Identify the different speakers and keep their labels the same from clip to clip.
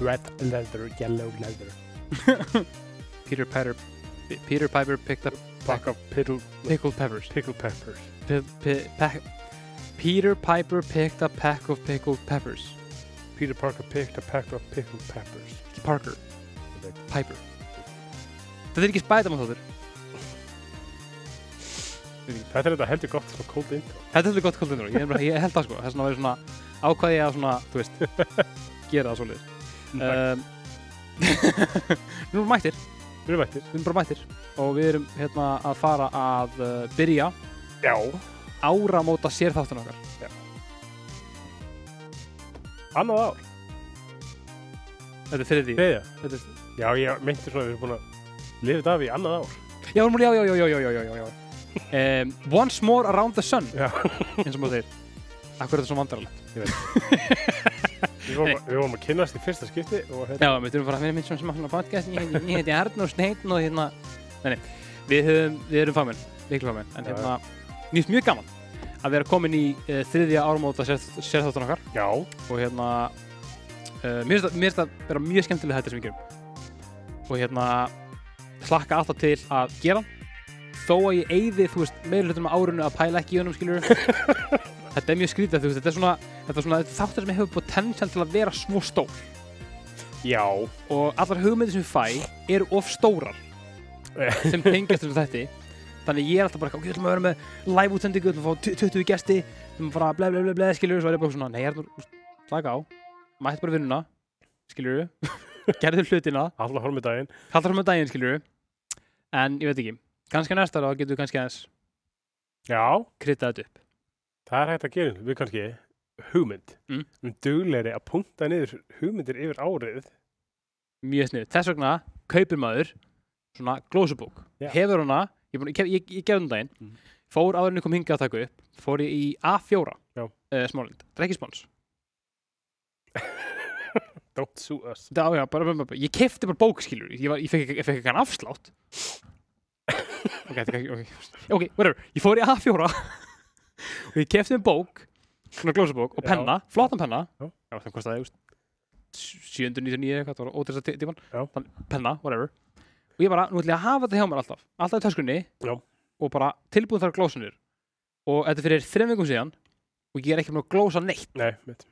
Speaker 1: Red leather, yellow leather.
Speaker 2: Peter, Patter, P- Peter Piper picked up
Speaker 1: Pack of piddle,
Speaker 2: pickled peppers.
Speaker 1: pickle peppers.
Speaker 2: P- p- pack- Peter Piper picked a pack of pickled peppers.
Speaker 1: Peter Parker picked a pack of pickle peppers.
Speaker 2: Parker. Piper. Þetta er ekki Spiderman þáttur.
Speaker 1: Þetta er þetta heldur gott svona cold intro.
Speaker 2: Þetta er þetta gott kvöldinur. Ég, er bara- ég held það sko. Þess vegna var ég svona ákvæði ég að svona, þú veist, gera það svolítið. Um, Nú erum við mættir.
Speaker 1: Við erum ættir.
Speaker 2: Við erum bara mættir. Og við erum hérna að fara að uh, byrja
Speaker 1: Já.
Speaker 2: áramóta sérþáttun okkar.
Speaker 1: Annað ár.
Speaker 2: Þetta er þriði.
Speaker 1: Þegar.
Speaker 2: Þetta er...
Speaker 1: Já, ég meinti svona að við erum búin að lifa þetta af í annað ár.
Speaker 2: Já, já, já, já, já, já, já, já, já, já. Um, once more around the sun,
Speaker 1: Já.
Speaker 2: eins og maður þeir. Akkur er þetta svo vandrarlegt.
Speaker 1: Við vorum, við vorum að kynnast í fyrsta skipti og hérna.
Speaker 2: Já, við þurfum bara að finna minn sem að podcast, ég, ég, ég heiti Arnur Sneitn og hérna, nei, nei, við, höfum, við erum famin, miklu famin, en
Speaker 1: Já,
Speaker 2: hérna, mjög mjög gaman að vera komin í uh, þriðja ármóta sér, sérþáttan okkar
Speaker 1: Já.
Speaker 2: og hérna, uh, mér finnst það- mér finnst það vera mjög skemmtilega þetta sem við gerum og hérna, hlakka alltaf til að gera hann, þó að ég eyði, þú veist, meira hlutum á árinu að pæla ekki í honum, skilur þetta er mjög skrítið, þú veist, þetta er svona, þetta er svona þáttur sem hefur potential til að vera svo stór
Speaker 1: Já.
Speaker 2: og allar hugmyndir sem ég fæ eru of stórar sem tengjast um þetta þannig ég er alltaf bara, ok, við ætlum að vera með live útsendingu, við ætlum að fá 20 gesti við ætlum bara ble ble ble ble, skiljur, svo er ég bara svona nei, Arnur, slaka á, mætt bara í vinnuna skiljur, gerðu hlutina
Speaker 1: Alla horfum í daginn.
Speaker 2: kallar um daginn, skiljur en ég veit ekki, kannski næsta ára þá getum við kannski aðeins
Speaker 1: Já.
Speaker 2: kryttað þetta upp
Speaker 1: Það er hægt að gera. Við kannski hugmynd.
Speaker 2: Mm.
Speaker 1: Við erum duglegri að punta niður hugmyndir yfir árið.
Speaker 2: mjög snið, þess vegna kaupir maður svona glósubók,
Speaker 1: Já.
Speaker 2: hefur hana ég, búin, ég, ég, ég gerði um daginn
Speaker 1: Mhm.
Speaker 2: fór áður en ég kom hingað að taka upp fór ég í A4
Speaker 1: Já.
Speaker 2: uh, smálind, það er ekki spons
Speaker 1: Don't sue us.
Speaker 2: já, já, bara, bara, bara, ég kefti bara bók skilur ég, var, ég fekk ekki- ég fekk ekki hann afslátt ok, þetta er ekki ok, ok, whatever, ég fór í A4 og ég kefti um bók svona glósubók og
Speaker 1: Já.
Speaker 2: penna, flottan penna
Speaker 1: Já.
Speaker 2: já það kostaði, þú veist 799 eitthvað, það var ótrýsta tíman
Speaker 1: Já.
Speaker 2: Þann- penna, whatever og ég bara, nú ætla ég að hafa þetta hjá mér alltaf alltaf í töskunni
Speaker 1: Já.
Speaker 2: og bara tilbúin þar glósunir og þetta er fyrir þreim vikum síðan og ég er ekki með að glósa neitt,
Speaker 1: Nei, mitt.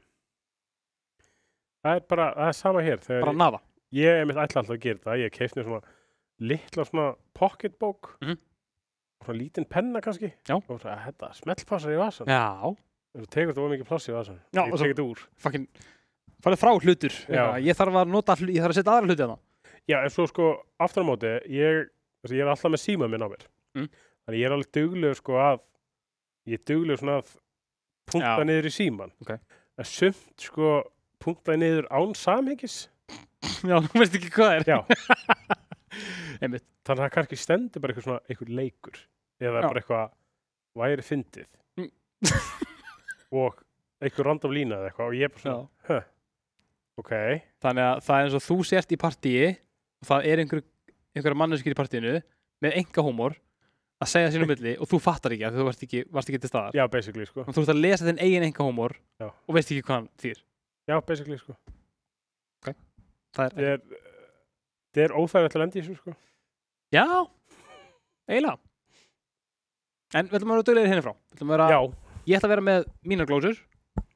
Speaker 1: Það er bara, það er sama hér. Þegar
Speaker 2: bara naða
Speaker 1: ég er mitt ætla alltaf að gera það, ég keipti svona litla svona pocketbók
Speaker 2: Mhm.
Speaker 1: svona lítinn penna kannski
Speaker 2: Já.
Speaker 1: og svona, þetta smellpassar í vasan
Speaker 2: já,
Speaker 1: og þú tekur þetta of mikið pláss í vasan
Speaker 2: Já,
Speaker 1: ég
Speaker 2: og svo-
Speaker 1: tekur þetta úr
Speaker 2: fucking farið frá hlutur
Speaker 1: Já.
Speaker 2: ég þarf að nota, hlu- ég þarf að setja aðra hluti að
Speaker 1: Já, en svo sko, aftur á móti ég, þessi, ég er alltaf með síma minn á mér
Speaker 2: Mm.
Speaker 1: þannig ég er alveg duglegur sko að ég er duglegur svona að punkta
Speaker 2: Já.
Speaker 1: niður í síman
Speaker 2: Ok.
Speaker 1: en sumt sko punkta niður án samhengis
Speaker 2: það já, þú veist ekki hvað það
Speaker 1: Já.
Speaker 2: er einmitt,
Speaker 1: þannig að það kannski stendur bara eitthvað svona eitthvað leikur eða
Speaker 2: Já.
Speaker 1: bara eitthvað væri fyndið
Speaker 2: Mm.
Speaker 1: og eitthvað random lína eða eitthvað og ég er bara
Speaker 2: já.
Speaker 1: svona, ok
Speaker 2: þannig að það er eins og þú sért í partíi og það er einhver, einhverja manneskir í partíinu með enga hómor að segja sínum milli og þú fattar ekki að þú varst ekki, varst ekki til staðar
Speaker 1: já, basically sko
Speaker 2: og þú ert að lesa þinn eigin enga hómor
Speaker 1: Já.
Speaker 2: og veist ekki hvað hann þýr
Speaker 1: já, basically sko
Speaker 2: það er,
Speaker 1: það er, það er óþægilegt að lenda í þessu sko
Speaker 2: já, eiginlega en við ætlum að vera duglegir henni frá Við ætlum að vera,
Speaker 1: já,
Speaker 2: ég ætla að vera með mínar glósur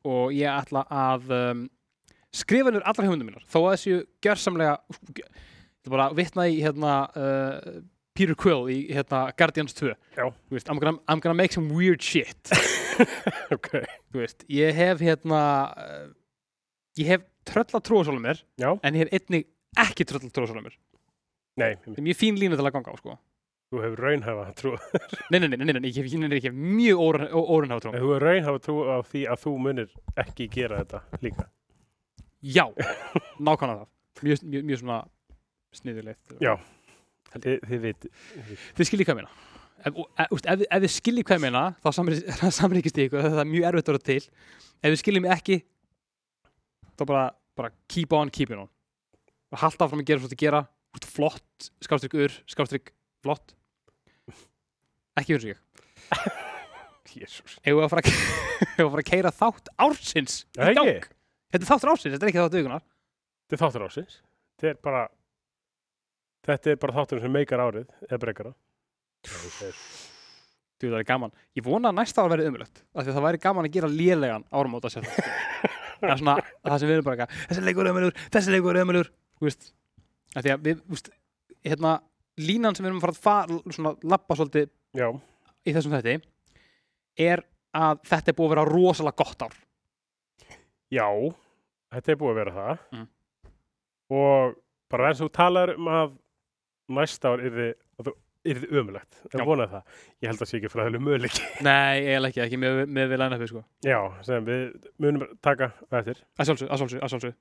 Speaker 2: og ég ætla að um, skrifa nýr allra hugmyndum mínar þó að þessu gjörsamlega þetta bara vitna í hérna uh, Peter Quill í hérna Guardians 2
Speaker 1: Já.
Speaker 2: Þú veist, I'm, gonna, I'm gonna make some weird shit
Speaker 1: ok
Speaker 2: Þú veist, ég hef hérna uh, ég hef tröll að trúa mér
Speaker 1: já,
Speaker 2: en ég hef einnig ekki tröll að trúa mér
Speaker 1: nei,
Speaker 2: það er mjög fín lína til að ganga á sko
Speaker 1: þú hefur raunhafa trú
Speaker 2: nei, nei, nei, nei, nei, nei, ég hef, nei, nei, ég hef mjög órunhafa trú á mér.
Speaker 1: þú hefur raunhafa trú á því að þú munir ekki gera þetta líka
Speaker 2: Já, nákvæmlega það Mjög, mjög, mjög svona sniðilegt
Speaker 1: Já. þið, þið veit
Speaker 2: Þið skiljið hvað ég meina Ef, og- e- úst, ef, þið- ef þið skiljið hvað ég meina þá samrý- þá samrýkist ég ykkur það er mjög erfitt að vera til Ef þið skiljið mig ekki þá bara, bara keep on keeping on og halda áfram að gera svo að gera Þú ert flott, skástrík ur, skástrík flott Ekki fyrir sig
Speaker 1: jésús
Speaker 2: Ef við að fara að, eigum við að fara að keira þátt ársins í
Speaker 1: Ekki?
Speaker 2: gang? Þetta er þáttur ársins, þetta er ekki þáttur aukunar
Speaker 1: þetta er þáttur ásins þetta er bara þetta er bara þáttur sem meikar árið eða breykara
Speaker 2: Þú, það er gaman. Ég vona að næsta ár verði umlögt. Af því að það væri gaman að gera lélegan ármóta sér. það er svona það sem við erum bara eitthvað. Þessi leikur er umlur, þessi leikur er umlur. Þú veist. Af því að við, þú veist, hérna, línan sem við erum að fara að fara, svona, lappa svolítið
Speaker 1: já,
Speaker 2: í þessum þetta er að þetta er búið að vera rosalega gott ár.
Speaker 1: já, þetta er búið að vera það
Speaker 2: Mm.
Speaker 1: og bara eins og þú talar um að næsta ár yrði að þú yrði ömulegt,
Speaker 2: Já.
Speaker 1: ég vonaði það ég held að sé ekki fræðileg möguleik
Speaker 2: Nei, eiginlega ekki, ekki með, með við læna sko.
Speaker 1: já, sem við munum taka á eftir
Speaker 2: Að sjálfsög, að sjálfsög, að sjálfsög.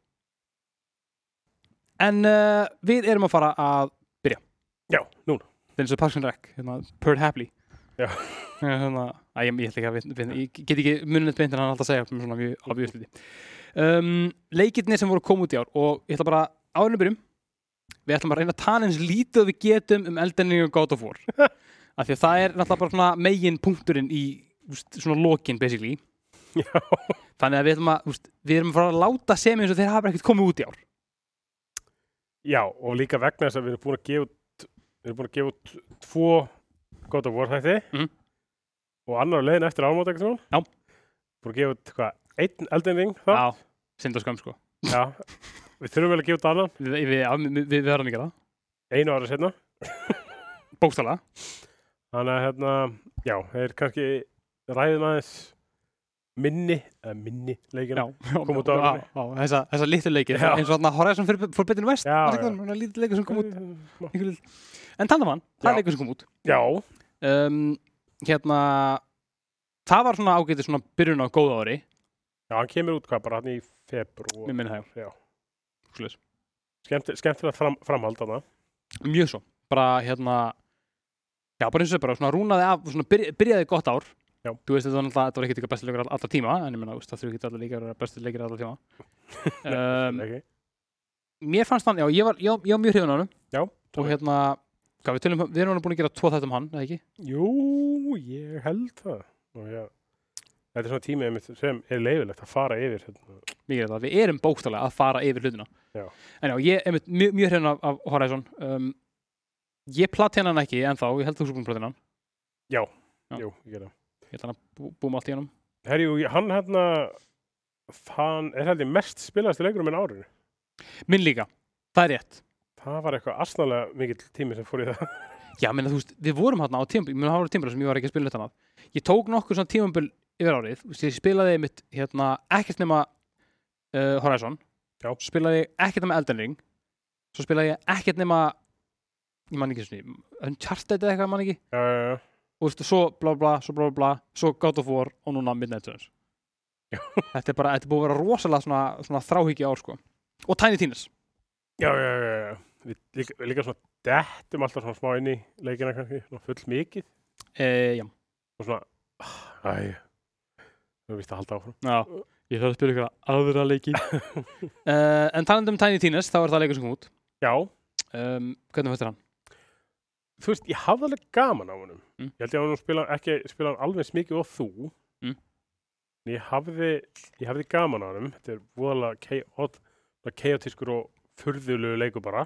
Speaker 2: En uh, við erum að fara að
Speaker 1: já, núna,
Speaker 2: Það er eins og Parks and Rec, hérna, Pert Hapley
Speaker 1: Já.
Speaker 2: Já, hérna, að ég, ég ætla ekki að vinna, vinna, ég get ekki muninett beint en hann er alltaf að segja svona mjög alveg úrsluti. Um, leikirnir sem voru að koma út í ár og ég ætla bara árinu byrjum, við ætlum að reyna að tala eins lítið og við getum um Elden Ring og God of War. Af því að það er náttúrulega bara svona megin punkturinn í úst, svona lokin basically.
Speaker 1: já
Speaker 2: Þannig að við ætlum að, úst, við erum að fara að láta sem eins og þeir hafa ekkert komið út í ár.
Speaker 1: Já, og líka vegna þess að við erum búin að gefa út, við erum búin að gefa út tvo God of War þætti
Speaker 2: Mhm.
Speaker 1: og annar á leiðin eftir áramót ekkert svona.
Speaker 2: Já.
Speaker 1: Búin að gefa út hvað, einn Elden Ring þá?
Speaker 2: Sind og skömm sko.
Speaker 1: Já. Við þurfum vel að gefa út annan,
Speaker 2: Við, við, já, við, við, við verðum ekki það.
Speaker 1: einu ára setna.
Speaker 2: Bókstala.
Speaker 1: Þannig að hérna, já, þeir kannski ræðum aðeins minni, eða minni leikina.
Speaker 2: já, já,
Speaker 1: kom út á
Speaker 2: já,
Speaker 1: árunni.
Speaker 2: já, já, þessa, þessa litlu leiki
Speaker 1: Já.
Speaker 2: eins og þarna Horizon for- Forbidden West
Speaker 1: Já,
Speaker 2: var
Speaker 1: já.
Speaker 2: ekki þannig, þannig lítið leikur sem kom út
Speaker 1: Smá.
Speaker 2: einhver lill. en Tandaman, það
Speaker 1: Já.
Speaker 2: er leikur sem kom út
Speaker 1: Já,
Speaker 2: um, hérna það var svona ágætið svona byrjun á góða ári
Speaker 1: já, hann kemur út hvað, bara hann í februar.
Speaker 2: mér minna það,
Speaker 1: Já.
Speaker 2: Svoleiðis.
Speaker 1: Skemmt, skemmtilega fram, framhald þarna.
Speaker 2: mjög svo bara hérna já, bara eins og bara svona rúnaði af svona byrja, byrjaði gott ár
Speaker 1: Já.
Speaker 2: þú veist þetta var náttúrulega, þetta var ekkert eitthvað besti leikur all- allra tíma en ég menna, það þurfi ekki allir leikir að vera besti leikir allra tíma um,
Speaker 1: Okay.
Speaker 2: mér fannst hann, já, ég var, ég, ég var mjög hrifun á hann
Speaker 1: Já,
Speaker 2: og hérna, hvað, við, tölum, við erum alveg búin að gera tvo þetta um hann, eða ekki?
Speaker 1: Jú, ég held það. Og já, þetta er svona tímið einmitt sem er leifilegt að fara yfir. Hérna.
Speaker 2: Mikið er það, við erum bókstálega að fara yfir hlutina
Speaker 1: Já.
Speaker 2: en já, ég er mjög, mjög hrifin af, af Horizon um, ég plati hann ekki ennþá, ég held þú svo búin að plati hann Já.
Speaker 1: Jú, ég gerði það.
Speaker 2: ég held hann að bú, búum allt í hannum
Speaker 1: Herjú, ég- hann hérna, hann er held ég mest spilaðasti leikurum en árinu.
Speaker 2: minn líka, það er rétt
Speaker 1: Það var eitthvað asnalega mikill tími sem fór í það.
Speaker 2: já, menna, þú veist, við vorum hann á tímbil, mér hafa tímbil sem ég var ekki að spila þetta hann ég tók nokkur svona tímbil yfir árið þú veist, ég spilaði mitt, hérna, ekkert nema uh, Horizon
Speaker 1: Já.
Speaker 2: spilaði ekkert nema Elden Ring svo spilaði ég ekkert nema ég man ekki svona, Uncharted eða eitthvað, ég man ekki
Speaker 1: Já, já, já.
Speaker 2: og veistu, svo bla bla, svo bla bla, bla svo God of War og núna Midnight Suns
Speaker 1: Já.
Speaker 2: þetta er bara, þetta er búið að vera rosalega svona, svona þráhyggja ár sko og Tiny Teenas,
Speaker 1: já, já, já, já, já. Við líka, við líka svona dettum alltaf svona smá inn í leikina kannski, svona full mikið
Speaker 2: e, já.
Speaker 1: og svona, ah, æ, þú vist að halda áfram.
Speaker 2: já ég þarf að spila ykkur aðra leiki uh, en talandi um Tiny Teenas, þá er það leikur sem kom út
Speaker 1: Já,
Speaker 2: um, hvernig fættir hann?
Speaker 1: þú veist, ég hafði alveg gaman á honum
Speaker 2: Mm.
Speaker 1: ég held ég að hann spila, ekki spila hann alveg eins mikið og þú
Speaker 2: Mm.
Speaker 1: en ég hafði, ég hafði gaman á honum þetta er voðalega keot, keotiskur og furðulegu leiku bara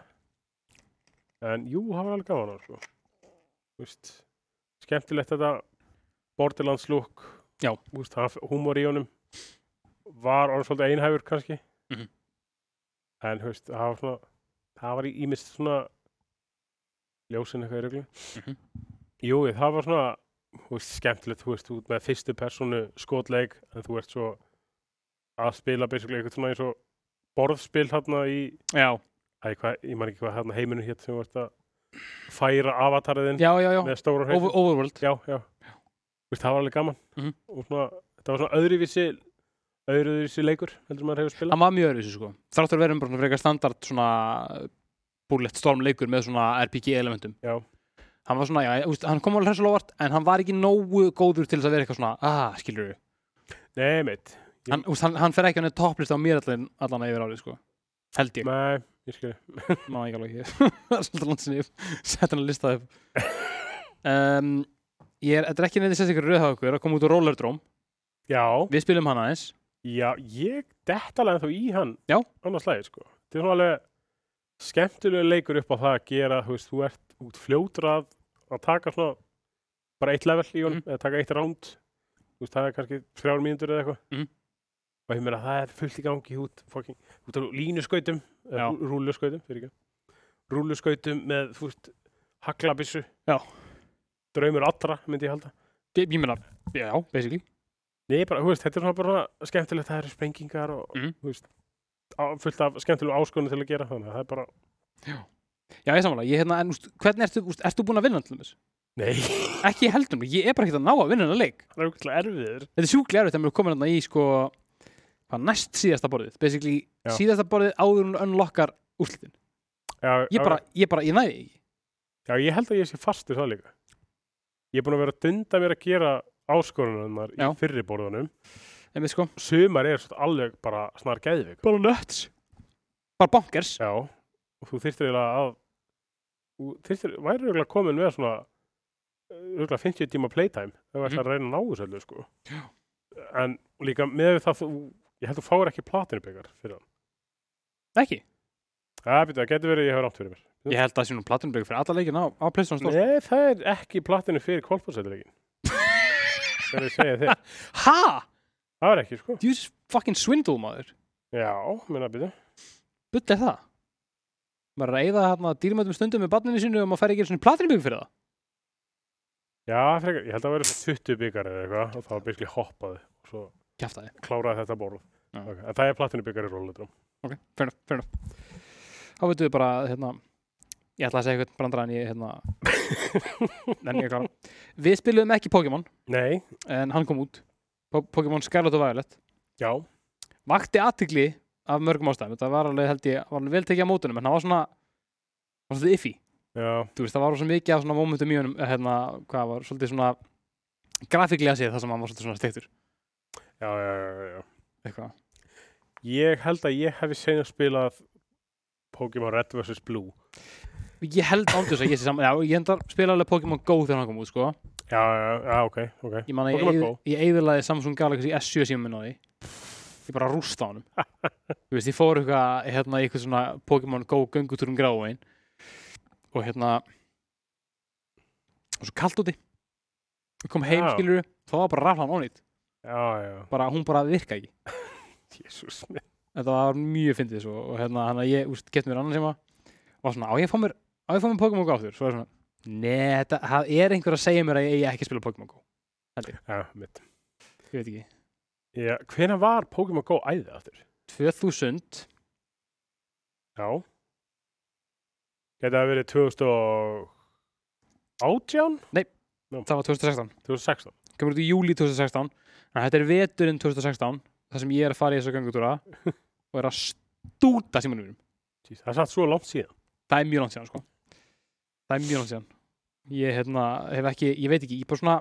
Speaker 1: en jú, hafði alveg gaman á honum sko. þú veist skemmtilegt þetta Borderlands look
Speaker 2: Já.
Speaker 1: Þú veist, það var húmor í honum var orðin svolítið einhæfur kannski
Speaker 2: Mhm.
Speaker 1: en þú veist, það var svona það var í ímist svona ljósin eitthvað í reglu
Speaker 2: Mhm.
Speaker 1: Jú, ég- það var svona þú veist, skemmtilegt, þú veist, út með fyrstu personu skotleik, en þú ert svo að spila basically eitthvað svona eins og borðspil þarna í
Speaker 2: já,
Speaker 1: æ, hvað, ég man ekki hvað þarna heiminu hétt sem þú ert að færa avatariðin
Speaker 2: já, já, já.
Speaker 1: með stóra
Speaker 2: Over,
Speaker 1: hreinu
Speaker 2: Overworld
Speaker 1: Já, já, Þú veist, það var alveg gaman
Speaker 2: Mhm.
Speaker 1: og svona, þetta var svona öðruvísi öðruvísi leikur, heldur maður hefur spilað
Speaker 2: hann var mjög öðruvísi sko þráttur að vera um bara svona frekar standard svona búlett storm leikur með svona RPG elementum
Speaker 1: Já.
Speaker 2: hann var svona, já, úst, hann kom alveg hressulega óvart en hann var ekki nógu góður til þess að vera eitthvað svona ah, skilur við,
Speaker 1: Nei, meitt, Ég-
Speaker 2: hann, úst, hann, hann fer ekki hann er topplist á mér allan, allan að yfir árið sko held ég,
Speaker 1: nei, ég skil
Speaker 2: má ekki alveg hér það er svolítið landsinni sett hann að lista það upp um, ég er, þetta er ekki neitt sett ykkur rauðhá okkur að koma út úr rollerdróm,
Speaker 1: Já,
Speaker 2: við spilum hann aðeins
Speaker 1: já, ég detta alveg ennþá í hann
Speaker 2: Já.
Speaker 1: annars lagi, sko þetta er svona alveg skemmtilega leikur upp á það að gera, þú veist, þú ert út fljótrað að taka svona bara eitt level í honum,
Speaker 2: Mhm.
Speaker 1: eða taka eitt round þú veist, það er kannski þrjár mínútur eða eitthvað
Speaker 2: Mhm.
Speaker 1: og ég meina það er fullt í gangi út, fucking, út á línuskautum
Speaker 2: Já.
Speaker 1: eða rú- rúlluskautum, fyrir ekki rúlluskautum með, þú veist haglabissu
Speaker 2: Já.
Speaker 1: draumur allra, myndi ég halda
Speaker 2: Ég ég meina, já, basically.
Speaker 1: Nei, bara, þú veist, þetta er svona bara svona skemmtilegt, það eru sprengingar og,
Speaker 2: Mhm.
Speaker 1: þú veist, á, fullt af skemmtilegum áskonum til að gera þannig, að það er bara,
Speaker 2: Já, ég samanlega, ég hérna, en úst, hvernig ertu, úst, ertu búin að vinna allum þessu?
Speaker 1: nei,
Speaker 2: Ekki heldum, ég er bara ekkert að ná að vinna hennar leik.
Speaker 1: það er okkurlega erfiður.
Speaker 2: Þetta er sjúklega erfitt að mér er komin hérna í, sko, hvað, næst síðasta borðið. Basically,
Speaker 1: Já.
Speaker 2: síðasta borðið áður hún unlockar úrslitin.
Speaker 1: Já,
Speaker 2: Ég bara, ég bara, ég næði því ekki.
Speaker 1: Já, ég held að ég sé fastur það líka. Ég er búin að vera að dunda mér að gera áskorunar í
Speaker 2: Já.
Speaker 1: fyrri borðunum.
Speaker 2: En við, sko,
Speaker 1: Sumar er svona alveg bara snar geðvik.
Speaker 2: bara nuts. Bara bonkers.
Speaker 1: Já, og þú þyrftir eiginlega að, þú þyrftir, væri eiginlega komin með svona, eiginlega 50 tíma playtime, ef þú ætlar að reyna að ná þessu öllu, sko.
Speaker 2: Mhm. Já.
Speaker 1: En líka með það, þú, ég held að þú fáir ekki platinu byggar fyrir það.
Speaker 2: Ekki.
Speaker 1: Já, býttu, það getur verið, að ég hef rátt fyrir mér.
Speaker 2: Ég held að það sé nú platinbygg fyrir alla leikin á, á Playstation Store.
Speaker 1: Nei, það er ekki platinu fyrir kolbúrsætilegin. Það er að segja þér.
Speaker 2: Ha?
Speaker 1: Það er ekki, sko.
Speaker 2: You just fucking swindle, maður.
Speaker 1: Já, minna, býttu.
Speaker 2: Bull er það. Maður er að eyða hérna dýrmætum stundum með barninu sínu um og maður fær ekki einu svona platinbygg fyrir það.
Speaker 1: Já, frekar, ég held að það verið 20 byggar eða eitthvað og það var byrkli hoppaði og svo
Speaker 2: Kjafta þið.
Speaker 1: kláraði þetta borð.
Speaker 2: Já.
Speaker 1: Okay. En það er platinu byggar í róleitrum.
Speaker 2: Ok, fair enough, fair enough. Þá veitum við bara, hérna, ég ætla að segja eitthvað brandara en ég, hérna, nenni ég að klára. Við spilum ekki Pokémon,
Speaker 1: Nei,
Speaker 2: en hann kom út. Po Pokémon Scarlet og Violet.
Speaker 1: já,
Speaker 2: Vakti aðtigli af mörgum ástæðum. Þetta var alveg, held ég, var alveg vel tekið á mótunum, en hann var svona, var svolítið iffy.
Speaker 1: já,
Speaker 2: Þú veist, það var svo mikið af svona mómentum í honum, eh, hérna, hvað var, svolítið svona, grafíklega séð það sem hann var svolítið svona steiktur.
Speaker 1: já, já, já, já.
Speaker 2: Eitthvað.
Speaker 1: Ég held að ég hefði seinast spilað Pokémon Red vs. Blue.
Speaker 2: Ég held ándjóðs að ég sé saman, já, ég hendar spila alveg Pokémon Go þegar hann kom út, sko.
Speaker 1: Já, já, já, ok, ok.
Speaker 2: Ég man að
Speaker 1: Pokémon
Speaker 2: ég,
Speaker 1: Go.
Speaker 2: eyð- ég eyðilaði Samsung Galaxy S7 síma minna á því Ég bara rústa á honum Þú veist, ég fór eitthvað hérna, í eitthvað svona Pokémon Go göngutúrum gráin og hérna og svo kalt úti Ég kom heim,
Speaker 1: Já.
Speaker 2: skilur þá var bara raflan ónýtt
Speaker 1: Já, já,
Speaker 2: bara hún bara virka ekki
Speaker 1: jésús.
Speaker 2: Þetta var mjög fyndið svo og hérna hann að ég úst, get mér annan sem að var svona á ég að fá mér á ég að fá mér Pokémon Go aftur svo er svona Nei, þetta það er einhver að segja mér að ég eigi ekki að spila Pokémon Go
Speaker 1: Já, mitt.
Speaker 2: Ég veit ekki
Speaker 1: Já, hvenær var Pokémon Go æðið aftur?
Speaker 2: 2000
Speaker 1: Já. Gæti að verið 2018?
Speaker 2: það var 2016
Speaker 1: 2016?
Speaker 2: kemur út í júli 2016 þannig að þetta er veturinn 2016 þar sem ég er að fara í þessu gangutúra og er að stúta símanum mínum
Speaker 1: Jeez, það er satt svo langt síðan.
Speaker 2: það er mjög langt síðan sko það er mjög langt síðan ég, hérna, hef ekki, ég veit ekki, ég bara svona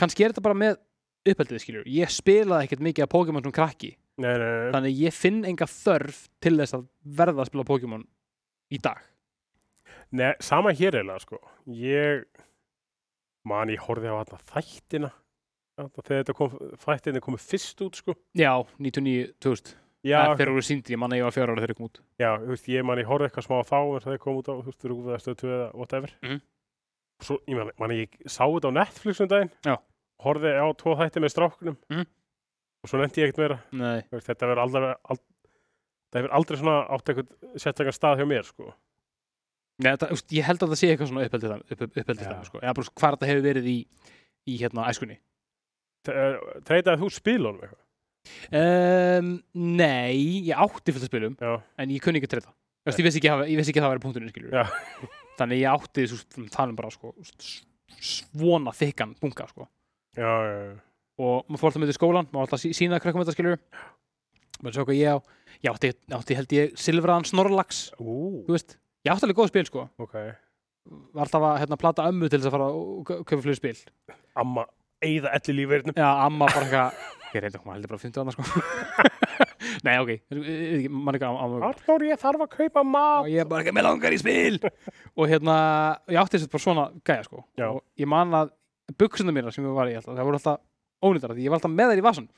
Speaker 2: kannski er þetta bara með uppeldið skiljur ég spilaði ekkert mikið að Pokémon sem krakki
Speaker 1: Nei, nei, nei.
Speaker 2: þannig að ég finn enga þörf til þess að verða að spila Pokémon í dag
Speaker 1: Nei, sama hér eiginlega, sko. Ég man, ég horfði á þarna þættina. Þarna Þegar þetta kom, þættina komið fyrst út, sko.
Speaker 2: já, 99, 2000
Speaker 1: Já,
Speaker 2: það er þegar voru síndir, ég manna ég var fjóra ára þegar ég kom út
Speaker 1: já, þú veist, ég man, ég horfði eitthvað smá að fá en það kom út á, þú veist, rúfið að stöðu tvö eða whatever.
Speaker 2: Mhm.
Speaker 1: Svo, ég man, man, ég sá þetta á Netflix um daginn.
Speaker 2: Já.
Speaker 1: Horfði á tvo þætti með stráknum.
Speaker 2: Mhm.
Speaker 1: Og svo nefndi ég ekkert meira.
Speaker 2: nei,
Speaker 1: Þú Veist, þetta verður aldrei, ald, það hefur aldrei svona átt eitthvað sérstakar stað hjá mér, sko.
Speaker 2: Nei, það, úst, ég held að það sé eitthvað svona uppeldið dæmi- upp, upp, uppeldið
Speaker 1: Já.
Speaker 2: dæmi, sko. Eða bara hvað þetta hefur verið í, í hérna æskunni.
Speaker 1: Treytaði eh, þú spilunum eitthvað?
Speaker 2: Um, nei, ég átti fullt að spilum,
Speaker 1: Já,
Speaker 2: en ég kunni ekki að treyta. Þú veist, Ég vissi ekki, að- ég vissi ekki að það væri punkturinn, skilur.
Speaker 1: Já.
Speaker 2: Þannig ég átti þessu talum bara, sko, s- svona þykkan bunga, sko.
Speaker 1: já, já, já.
Speaker 2: Og maður fór alltaf með til skólan, maður alltaf sí- sína krökkum þetta, skilur. Maður sjá hvað ég á. Ég átti, átti held ég, silfraðan snorlags, þú
Speaker 1: Ú,
Speaker 2: veist. Ég átti alveg góð spil, sko.
Speaker 1: ok.
Speaker 2: Var alltaf að, hérna, plata ömmu til þess að fara og kau- kaupa fleiri spil.
Speaker 1: amma eigða elli lífverðinum
Speaker 2: Já, amma bara eitthvað Ég reyndi okkur, maður heldur bara að fyndu annars sko Nei, ok, mann eitthvað amma amma-
Speaker 1: Arnór, ég þarf að kaupa
Speaker 2: Og
Speaker 1: mat
Speaker 2: ég bara eitthvað með langar í spil Og hérna, ég átti þess að bara svona gæja sko
Speaker 1: Já.
Speaker 2: Og ég man að buksuna mínar sem ég var í alltaf Það voru alltaf ónýttar af Því ég var alltaf með þær í vasan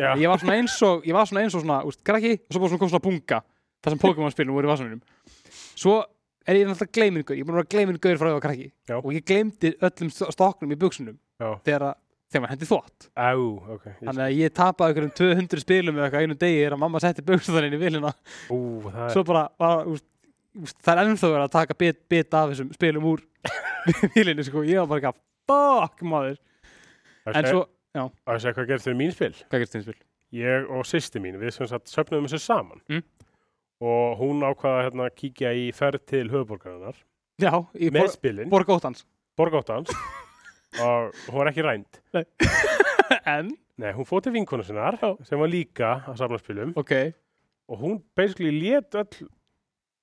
Speaker 1: Já,
Speaker 2: Ég var svona eins og, ég var svona eins og svona, úst, krakki Og svo bara svona kom svona bunga það sem Pokémon spilum voru í vasanum svo er ég náttúrulega gleymin gaur ég er búin að vera gleymin gaur frá því að ég var krakki
Speaker 1: Já.
Speaker 2: og ég gleymdi öllum st- stokknum í buksunum
Speaker 1: Já.
Speaker 2: þegar, að- þegar maður hendi þvott
Speaker 1: Á, ok. Ég,
Speaker 2: þannig að ég tapaði okkur um 200 spilum eða eitthvað á einum degi er að mamma setti buksun þannig í vilina
Speaker 1: ú, það er,
Speaker 2: svo bara var, úst, úst, það er ennþá verið að taka bit, bit af þessum spilum úr vilinu sko, ég var bara ekki að fuck maður,
Speaker 1: það
Speaker 2: en
Speaker 1: er
Speaker 2: svo
Speaker 1: að segja hvað gerðist fyrir mín spil.
Speaker 2: hvað gerst þeim spil?
Speaker 1: Ég og sýsti mín, við sem sagt söfnum þessu saman.
Speaker 2: Mm.
Speaker 1: Og hún ákvaða hérna að kíkja í ferð til höfuborgarinnar
Speaker 2: Já, í
Speaker 1: með
Speaker 2: bor,
Speaker 1: spilin,
Speaker 2: borg óttans
Speaker 1: borgóttans og hún var ekki rænd.
Speaker 2: en,
Speaker 1: Nei, hún fór til vinkonu sinnar
Speaker 2: Já.
Speaker 1: sem var líka að safna spilum
Speaker 2: ok,
Speaker 1: og hún basically lét öll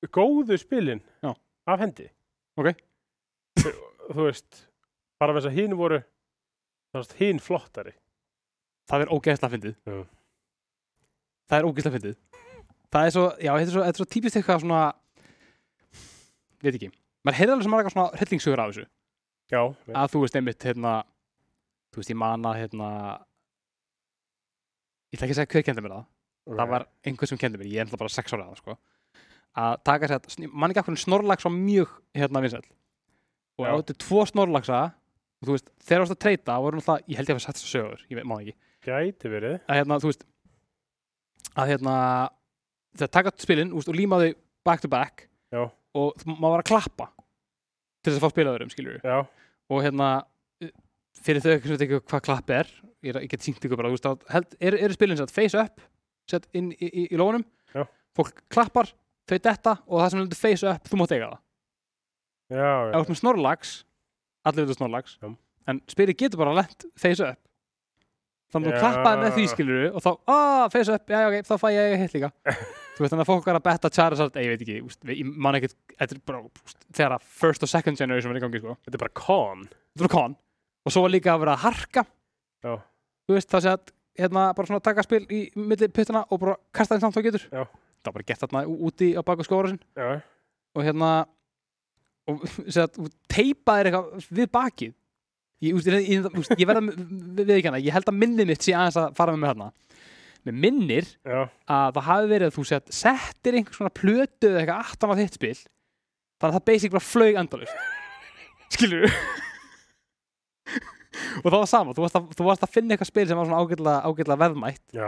Speaker 1: góðu spilin
Speaker 2: Já.
Speaker 1: af hendi.
Speaker 2: Ok.
Speaker 1: Þú, þú veist, bara þess að hinn voru, þú veist, hinn flottari.
Speaker 2: það er ógeðsla fyndið
Speaker 1: Já.
Speaker 2: það er ógeðsla fyndið það er svo, já, þetta er svo, þetta er svo típist eitthvað svona veit ekki maður heyrði alveg sem margar svona hryllingsugur af þessu
Speaker 1: Já,
Speaker 2: að þú veist einmitt hérna, þú veist ég mana hérna ég ætla ekki að segja hver kendi mér það það var einhver sem kendi mér, ég er ennþá bara sex ára að sko, að taka sér að mann ekki af hvernig snorlags var mjög hérna vinsæll og
Speaker 1: Já.
Speaker 2: ef þú áttu tvo snorlagsa og þú veist, þegar þú varst að treyta voru náttúrulega, ég held ég að setja þess að sögur ég veit, má það ekki,
Speaker 1: gæti verið.
Speaker 2: að hérna, þú veist að hérna þegar taka spilin úst, og líma þau back to back
Speaker 1: Já.
Speaker 2: og þú- maður var að klappa til þess að fá spilaðurum, skilur
Speaker 1: Já,
Speaker 2: og hérna uh, fyrir þau sem veit ekki hvað klapp er ég, er- ég get sýnt ykkur bara, þú veist að held, er, eru spilin sett face up sett inn í, í, í lónum
Speaker 1: Já.
Speaker 2: fólk klappar, þau detta og það sem heldur face up, þú mátt eiga það
Speaker 1: já,
Speaker 2: ef þú ert með snorlags, allir veitur snorlags
Speaker 1: Já.
Speaker 2: en spilið getur bara lent face up þannig að þú
Speaker 1: Já.
Speaker 2: klappaði með því skilur og þá, aaa, face up, já, já, ok, þá fæ ég hitt líka þú veist þannig að fólk er að betta Charizard, eh, ég veit ekki, úst, ég man ekkert þetta er bara, úst, þegar að first og second generation var í gangi, sko
Speaker 1: Þetta er bara con.
Speaker 2: þetta var kon og svo var líka að vera að harka
Speaker 1: Já.
Speaker 2: þú veist það sé að hérna bara svona taka spil í milli puttana og bara kasta þeim samt þá getur
Speaker 1: Já.
Speaker 2: það var bara gett þarna ú- úti á baku skóra sin
Speaker 1: Já,
Speaker 2: og hérna og sé að teipaðir eitthvað við bakið ég, úst, ég, ég, úst, ég verða við ekki hana ég held að minni mitt sé aðeins að fara með mig hérna með minnir
Speaker 1: já,
Speaker 2: að það hafi verið að þú sett settir einhvers svona plötu eða eitthvað aftan á þitt spil þannig að það basic bara flög endalust skilur og það var sama, þú varst, að, þú varst að finna eitthvað spil sem var svona ágætlega, ágætlega verðmætt
Speaker 1: já,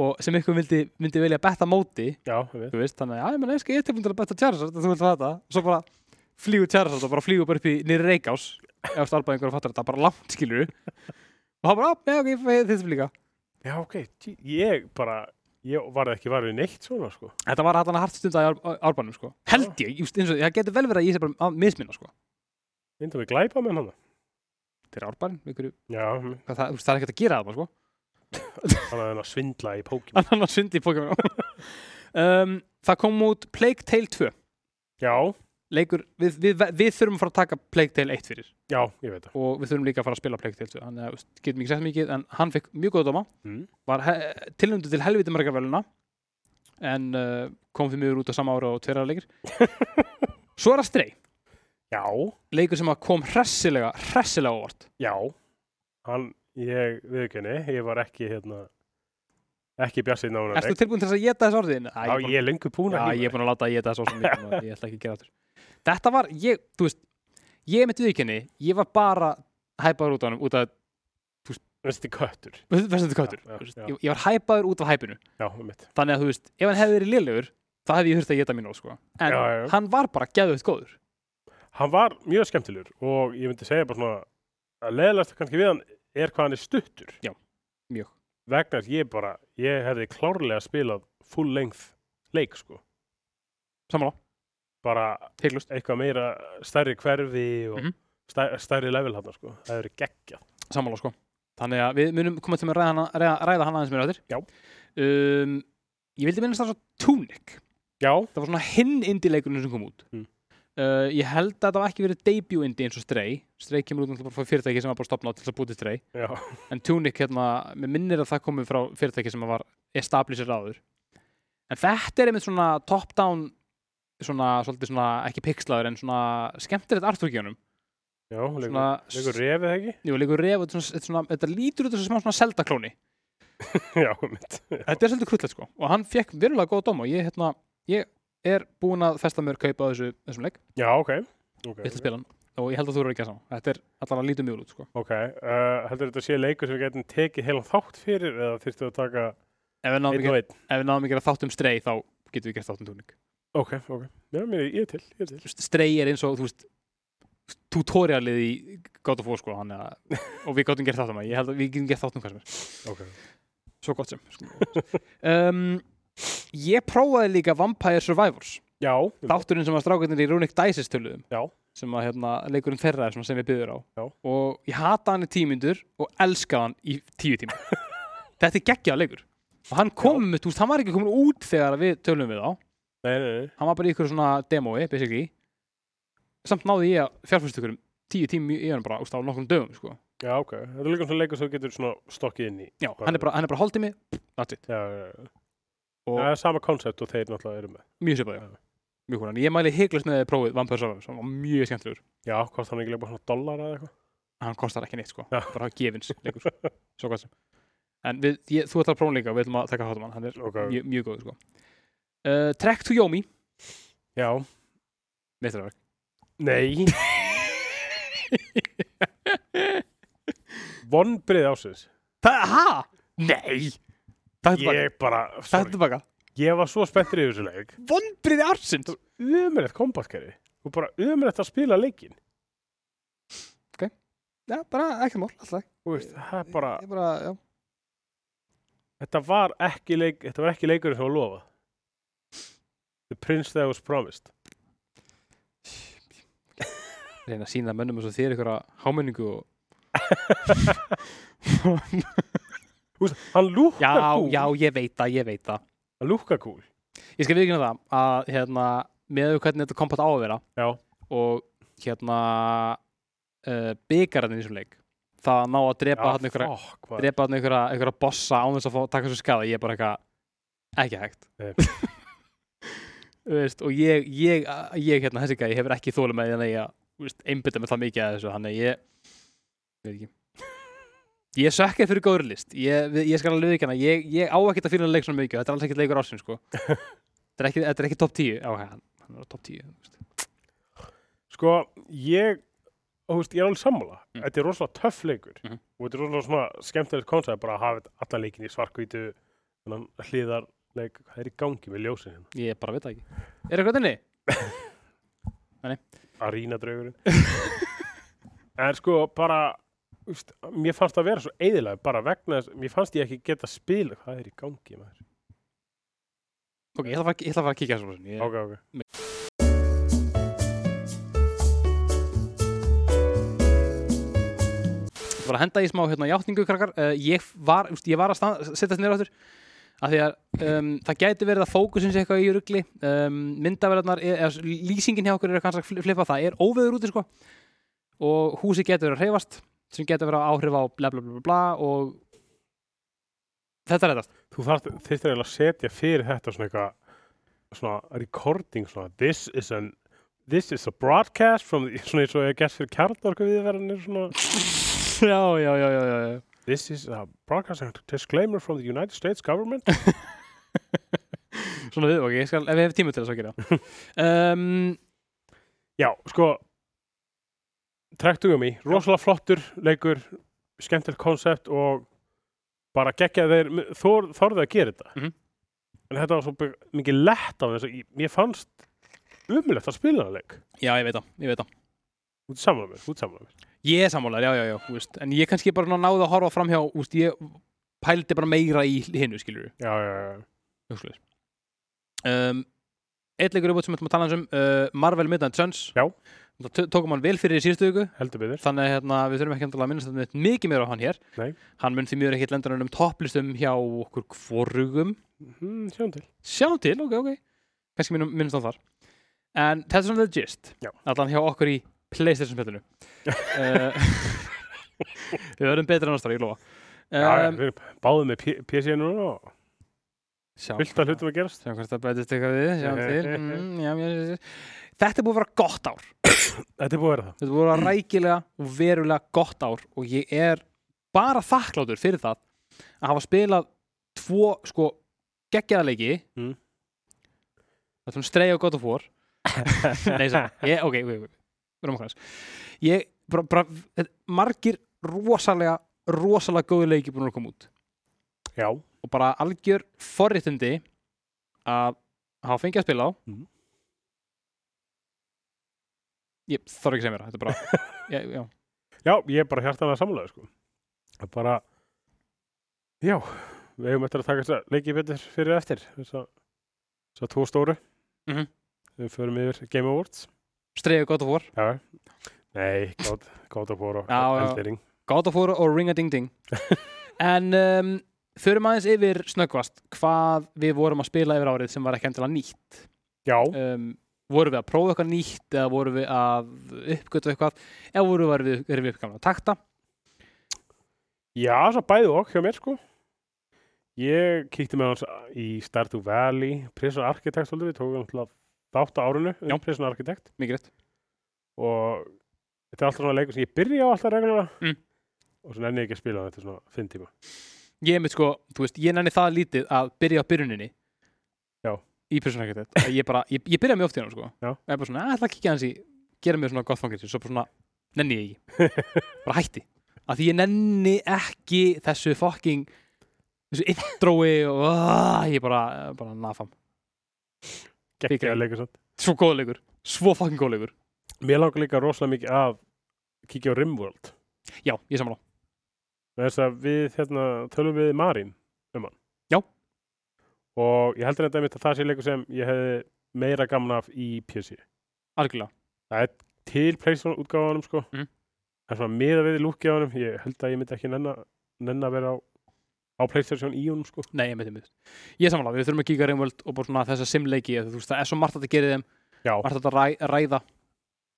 Speaker 2: og sem ykkur vildi, vildi velja að betta á móti
Speaker 1: já, ég veit.
Speaker 2: þú veist, þannig að já, ég menn einski ég er tilbúin til að betta Charizard þú vilt fá þetta, svo bara flýgur Charizard og bara flýgur bara upp í niður Reykjás eða stálpaði einhverju fattur þetta, bara langt skilur og það bara, "Ah, já, ok, ég fæ þetta spil líka
Speaker 1: Já, ok, tí- ég bara, ég varði ekki varðið neitt svona, sko.
Speaker 2: Þetta var allan að hart stunda í ár, á- árbænum sko. Held ég, just, eins og, það getur vel verið að ég sé bara að misminna sko.
Speaker 1: Myndum við glæpa með hann?
Speaker 2: Þetta er árbæn, einhverju,
Speaker 1: Já, mm,
Speaker 2: hvað, það, just, það er ekkert að gera það sko.
Speaker 1: hann er að svindla í Pokémon.
Speaker 2: Annan að sundi í Pokémon um, Það kom út Plague Tale 2
Speaker 1: Já,
Speaker 2: Leikur, við, við, við þurfum að fara að taka Plague Tale 1 fyrir
Speaker 1: já, ég veit það.
Speaker 2: og við þurfum líka að fara að spila Plague Tale 2 þannig að just, getum ekki sett mikið en hann fekk mjög góða dóma
Speaker 1: Mm.
Speaker 2: var he, tilnæmdu til helviti margar veluna en uh, kom því mjög út á sama ára og tveirra leikir Svo er að strei
Speaker 1: Já,
Speaker 2: leikur sem að kom hressilega, hressilega á óvart
Speaker 1: já, hann, ég, viðkynni, ég var ekki, hérna, ekki bjassið nána.
Speaker 2: Erstu tilbúin til þess að geta þess orðin? Æ,
Speaker 1: Já, ég er lengur búin
Speaker 2: Já,
Speaker 1: að
Speaker 2: ég er búin að láta að geta þess orðin mikið núna, Ég ætla ekki að gera þetta Þetta var, ég, þú veist Ég mitt viðkynni, ég var bara hæpaður út á hann út af,
Speaker 1: Þetta er köttur.
Speaker 2: veist þetta köttur
Speaker 1: Já, já,
Speaker 2: Þú veist,
Speaker 1: já.
Speaker 2: ég, ég var hæpaður út af hæpinu
Speaker 1: Já, um mitt.
Speaker 2: Þannig að þú veist, ef hann hefði verið lélegur þá hefði ég þurft að geta mín á sko En
Speaker 1: Já, já.
Speaker 2: hann var bara geðveitt góður
Speaker 1: Hann var mjög skemmtilegur og ég myndi segja bara svona að leðalast kannski við hann er hvað hann er stuttur.
Speaker 2: Já, mjög.
Speaker 1: Vegna þess ég bara, ég hefði klárlega spilað full length leik, sko.
Speaker 2: Samanlá,
Speaker 1: Bara
Speaker 2: heiklust
Speaker 1: eitthvað meira stærri hverfi og
Speaker 2: Mhm.
Speaker 1: stær, stærri level hann, sko. Það hefur geggjað.
Speaker 2: sammála sko þannig að við munum koma til með að ræða hana, ræða, ræða hana aðeins mér öður
Speaker 1: Já.
Speaker 2: um, ég vildi minnast það svo Tunic
Speaker 1: Já,
Speaker 2: það var svona hinn indie leikurinn sem kom út
Speaker 1: Mm.
Speaker 2: uh, ég held að það var ekki verið debut indie eins og Stray Stray kemur út náttúrulega bara frá fyrirtæki sem var bara stopnað til þess að búti Stray
Speaker 1: já,
Speaker 2: en Tunic hérna, mér minnir að það komið frá fyrirtæki sem var establisher áður en þetta er einmitt svona top down svona, svolítið svona, ekki pixlaður en svona skemmtilegt artúrkjónum
Speaker 1: já, leikur,
Speaker 2: svona,
Speaker 1: leikur refið ekki?
Speaker 2: jú, leikur ref þetta, svona, þetta, svona, þetta lítur út þessu smá svona seldaklóni
Speaker 1: já, mitt.
Speaker 2: Þetta er svolítið krullett sko og hann fekk verulega góða dóma og ég hérna er búin að festa mér kaupa á þessu, þessum leik,
Speaker 1: Já, ok. Ok,
Speaker 2: ég ætla að spila hann og ég held að þú eru ekki að sama, þetta er allavega lítið mjög út sko.
Speaker 1: ok. Uh, heldur þetta að sé leikur sem við getum tekið heila þátt fyrir eða þyrftu að taka
Speaker 2: ef við náðum
Speaker 1: einn
Speaker 2: ekki,
Speaker 1: og einn?
Speaker 2: ef við náðum ekki að þátt um strey þá getum við gert þátt um túning
Speaker 1: Ok, ok. Já, mér, ég er til, ég er til.
Speaker 2: strey er eins og þú veist tutorialið í God of War sko, hann, að, og við gotum gert þátt um það, ég held að við getum gert þátt um hvað sem er
Speaker 1: Ok.
Speaker 2: svo gott sem skulum við orða. um, ég prófaði líka Vampire Survivors
Speaker 1: Já, ég-
Speaker 2: þátturinn sem að strákarnir í Runic Dices töluðum
Speaker 1: Já.
Speaker 2: sem að hérna, leikurinn þeirra er svona sem við byður á
Speaker 1: Já.
Speaker 2: og ég hata hann í tímyndur og elska hann í tíu tíma þetta er geggjað leikur og hann kom með, þú veist, hann var ekki komin út þegar við töluðum við á,
Speaker 1: nei, nei, nei.
Speaker 2: hann var bara í ykkur svona demói, basically samt náði ég að fjárfyrst ykkur um tíu tími í hann bara, þú veist, á nokkrum dögum sko.
Speaker 1: Já, ok. Þetta er líka svona leikur sem þú getur svona stokkið inn í.
Speaker 2: já, hann er bara, hann er bara holdið mig, that's it
Speaker 1: Já, já, já.
Speaker 2: Og-
Speaker 1: Það er sama koncept og þeir náttúrulega eru með.
Speaker 2: mjög svipað, já,
Speaker 1: Já.
Speaker 2: mjög hún ég mæli heiklust með prófið Vampire Survivors, hann var mjög skemmtilegur
Speaker 1: Já, hvort hann ekki leik bara svona dollara eða eitthvað?
Speaker 2: hann kostar ekki neitt sko,
Speaker 1: Já.
Speaker 2: bara gefins leikur, sko. svo gott sem en við, ég, þú ætlar að prófa hann líka og við ætlum að taka hátum hann hann er
Speaker 1: Ok.
Speaker 2: mjög, mjög góð sko. uh, Trek to Yomi
Speaker 1: Já.
Speaker 2: meðtraverk
Speaker 1: Nei. Vonbrið ásins.
Speaker 2: Hæ? Nei! Takk tilbaka,
Speaker 1: Ég bara,
Speaker 2: takk
Speaker 1: sorry.
Speaker 2: tilbaka
Speaker 1: Ég var svo spenntur í þessu leik.
Speaker 2: vonbriði ársins
Speaker 1: Umrætt kombatkerfi. Og bara umrætt að spila leikin.
Speaker 2: Já, bara ekkert mál, alltaf
Speaker 1: Þú veist, það er bara,
Speaker 2: Ég bara, já
Speaker 1: þetta var ekki, leik, þetta var ekki leikurinn sem var lofað. The Prince That Was Promised.
Speaker 2: reyna að sína mönnum eins og þér ykkur að hámenningu og
Speaker 1: Þú veist, hann lúkka
Speaker 2: Já,
Speaker 1: kúl.
Speaker 2: já, ég veit það, ég veit það
Speaker 1: Hann lúkka kúl.
Speaker 2: Ég skal viðkynna það að hérna, með hvernig þetta kompat á að vera
Speaker 1: Já.
Speaker 2: og hérna uh, byggararnir í þessum leik það ná að drepa hann einhverja
Speaker 1: fokk, maður.
Speaker 2: drepa hann einhverja, einhverja bossa án þess að fá, taka svo skada, ég er bara eitthvað ekki
Speaker 1: Nei.
Speaker 2: hægt Þú veist, og ég, ég, ég hérna, þessi gæði hefur ekki þólu með því að ég þú veist, einbytta mig það mikið að þessu þannig að ég, ég veit ekki ég sökkaði fyrir góður list ég, við- ég skal alveg ekki hana, ég, ég á ekkert að finna leik svona mikið, og þetta er alls ekkert leikur ásinn sko. þetta er ekki, þetta er ekki top 10 já, hann, hann er á top 10 þú veist.
Speaker 1: Sko, ég og þú veist, ég er alveg sammála
Speaker 2: Mm.
Speaker 1: þetta er rosalega töff leikur
Speaker 2: Mhm.
Speaker 1: og þetta er rosalega svona skemmtilegt koncept bara að hafa þetta allan leikin í svarkvítu þennan hliðarleik, hvað er í gangi með ljósin hérna,
Speaker 2: ég bara veit það ekki, er eitthvað þenni?
Speaker 1: arína draugurinn en sko, bara þú veist, mér fannst það vera svo eiðilega bara vegna þess, mér fannst ég ekki geta spila hvað er í gangi maður
Speaker 2: Ok, ég ætla að fara, ég ætla að, fara að kíkja þessu ég,
Speaker 1: Ok, ok.
Speaker 2: Ég var að henda í smá hérna, játningu krakkar uh, ég, var, úst, ég var að stað, setjast niður áttur af því að um, það gæti verið að fókusin sé eitthvað í rugli um, myndaverðarnar, eða eða lýsingin hjá okkur er kannski að fli- flippa það, er óveður úti sko og húsi getur verið að hreyfast sem getur verið að áhrif á bla bla bla bla, bla og þetta er þetta
Speaker 1: þú þarft þyrftir eiginlega að setja fyrir þetta svona eitthvað svona recording svona this is an this is a broadcast from the, svona eins og ég gæst fyrir kjarnorku viðverðinir svona
Speaker 2: já, já, já, já, já, já.
Speaker 1: This is a broadcast and disclaimer from the United States government.
Speaker 2: svona við, ok, ég skal, ef ég hef tíma til þess að gera það. um,
Speaker 1: Já, sko Trektugum í, rosalega flottur leikur, skemmtilegt koncept og bara geggja þeir þor, þorðu að gera þetta
Speaker 2: Mhm.
Speaker 1: en þetta var svo by- mikið lett á þess að ég- mér fannst umulegt að spila það leik
Speaker 2: já, ég veit það, ég veit það
Speaker 1: út samlega mér, út samlega mér
Speaker 2: Ég er sammálaður, já, já, já, þú veist, en ég kannski bara náði að horfa framhjá, þú veist, ég pældi bara meira í hinnu, skilur
Speaker 1: Já, já, já, já.
Speaker 2: við, um, Eitt leikur uppátt sem við ætlum að tala aðeins um, uh, Marvel Midnight Suns.
Speaker 1: Já.
Speaker 2: Það tö- tókum hann vel fyrir í síðustu viku,
Speaker 1: heldur betur
Speaker 2: þannig að hérna, við þurfum ekki endilega að minnast þetta neitt mikið meira á hann hér.
Speaker 1: Nei.
Speaker 2: Hann mun því mjög ekkert lendanum um topplistum hjá okkur hvorugum.
Speaker 1: mm, Sjáum til
Speaker 2: Sjáum til, ok, ok. Kannski minnum- minnumst á þar. En þetta er svona the gist.
Speaker 1: Já.
Speaker 2: Allan hjá okkur í Playstation-spillinu. uh, við verðum betri en ástæður, ég lofa.
Speaker 1: Já, já,
Speaker 2: Um,
Speaker 1: við erum báðið með P- PC núna og
Speaker 2: Sjá,
Speaker 1: fullt af hlutum að gerast
Speaker 2: Sjá hvort það bætist eitthvað við, sjáum til. Mm, já, já, já, já. Þetta er búið að vera gott ár.
Speaker 1: Þetta er búið að vera það
Speaker 2: Þetta er búið að vera rækilega og verulega gott ár og ég er bara þakklátur fyrir það að hafa spilað tvo, sko, geggjaðarleiki
Speaker 1: Mm.
Speaker 2: Það ætlum að streyja á God of War Nei, sem, ég, ok, ok, ok Verðum okkur aðeins Ég, bara, bara, þetta- margir rosalega, rosalega góðu leiki búin að koma út
Speaker 1: Já,
Speaker 2: og bara algjör forréttindi að hafa fengið að spila á
Speaker 1: Mhm.
Speaker 2: Ég þarf ekki að segja mér það, þetta er bara já, já.
Speaker 1: já, ég er bara hjartanlega samlega sko. Það er bara Já, við hefum eftir að taka þess að leikið betur fyrir eftir þess að, þess að tvo stóru
Speaker 2: Mhm.
Speaker 1: Við förum yfir Game Awards
Speaker 2: Streyja God of War,
Speaker 1: Já, nei, God, God of War og
Speaker 2: Já, já.
Speaker 1: Eldering
Speaker 2: God of War og Ring a Ding Ding En um, förum aðeins yfir snöggvast hvað við vorum að spila yfir árið sem var ekki endilega nýtt
Speaker 1: Já,
Speaker 2: um, Vorum við að prófa eitthvað nýtt eða vorum við að uppgötu eitthvað eða vorum við, erum við uppgötu að takta
Speaker 1: já, svo bæði og hjá mér sko Ég kíkti með hans í Stardew Valley Prison Architect svolítið, við tókum náttúrulega þátt á árinu um
Speaker 2: Já.
Speaker 1: Prison Architect
Speaker 2: Mikið rétt
Speaker 1: og þetta er alltaf svona leikur sem ég byrja á alltaf reglulega
Speaker 2: Mm.
Speaker 1: og svo nenni ég ekki að spila þetta er svona finn tíma
Speaker 2: Ég er mitt sko, þú veist, ég nenni það lítið að byrja á byrjuninni
Speaker 1: Já.
Speaker 2: Í persónarkettet Ég bara, ég, ég byrja mjög oft í hann sko
Speaker 1: Já.
Speaker 2: Ég er bara svona, "Ah, ég ætla að kíkja hans í Gera mér svona gott fangilsi, svo bara svona Nenni ég ekki, bara hætti Af því ég nenni ekki þessu fucking Þessu introi og uh, Ég bara, bara nafam
Speaker 1: geggja
Speaker 2: Fíkra.
Speaker 1: að leika samt
Speaker 2: Svo góðleikur, svo fucking góðleikur
Speaker 1: Mér langar líka rosalega mikið að kíkja á Rimworld
Speaker 2: Já, ég samla
Speaker 1: Vegna þess að við hérna tölum við Marín um hann
Speaker 2: Já.
Speaker 1: og ég heldur þetta mitt að það sé leikur sem ég hefði meira gaman af í PC
Speaker 2: Algjörlega,
Speaker 1: til Playstation útgáðanum sko
Speaker 2: Mm.
Speaker 1: það er svona miða við lúkið á honum ég held að ég myndi ekki nenn að vera á, á Playstation í honum sko
Speaker 2: nei, ég meinti mitt Ég samla, við þurfum að kíka reymvöld og bara svona þessa simleiki Þú veist, það er svo margt að þetta gerir þeim
Speaker 1: Já,
Speaker 2: var þetta ræ, ræða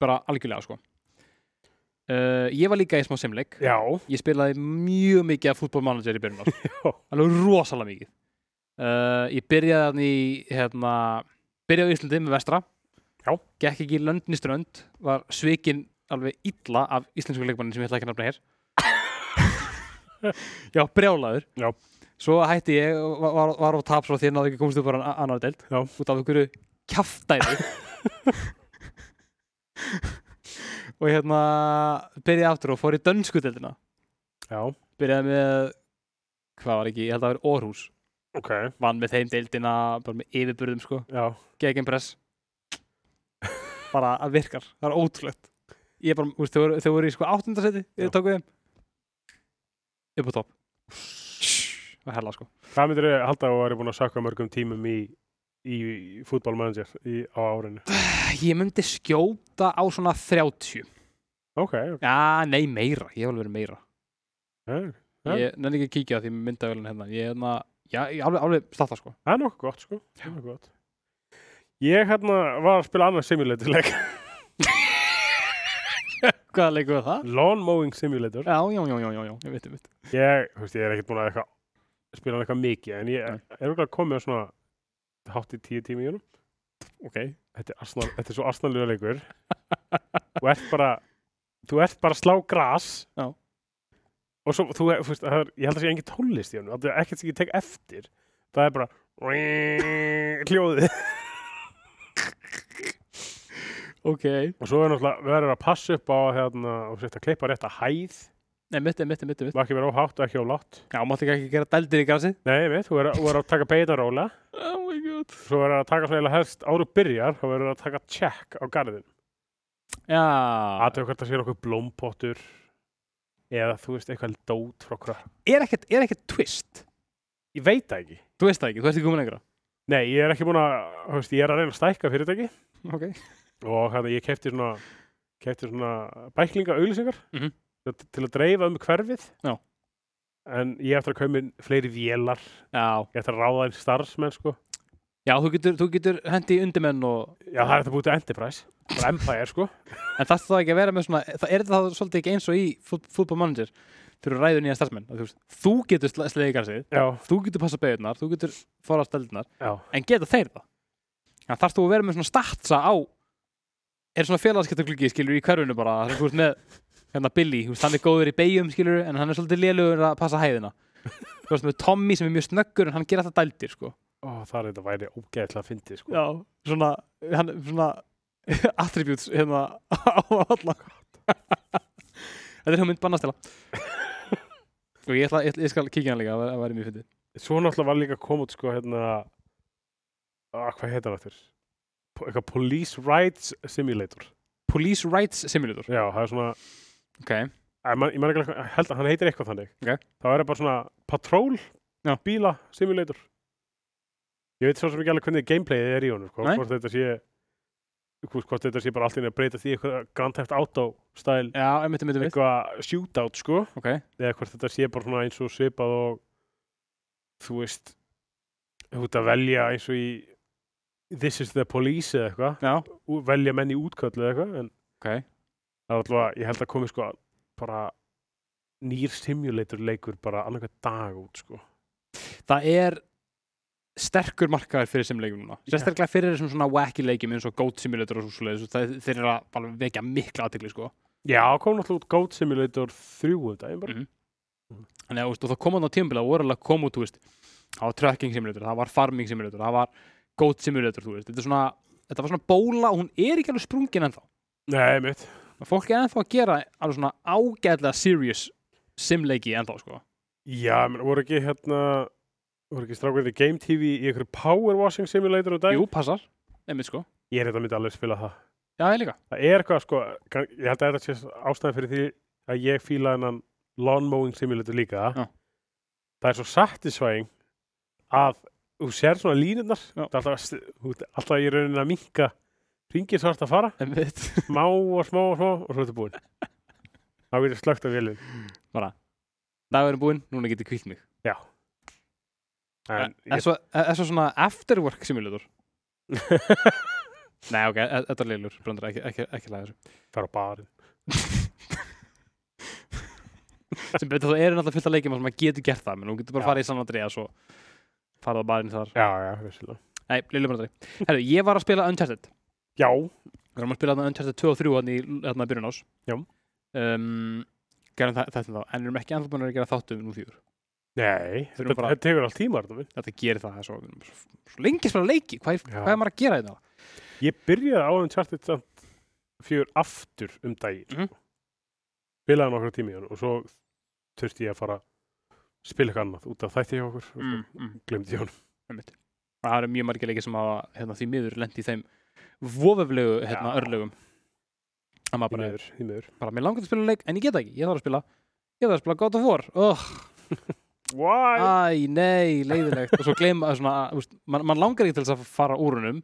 Speaker 2: bara algjörlega sko uh, ég var líka í smá simleik
Speaker 1: já,
Speaker 2: ég spilaði mjög mikið af Football Manager í byrjun árs.
Speaker 1: Já.
Speaker 2: alveg rosalega mikið uh, ég byrjaði hann í hérna, byrjaði á Íslandi með vestra
Speaker 1: Já.
Speaker 2: gekk ekki í löndin í strönd var svikin alveg illa af íslensku leikmannin sem ég ætla ekki að nafna hér já, brjálaður
Speaker 1: Já.
Speaker 2: svo hætti ég og var, var, var á tap svo því að náði ekki að komast upp bara annar deild
Speaker 1: Já.
Speaker 2: út af einhverju kjaftæði og hérna byrjaði aftur og fór í dönsku deildina
Speaker 1: já,
Speaker 2: byrjaði með hvað var ekki, ég held að það var Orhus
Speaker 1: ok
Speaker 2: vann með þeim deildina, bara með yfirburðum sko,
Speaker 1: Já,
Speaker 2: gegn press bara að virkar það er ótrúlegt ég bara, úst, þau, voru, þau voru í sko áttundarsæti
Speaker 1: Já.
Speaker 2: ég tók við þeim upp á topp var hella sko
Speaker 1: Hvað myndir þau halda að þú væri búin að sökka mörgum tímum í, í fútbólmanager í, á árinu?
Speaker 2: ég myndi skjóta á svona 30
Speaker 1: Ok, ok.
Speaker 2: já, nei, meira, ég hef alveg verið meira
Speaker 1: Eh, Já.
Speaker 2: ég nenni ekki að kíkja á því myndavölin hérna ég, hérna, já, ég alveg, alveg starta sko
Speaker 1: það er nokkuð gott sko. Það er nokkuð gott. Ég hérna var að spila annan simulatorleik,
Speaker 2: hvaða leikur var það?
Speaker 1: Lawn Mowing Simulator.
Speaker 2: já, já, já, já, já, já, ég veit, ég veit
Speaker 1: Ég, þú veist, ég er ekkert búin að eitthvað, spila hann eitthvað mikið, en ég er okkur að koma með svona hátt í tíu tími í honum.
Speaker 2: ok,
Speaker 1: Þetta er, asnal, þetta er svo asnalega leikur. þú ert bara, þú ert bara að slá gras.
Speaker 2: Já.
Speaker 1: Og svo, þú, þú veist, það er, ég held að sé engin tónlist í honum, það er ekkert sem ég tek eftir. Það er bara hljóðið.
Speaker 2: ok
Speaker 1: Og svo er náttúrulega verður að passa upp á hérna, og sérst að klippa rétt að hæð
Speaker 2: Nei, mitt, mitt, mitt, mitt
Speaker 1: og ekki vera óhátt og ekki ólátt.
Speaker 2: Já, máttu ekki gera dældir í grasið
Speaker 1: Nei, ég veit, þú verður þú verður að taka beita róla
Speaker 2: Oh my god
Speaker 1: svo verður að taka svona eiginlega helst áru byrjar þá verður að taka check á garðin.
Speaker 2: Já
Speaker 1: Aðtöðu hvort það sé okkur blómpottur eða þú veist eitthvað dót frá krökk.
Speaker 2: Er ekkert, er ekkert twist
Speaker 1: Ég veit það ekki.
Speaker 2: Þú veist það ekki, þú ert ekki komin lengra
Speaker 1: Nei, ég er ekki búin að, þú veist, ég er að reyna að stækka fyrirtæki
Speaker 2: Ok
Speaker 1: og hérna ég kefti svona, kefti svona bæklinga auglýsingar
Speaker 2: Mhm.
Speaker 1: til- til að dreifa um hverfið.
Speaker 2: Já.
Speaker 1: En ég er eftir að kaupa mér fleiri vélar,
Speaker 2: Já
Speaker 1: ég er eftir að ráða einn starfsmenn, sko.
Speaker 2: Já, þú getur, þú getur hendi í undirmenn og
Speaker 1: Já, það er þetta búið til Enterprise, bara Empire, sko.
Speaker 2: En þarf það ekki að vera með svona Það er það svolítið ekki eins og í fút- Football Manager Þegar þú ræður nýja starfsmenn að Þú, veist, þú getur sle- slegið í grasið
Speaker 1: Já,
Speaker 2: Þú getur passa beigurnar, þú getur fara stældirnar
Speaker 1: já,
Speaker 2: En geta þeir það Þannig þarf þú að vera með svona statsa á Er svona félagskeptagluggi skilur í hverfinu bara þar sem Þú veist með hérna Billy þú veist, Hann er góður í beigjum skilur En hann er svolítið lélugur að passa hæðina Þú veist með Tommy sem er mjög snöggur En hann gerir alltaf dældir sko
Speaker 1: Ó, það er þetta væri ógeðilega fyndið sko.
Speaker 2: Já, svona, hann, svona attributes hérna á alla Þetta er hún mynd bannastela og ég, ætla, ég, ætla- ég skal kíkja hann líka, það væri- það væri mjög fyndið
Speaker 1: Svo náttúrulega var líka að koma út sko hérna að hvað heitir það þér? Eitthvað Police Rights Simulator.
Speaker 2: Police Rights Simulator
Speaker 1: Já, það er svona,
Speaker 2: Ok,
Speaker 1: að, man, ég man ekki, alveg hvað- ég held að hann heitir eitthvað þannig.
Speaker 2: Ok.
Speaker 1: Það er bara svona Patrol
Speaker 2: Já.
Speaker 1: Bíla Simulator. Ég veit svo sem ekki alveg hvernig gameplayið er í honum, sko,
Speaker 2: Nei.
Speaker 1: hvort þetta sé hvort hvort þetta sé bara allt í einu að breyta því eitthvað Grand Theft Auto stæl
Speaker 2: já, einmitt, einmitt, einmitt
Speaker 1: eitthvað shootout sko
Speaker 2: Ok,
Speaker 1: eða hvort þetta sé bara svona eins og svipað og þú veist þú ert að velja eins og í This is the police eða eitthvað
Speaker 2: já,
Speaker 1: og velja menn í útköllu eða eitthvað en
Speaker 2: ok
Speaker 1: það er alltaf ég held að komi sko bara nýr simulator leikur bara annarkvæð dag út sko
Speaker 2: Það er sterkur markaður fyrir simleikum núna
Speaker 1: Já.
Speaker 2: Sérstaklega fyrir þessum svona wacky leikum eins og Goat Simulator og svo svoleiðis og það- þeir eru að bara vekja mikla aðtekli sko
Speaker 1: já kom náttúrulega út Goat Simulator 3 um daginn bara
Speaker 2: Mhm. Þannig að þú veist, og það kom hann á tímabili, það voru alveg að koma út, þú veist, það var tracking simulator, það var farming simulator, það var goat simulator, þú veist, þetta er svona, þetta var svona bóla og hún er ekki alveg sprungin ennþá.
Speaker 1: nei mitt
Speaker 2: Og Fólk er ennþá að gera alveg svona ágæðlega serious simleiki ennþá, sko.
Speaker 1: já menn voru ekki hérna voru ekki strákaði Game TV í einhverju Power Washing Simulator um daginn
Speaker 2: Jú, passar, einmitt sko.
Speaker 1: ég er þetta myndi alveg spila það
Speaker 2: Já, ég líka.
Speaker 1: það er eitthvað sko, kann- ég held að þetta sé ástæðan fyrir því að ég fíla hennan lawn mowing simulator líka
Speaker 2: Já.
Speaker 1: það er svo satisfying að þú sér svona línurnar
Speaker 2: Já.
Speaker 1: það er alltaf, að st- þú ert alltaf í rauninni að minka ringið svo ertu að fara
Speaker 2: Einmitt.
Speaker 1: smá og smá og smá og svo ertu búinn þá getur slögt af vélinn
Speaker 2: Dagurinn búinn, núna getið kvílt mig.
Speaker 1: en
Speaker 2: Er
Speaker 1: ég,
Speaker 2: svo, er svo svona afterwork simulator? Nei, ok, e- þetta er leilur, brandar, ekki, ekki, ekki laga þessu.
Speaker 1: fer á barinn
Speaker 2: Sem betur það eru náttúrulega fullt af leikjum að maður getur gert það, menn hún getur bara
Speaker 1: Já.
Speaker 2: farið í San Andreas og farið á barinn þar
Speaker 1: já, já, vissilega
Speaker 2: Nei, Lillu Brandari. Herru, ég var að spila Uncharted.
Speaker 1: já,
Speaker 2: Við erum að spila þarna Uncharted 2 og 3 hann í hann byrjun ás.
Speaker 1: Já.
Speaker 2: Um, gerum það, þetta þá. En við erum ekki ennþá búin að gera þáttum nú fjögur.
Speaker 1: nei
Speaker 2: Þurfum
Speaker 1: þetta,
Speaker 2: bara-
Speaker 1: þetta tekur allt tíma þetta minn
Speaker 2: Þetta gerir það. það er Svo, við erum svo, svo lengi að spila leiki. Hvað er,
Speaker 1: Já.
Speaker 2: hvað er maður að gera hérna? þetta?
Speaker 1: Ég byrjaði á Uncharted samt fjör aftur um daginn
Speaker 2: Mhm.
Speaker 1: sko. spilaði nokkra tími í hann og svo þurfti ég að fara að spila eitthvað annað út af þætti hjá okkur og
Speaker 2: Mm,
Speaker 1: mm.
Speaker 2: mm.
Speaker 1: glemdi ég hann
Speaker 2: einmitt. Það eru mjög margir leiki sem hafa hérna, því miður lendi í þeim vofaflegu hérna,
Speaker 1: Já.
Speaker 2: örlögum. Það
Speaker 1: í
Speaker 2: maður bara,
Speaker 1: miður, í miður
Speaker 2: bara, mér langar að spila leik, en ég get það ekki. Ég þarf að spila, ég þarf að spila God of War. Oh,
Speaker 1: Why?
Speaker 2: Æ, nei, leiðilegt og svo gleyma svona, úst, man, man langar ekki til þess að fara úr húnum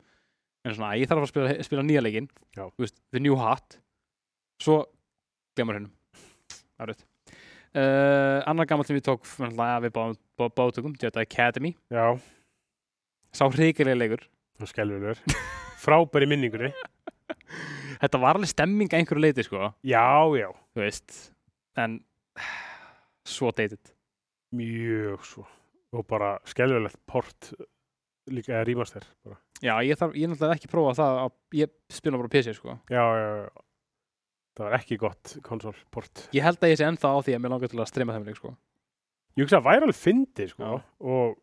Speaker 2: en svona, æ, ég þarf að spila, spila nýja leikinn
Speaker 1: Já.
Speaker 2: úst, The New Hat svo gleymar húnum árið uh, annar gammal sem ég tók fyrir náttúrulega að við báðum bá, bátökum, Jedi Academy
Speaker 1: Já,
Speaker 2: sá hrikilega leikur
Speaker 1: það skelfilegur frábæri minningunni
Speaker 2: þetta var alveg stemming að einhverju leiti sko,
Speaker 1: Já, já,
Speaker 2: þú veist en svo dated
Speaker 1: mjög svo og bara skelfilegt port líka eða rýmast þér bara.
Speaker 2: já, ég þarf, ég er náttúrulega ekki prófa það að, ég spila bara á PC sko
Speaker 1: Já, já, já Það var ekki gott konsolport
Speaker 2: ég held að ég sé ennþá á því að mér langar til að streyma þeim leik sko
Speaker 1: Ég hugsa að væri alveg fyndi sko,
Speaker 2: Já.
Speaker 1: og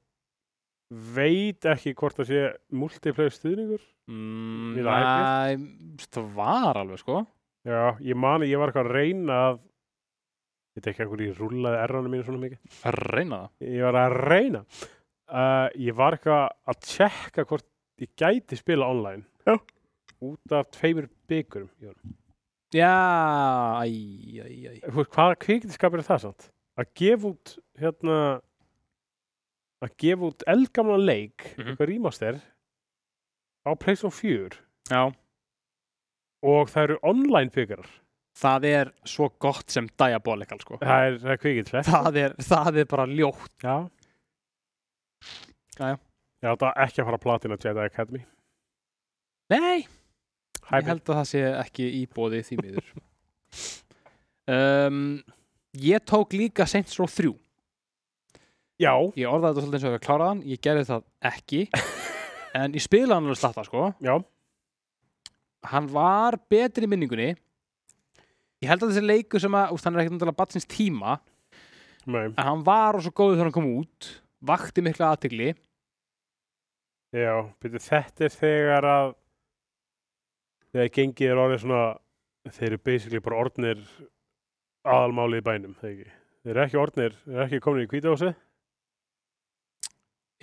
Speaker 1: veit ekki hvort það sé multiplayer stuðningur.
Speaker 2: Mm,
Speaker 1: Við
Speaker 2: Næ, það var alveg sko
Speaker 1: Já, ég mani, ég var eitthvað að reyna að ég veit ekki að hverju ég rúlaði erranum mínu svona mikið.
Speaker 2: að reyna það
Speaker 1: Ég var að reyna. Uh, ég var eitthvað að tjekka hvort ég gæti spila online.
Speaker 2: Já.
Speaker 1: Út af tveimur byggurum. í honum.
Speaker 2: Já, æj, æj, æj
Speaker 1: Þú veist, Hvaða kvikindskapur er það samt? Að gefa út, hérna, að gefa út eldgamla leik,
Speaker 2: Mhm.
Speaker 1: eitthvað rýmast þér, á Playstation 4
Speaker 2: Já,
Speaker 1: og það eru online byggarar
Speaker 2: það er svo gott sem diabolical sko
Speaker 1: það er, það er kvikindslegt
Speaker 2: Það er, það er bara ljótt
Speaker 1: já
Speaker 2: Jæja.
Speaker 1: já það er ekki að fara að platina Jedi Academy
Speaker 2: Nei, ég
Speaker 1: Hæpi
Speaker 2: held að það sé ekki íbóði því miður um, Ég tók líka Saints Row 3
Speaker 1: já
Speaker 2: Ég orðaði þetta svolítið eins og ég kláraði hann Ég gerði það ekki En ég spilaði hann alveg slatta sko
Speaker 1: já
Speaker 2: hann var betri í minningunni ég held að þessi leiku sem að úst, hann er ekkert náttúrulega batsins tíma
Speaker 1: nei
Speaker 2: en hann var og svo góður þegar hann kom út vakti mikla aðtigli
Speaker 1: Já, byrju, þetta er þegar að þegar gengið er orðið svona þeir eru basically bara orðnir aðalmálið í bænum, þegar ekki þeir eru ekki orðnir, þeir eru ekki komin í kvítahúsi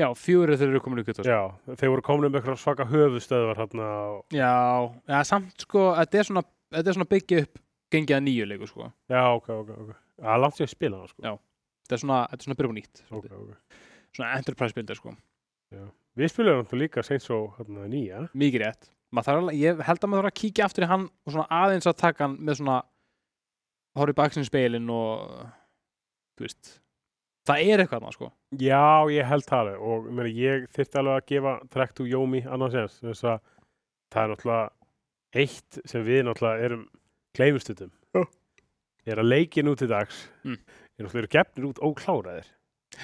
Speaker 2: Já, fjóri þeir eru komin í kvítahús.
Speaker 1: Já, þeir voru komin um eitthvað svaka höfustöðvar þarna og
Speaker 2: Já, ja, samt sko, þetta er svona, þetta er svona byggja upp gengið að nýju leiku sko.
Speaker 1: Já, ok, ok, ok Það er langt sér að spila það, sko
Speaker 2: Já. Þetta er svona, þetta er svona byrjum nýtt.
Speaker 1: Ok,
Speaker 2: svolítið.
Speaker 1: ok.
Speaker 2: Svona enterprise builder sko.
Speaker 1: Við spilum náttúrulega líka seint svo hérna, nýja
Speaker 2: Mikið rétt. Maður þarf alveg, ég held að maður þarf að kíkja aftur í hann og svona aðeins að taka hann með svona horfið baksinn speilin og þú veist, það er eitthvað þarna sko.
Speaker 1: Já, ég held það alveg og meni, ég þyrfti alveg að gefa Track to Yomi annars eins þess að það er náttúrulega eitt sem við náttúrulega erum gleymustundum
Speaker 2: Já.
Speaker 1: er að leikin út í dags
Speaker 2: Mm.
Speaker 1: er náttúrulega eru gefnir út ókláraðir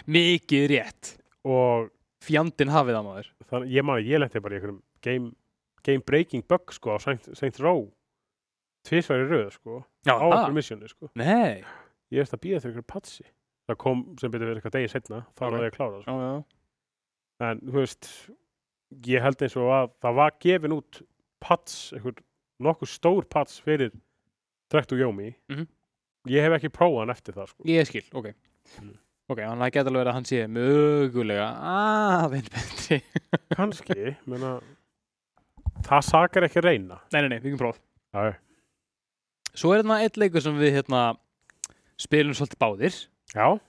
Speaker 2: Mikið rétt.
Speaker 1: og
Speaker 2: Fjandinn hafið það maður.
Speaker 1: þannig, ég man að ég lenti bara í einhverjum game, game breaking bug sko á Saint, Saint Row tvisvar í röð sko
Speaker 2: Já,
Speaker 1: á okkur missioni sko
Speaker 2: Nei.
Speaker 1: ég veist að býða þegar einhverjum patsi það kom sem betur verið eitthvað degi setna þá
Speaker 2: Ok.
Speaker 1: okay. náði ég að klára það sko.
Speaker 2: Já, já.
Speaker 1: en þú veist ég held eins og að það var gefin út pats, einhver nokkuð stór pats fyrir Drekt og Jómi
Speaker 2: Mhm.
Speaker 1: ég hef ekki prófað hann eftir það sko.
Speaker 2: Ég skil, ok.
Speaker 1: Mm.
Speaker 2: Ok, hann það geta alveg verið að hann sé mögulega aðeins betri.
Speaker 1: kannski, menna það sakar ekki að reyna
Speaker 2: Nei, nei, nei, við kemum próf.
Speaker 1: já,
Speaker 2: Svo er þarna eitt leikur sem við hérna spilum svolítið báðir.
Speaker 1: já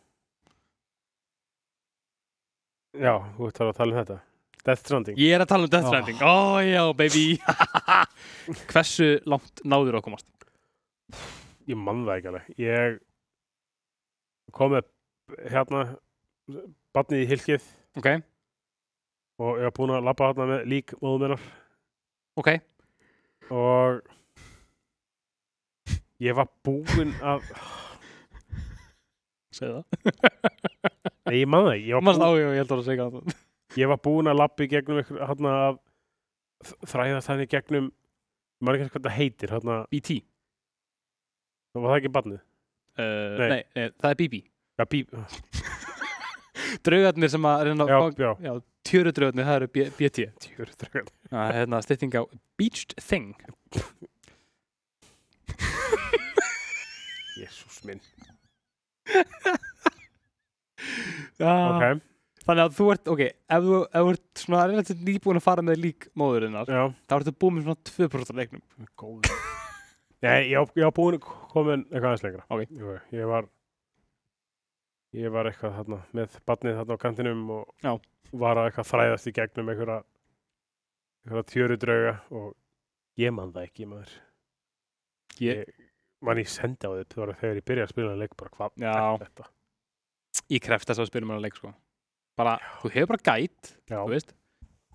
Speaker 1: já, þú ert þar að tala um þetta Death Stranding
Speaker 2: Ég er að tala um Death
Speaker 1: Ah.
Speaker 2: Stranding. Ó, já, baby. Hversu langt náður að komast?
Speaker 1: ég man það ekki alveg ég kom með hérna barnið í hilkið
Speaker 2: Ok,
Speaker 1: og ég var búinn að labba hérna með lík móðum hennar
Speaker 2: ok.
Speaker 1: og ég var búinn að
Speaker 2: Segðu það.
Speaker 1: nei, ég man það, ekki. ég var
Speaker 2: Mást á,
Speaker 1: búinn
Speaker 2: já, ég held að það segja það.
Speaker 1: ég var búin að lappa í gegnum ykkur, hérna, að þ- þræðast hann í gegnum maður ekki hvað það heitir, hérna,
Speaker 2: BT.
Speaker 1: það var það ekki barnið
Speaker 2: Uh,
Speaker 1: Nei.
Speaker 2: nei. Nei, það er BB.
Speaker 1: já, bí,
Speaker 2: Draugarnir sem að reyna að...
Speaker 1: já,
Speaker 2: fá-
Speaker 1: já,
Speaker 2: Já, tjöru draugarnir, það eru B- BT.
Speaker 1: tjúr draugar.
Speaker 2: Já, hérna, stytting á Beached Thing.
Speaker 1: jesús minn
Speaker 2: Já.
Speaker 1: ok,
Speaker 2: Þannig að þú ert, ok, ef þú, ef þú ert svona relativt nýbúin að fara með lík móðurinnar,
Speaker 1: já,
Speaker 2: þá ertu búin með svona 2% af leiknum.
Speaker 1: góð nei, ég var, ég var búin að komin eitthvað aðeins lengra
Speaker 2: Ok.
Speaker 1: Jú, ég var ég var eitthvað þarna með barnið þarna á kantinum og
Speaker 2: Já.
Speaker 1: var að eitthvað þræðast í gegnum einhverja einhverja tjöru drauga og ég man það ekki maður
Speaker 2: Ég,
Speaker 1: mann ég sendi á þetta þegar, þegar ég byrjaði að spila þennan leik bara hvað
Speaker 2: Já.
Speaker 1: er þetta
Speaker 2: ég krefst þess að spila mér að leik, sko. Bara, þú hefur bara gæt,
Speaker 1: já,
Speaker 2: þú veist,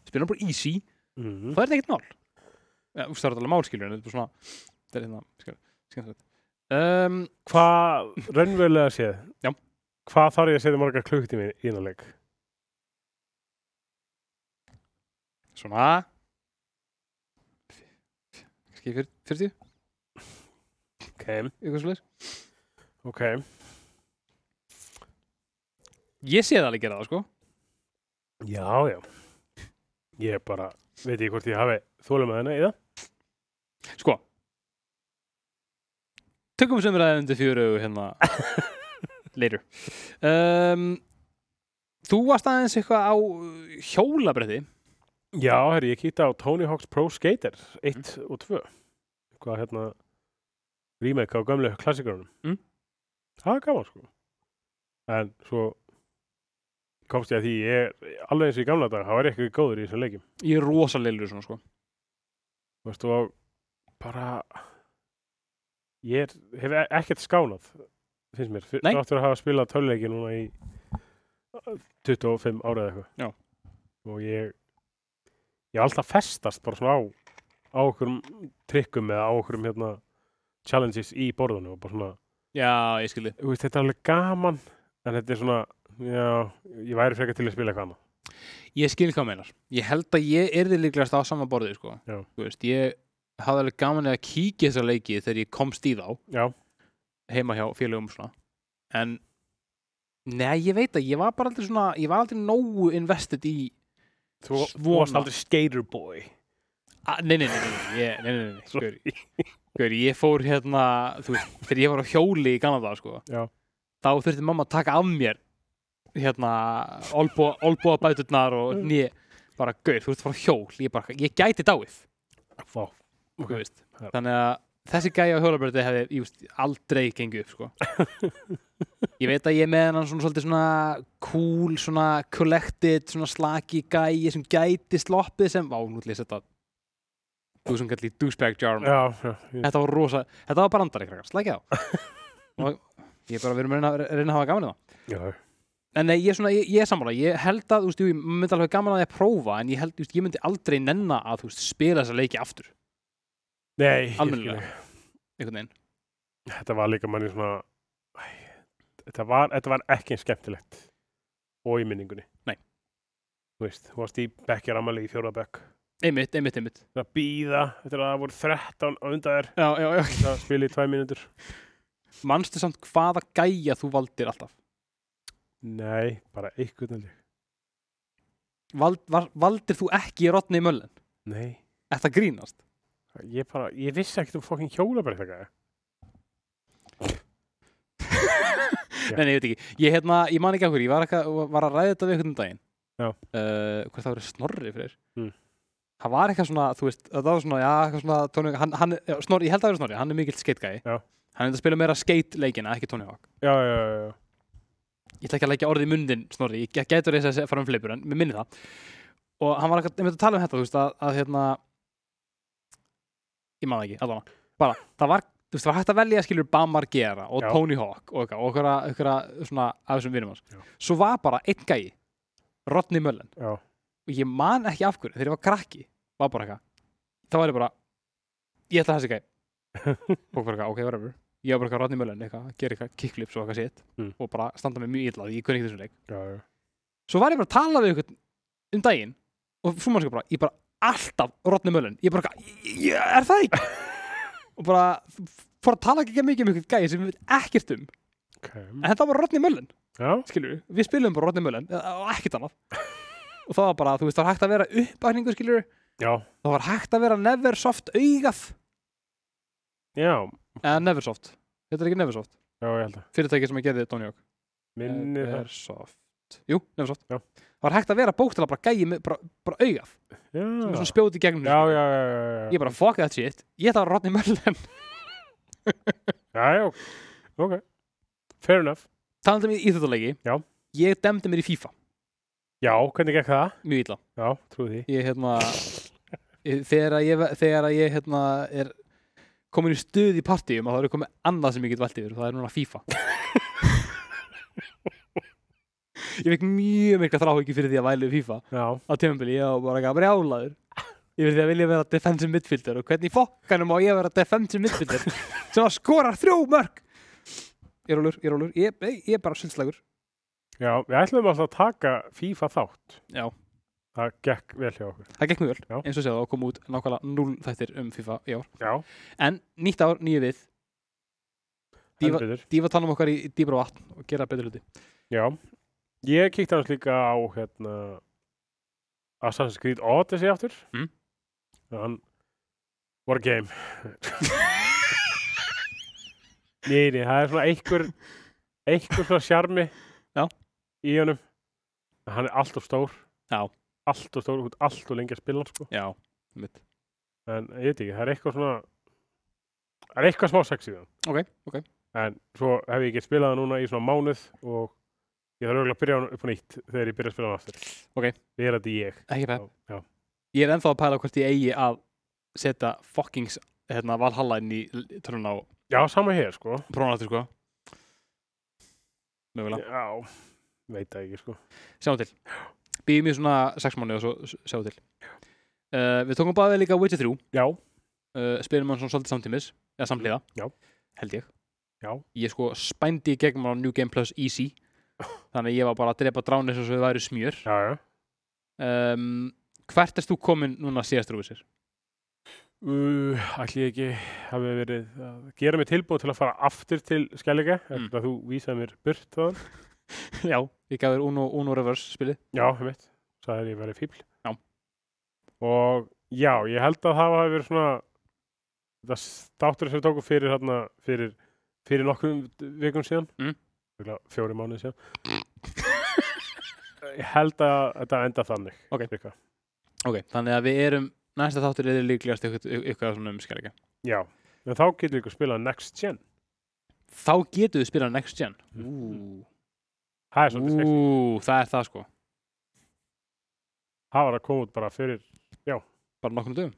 Speaker 2: spila bara easy,
Speaker 1: mm,
Speaker 2: það er ekkert mál. Já, úst, það er alveg mál, skilur, en þetta er bara svona, þetta er hérna, skilur, skilur þetta. Um,
Speaker 1: hvað raunverulega séð
Speaker 2: Já.
Speaker 1: hvað þarf ég að setja marga klukktími í þennan leik
Speaker 2: svona, kannski fyr- 40,
Speaker 1: ok,
Speaker 2: eitthvað svo
Speaker 1: ok,
Speaker 2: Ég sé það alveg gera það, sko.
Speaker 1: já, já ég bara, veit ég hvort ég hafi þólum að henni í það
Speaker 2: Sko Tökum sem ræðið undir fjöru hérna later um, Þú varst aðeins eitthvað á uh, hjólabretti
Speaker 1: já, herri, ég kýta á Tony Hawk's Pro Skater 1 og 2 hvað hérna remake á gömlu klassikarunum
Speaker 2: Mm.
Speaker 1: það er gaman sko en svo komst ég að því ég, er alveg eins og í gamla dag, það var ég ekki góður í þessum leikim
Speaker 2: Ég er rosa leilur svona sko
Speaker 1: Þú veist, og bara ég er, hef e- ekkert skánað finnst mér,
Speaker 2: Nei.
Speaker 1: þátt fyrir að hafa spilað töluleiki núna í uh, 25 ára eða eitthvað
Speaker 2: Já.
Speaker 1: og ég ég er alltaf festast bara svona á á okkurum trikkum eða á okkurum hérna challenges í borðunum og bara svona,
Speaker 2: Já, ég skildi
Speaker 1: þú veist, þetta er alveg gaman en þetta er svona, já ég væri frekar til að spila eitthvað annað
Speaker 2: Ég skil hvað þú meinar Ég held að ég erði líklegast á sama borðið sko
Speaker 1: Já.
Speaker 2: Þú veist, ég hafði alveg gaman að kíkja þessa leiki þegar ég komst í þá
Speaker 1: Já,
Speaker 2: heima hjá félögum og svona en Nei, ég veit að ég var bara aldrei svona ég var aldrei nógu invested í
Speaker 1: Þú þú
Speaker 2: Svona.
Speaker 1: varst aldrei skater boy
Speaker 2: A, nei, nei, nei, nei, nei, ég- nei, nei, nei, nei. Gaur, gaur, ég fór hérna, þú veist, þegar ég var á hjóli í Kanada, sko,
Speaker 1: Já.
Speaker 2: þá þurfti mamma að taka af mér, hérna, olbúa bæturnar og
Speaker 1: Mm.
Speaker 2: nýja, bara, gaur, þú ert að fara á hjól, ég bara, ég gæti dáið,
Speaker 1: Vá,
Speaker 2: þú
Speaker 1: ok.
Speaker 2: veist,
Speaker 1: Já.
Speaker 2: þannig að þessi gæja á hjólabröði hefði, ég veist, aldrei gengið upp, sko. Ég veit að ég er með hennan svona svolítið svona cool, svona collected, svona slaki gæi sem gæti sloppið sem, vá, nú ætlum ég að setja þú sem kallir douchebag jar
Speaker 1: Já, já, ég-
Speaker 2: Þetta var rosa, þetta var brandari krakkar, slækja á og ég er bara að vera með að reyna- reyna að hafa gaman í það
Speaker 1: já,
Speaker 2: en nei, ég er svona, ég, ég er sammála, ég held að þú veist, jú, ég myndi alveg gaman að ég prófa en ég held, þú veist, ég myndi aldrei nenna að þú veist, spila þessa leiki aftur,
Speaker 1: Nei, ég skil
Speaker 2: Almennilega.
Speaker 1: þig.
Speaker 2: einhvern veginn
Speaker 1: Þetta var líka manni svona Æ, Þetta var, þetta var ekki eins skemmtilegt og í minningunni
Speaker 2: Nei.
Speaker 1: Þú veist, þú varst í bekkjar amali í fjóra bekk
Speaker 2: einmitt, einmitt, einmitt,
Speaker 1: Það býða, þetta er að það voru 13 á undan þér
Speaker 2: já, já, já
Speaker 1: Það spila í 2 mínútur
Speaker 2: manstu samt hvaða gæja þú valdir alltaf
Speaker 1: Nei, bara einhvern veginn
Speaker 2: Vald, var, valdir þú ekki í rotni í möllen
Speaker 1: Nei,
Speaker 2: þetta grínast
Speaker 1: ég bara, ég vissi ekkert um fokkin hjólabrið þetta Já.
Speaker 2: Nei, nei, ég veit ekki, ég, hérna, ég man ekki af hverju, ég var, eitthvað, var að ræða þetta við einhvern um daginn
Speaker 1: Já.
Speaker 2: uh, Hvort það verið snorri fyrir
Speaker 1: Mm.
Speaker 2: Það var eitthvað svona, þú veist, það var svona, já, eitthvað svona tónleika, hann, hann, já, snorri, ég held að það verið snorri, hann er mikill skeitgæi
Speaker 1: Já.
Speaker 2: Hann er að spila meira skeitleikina, ekki tónleikvak
Speaker 1: Já, já, já, já
Speaker 2: Ég ætla ekki að leggja orðið í mundin, snorri, ég get- gætur þess að fara um fleipur, en mér minni það Og hann var eitthvað, ég veit að tala um þetta, þú veist, að, að hérna Ég man það ekki, allavega, bara, það var, þú veist, það var hægt að velja skilur Bamar Gera og
Speaker 1: Já.
Speaker 2: Tony Hawk og eitthvað, og einhverja, einhverja svona af þessum vinum hans
Speaker 1: Já.
Speaker 2: svo var bara einn gæi Rodney Mullen
Speaker 1: Já.
Speaker 2: og ég man ekki af hverju þegar ég var krakki var bara eitthvað þá var ég bara ég ætla þessi gæi og bara eitthvað ok whatever ég var bara eitthvað Rodney Mullen eitthvað gera eitthvað kickflips og eitthvað sitt
Speaker 1: Mm.
Speaker 2: og bara standa mig mjög illa því ég kunni ekki þessum leik
Speaker 1: já, já.
Speaker 2: svo var ég bara að tala við ykkur um daginn og svo mannskja bara ég bara alltaf Rodney Mullen ég bara eitthvað "Ég- ég- er það ekki og bara f- fór að tala ekki mikið um ykkur gæi sem við veit ekkert um
Speaker 1: Ok.
Speaker 2: en þetta var Rodney Mullen
Speaker 1: Já,
Speaker 2: skilur við spilum bara Rodney Mullen eða- eh, og ekkert annað og það var bara, þú veist, það var hægt að vera uppækningu skilur,
Speaker 1: já,
Speaker 2: það var hægt að vera Neversoft augað,
Speaker 1: já,
Speaker 2: eða Neversoft þetta er ekki Neversoft,
Speaker 1: já, ég held að
Speaker 2: fyrirtæki sem að gerði Tony Hawk,
Speaker 1: Minni það
Speaker 2: Neversoft jú, Neversoft,
Speaker 1: Já.
Speaker 2: það var hægt að vera bókstala bara gæi, með- bara, bara augað sem er
Speaker 1: Já,
Speaker 2: svona spjóti gegnum
Speaker 1: já,
Speaker 2: hlustum.
Speaker 1: já, já, já, já.
Speaker 2: ég bara, fuck that shit, ég ætla að vera Rodney Mullen
Speaker 1: Já, já, ok Fair enough
Speaker 2: talandi um í íþjóttalegi,
Speaker 1: Já.
Speaker 2: ég demdi mér í FIFA
Speaker 1: Já, hvernig gekk það?
Speaker 2: mjög illa
Speaker 1: Já, trúi því
Speaker 2: ég hérna ég- þegar að ég, þegar að ég hérna er komin í stuð í partíum að það eru komið annað sem ég get velt yfir og það er núna FIFA ég fekk mjög mikla þráhugji fyrir því að vælu í FIFA
Speaker 1: Já,
Speaker 2: á tímabili, ég var bara ekki að brjálaður yfir því að vilja vera defensive midfielder og hvernig í fokkanum á ég að vera defensive midfielder sem að skorar þrjú mörg ég rólur, ég rólur ég, ég, ég er bara sylslagur
Speaker 1: já, við ætlum alltaf að taka FIFA þátt
Speaker 2: Já.
Speaker 1: Það gekk vel hjá okkur
Speaker 2: það gekk mjög vel,
Speaker 1: Já.
Speaker 2: eins og séð það kom út nákvæmlega null þættir um FIFA í ár
Speaker 1: Já,
Speaker 2: En nýtt ár, nýju við
Speaker 1: heldur betur
Speaker 2: Dýfa tannum okkar í, í dýbra vatn og gera betur hluti
Speaker 1: Já, ég kíkti hans líka á hérna Assassin's Creed Odyssey aftur
Speaker 2: Mm.
Speaker 1: Hann War game Nei, nei, það er svona einhver einhver svona sjarmi
Speaker 2: Já.
Speaker 1: í honum En hann er alltof stór
Speaker 2: Já.
Speaker 1: Alltof stór, þú ert alltof lengi að spila hann sko
Speaker 2: Já, mitt
Speaker 1: en ég veit ekki, það er eitthvað svona það er eitthvað smá sex í það
Speaker 2: Ok, ok
Speaker 1: en svo hef ég ekki spilað það núna í svona mánuð og ég þarf auðvitað að byrja hann upp á nýtt þegar ég byrja að spila hann aftur
Speaker 2: Ok.
Speaker 1: er þetta ég
Speaker 2: Ekki pæl
Speaker 1: Já.
Speaker 2: Ég er ennþá að pæla hvort ég eigi að setja fuckings hérna, Valhalla inn í törnun á
Speaker 1: já, sama hér sko
Speaker 2: prónaldur sko Mögulega
Speaker 1: já, veit það ekki sko
Speaker 2: Sjáum til Býðum í svona sex mánu og svo s- sjáum til uh, Við tókum báðið líka Witcher 3
Speaker 1: já,
Speaker 2: uh, Spilum hann svona svolítið samtímis eða samhliða
Speaker 1: Já.
Speaker 2: Held ég
Speaker 1: já,
Speaker 2: ég sko spændi í gegnum hann á New Game Plus Easy þannig að ég var bara að drepa dráni sem svo við væri smjör
Speaker 1: já, já
Speaker 2: um, hvert erst þú komin núna síðastur úr sér?
Speaker 1: uh, ætli ég ekki hafi verið að gera mig tilbúið til að fara aftur til skjæleika eftir
Speaker 2: Mm.
Speaker 1: að þú vísaði mér burt þaðan
Speaker 2: Já, ég gaf þér Uno, Uno Reverse spilið
Speaker 1: já, ég veit, sagði þér ég verið fíbl
Speaker 2: Já.
Speaker 1: og já, ég held að það hafi verið svona það státtur sem við tókum fyrir hérna, fyrir, fyrir nokkrum vikum síðan
Speaker 2: Mm.
Speaker 1: Örugglega fjóri mánuði síðan ég held að þetta enda þannig
Speaker 2: Ok.
Speaker 1: Rikka.
Speaker 2: ok, þannig að við erum næsta þáttur er líklegast ykkur, ykkur svona umskjæringa
Speaker 1: já, en þá getur ykkur spilað next gen
Speaker 2: þá getum við spilað next gen
Speaker 1: Mhm. það er svolítið sexy,
Speaker 2: Ú, það er það sko
Speaker 1: það var að koma út bara fyrir
Speaker 2: bara nokkrum dögum,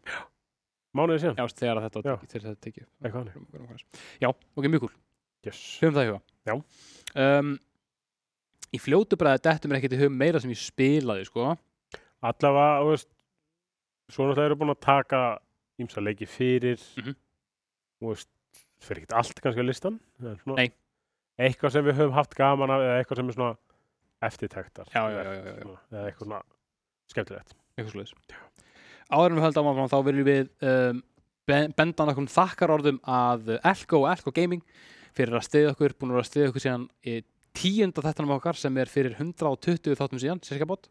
Speaker 1: mánuði síðan
Speaker 2: já, veist, þegar að þetta
Speaker 1: Já.
Speaker 2: þegar þetta tekið
Speaker 1: Eitthvað þannig.
Speaker 2: já, ok, mjög kúl,
Speaker 1: yes.
Speaker 2: höfum það í huga já um, í fljótu bræði dettum er ekkert í hugum meira sem ég spilaði sko
Speaker 1: allavega, þú veist svo náttúrulega eru búin að taka ímsa leiki fyrir
Speaker 2: Mhm.
Speaker 1: og veist, fyrir ekkert allt kannski á listan en svona,
Speaker 2: Nei.
Speaker 1: eitthvað sem við höfum haft gaman af eða eitthvað sem er svona eftirtektar
Speaker 2: Já, já,
Speaker 1: eða-
Speaker 2: já, já, já.
Speaker 1: svona- eða eitthvað svona skemmtilegt
Speaker 2: eitthvað slúðis áður en við höldum áfram þá viljum við um, ben- benda okkur þakkar orðum að Elko og Elko Gaming fyrir að stiðja okkur, búin að vera að stiðja okkur síðan í tíunda þettanum okkar sem er fyrir 120 þáttum síðan, sérskja bót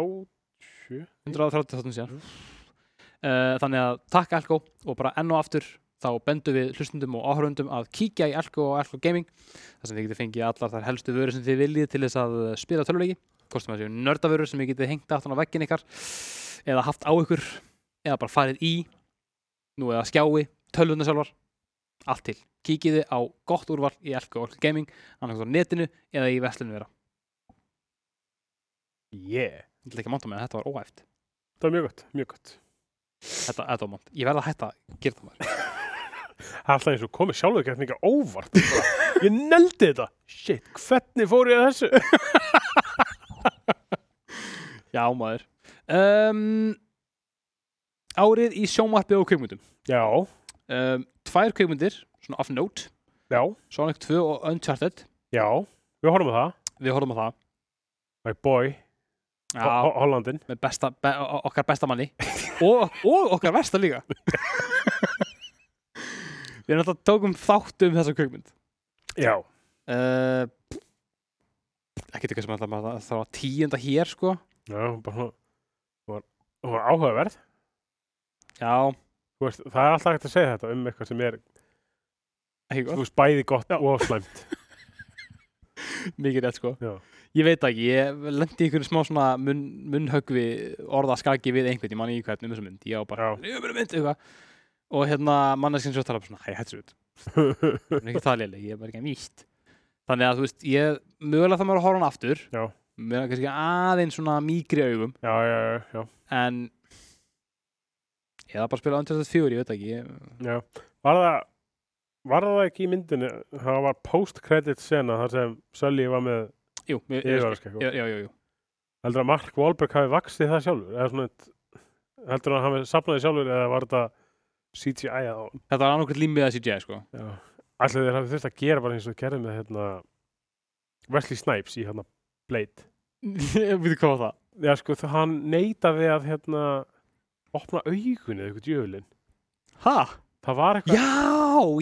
Speaker 1: 130
Speaker 2: 130 þáttum síðan uh, þannig að takk Elko og bara enn og aftur þá bendum við hlustundum og áhörundum að kíkja í Elko og Elko Gaming þar sem þið getið fengið allar þar helstu vörur sem þið viljið til þess að eh, spila töluleiki kostum að séu nördavörur sem þið getið hengt aftan á veggin ykkar eða haft á ykkur eða bara farið í nú eða skjái, tölvunna sjálfar allt til, kíkiði á gott úrval í Elko og Elko Gaming, annars á netinu eða í veslinu vera,
Speaker 1: yeah,
Speaker 2: ég ætla ekki að monta með þetta var óæft
Speaker 1: það var mjög gott, mjög gott
Speaker 2: Þetta, þetta var mont. Ég verða að hætta að gera það maður.
Speaker 1: það er alltaf eins og komið sjálfur gert mikið óvart bara, ég neldi þetta, shit, hvernig fór ég að þessu
Speaker 2: Já, maður. Um, árið í sjónvarpi og kveikmyndum.
Speaker 1: já,
Speaker 2: Um, tvær kveikmyndir, svona off note,
Speaker 1: já,
Speaker 2: Sonic 2 og Uncharted.
Speaker 1: já við horfum á það,
Speaker 2: Við horfum á það.
Speaker 1: my boy
Speaker 2: Já,
Speaker 1: Ho- Ho- Hollandin
Speaker 2: með besta, be, o- okkar besta manni. og, og okkar versta líka. Við erum alltaf tókum þátt um þessa kveikmynd.
Speaker 1: já,
Speaker 2: Uh, ekki eitthvað sem alltaf maður það var tíunda hér, sko.
Speaker 1: Já, bara svona hún var, hún var áhugaverð
Speaker 2: Já,
Speaker 1: Þú veist, það er alltaf hægt að segja þetta um eitthvað sem er
Speaker 2: ekki
Speaker 1: þú
Speaker 2: gott.
Speaker 1: veist, bæði gott og slæmt
Speaker 2: Mikið rétt, sko.
Speaker 1: Já.
Speaker 2: Ég veit það ekki, ég lendi í einhverju smá svona mun, munnhöggvi orðaskaki við einhvern, ég man ekki hvað um þessu mynd, ég á bara,
Speaker 1: Já.
Speaker 2: ég er bara mynd, eitthvað. Og hérna manneskinn svo tala bara svona, hæ, hættu svo út,
Speaker 1: já,
Speaker 2: hún er ekki það léleg, ég er bara ekki að víst. Þannig að þú veist, ég, mögulega það maður að horfa á hann aftur,
Speaker 1: Já.
Speaker 2: mögulega kannski aðeins svona mýgri augum,
Speaker 1: já, já, já,
Speaker 2: en eða bara spila Uncharted 4, ég veit það ekki, ég,
Speaker 1: já Var það var það ekki í myndinu það var post-credit sena þar sem Sölji var með
Speaker 2: jú, ég, ég, ég,
Speaker 1: yfirvarskekku
Speaker 2: já, já, já, já,
Speaker 1: heldur að Mark Wahlberg hafi vaksið það sjálfur eða svona eitt- heldur að hann hafi sapnaði sjálfur eða var þetta CGI á honum?
Speaker 2: þetta var annarkvæmt límið að CGI, sko,
Speaker 1: já. allir þeir hafi þurft að gera bara eins og gerði með hérna Wesley Snipes í hérna Blade
Speaker 2: ég veit hvað var það,
Speaker 1: Já, sko, það hann neitaði að hérna opna augun eða eitthvað djöfulinn.
Speaker 2: ha,
Speaker 1: Það var eitthvað,
Speaker 2: já,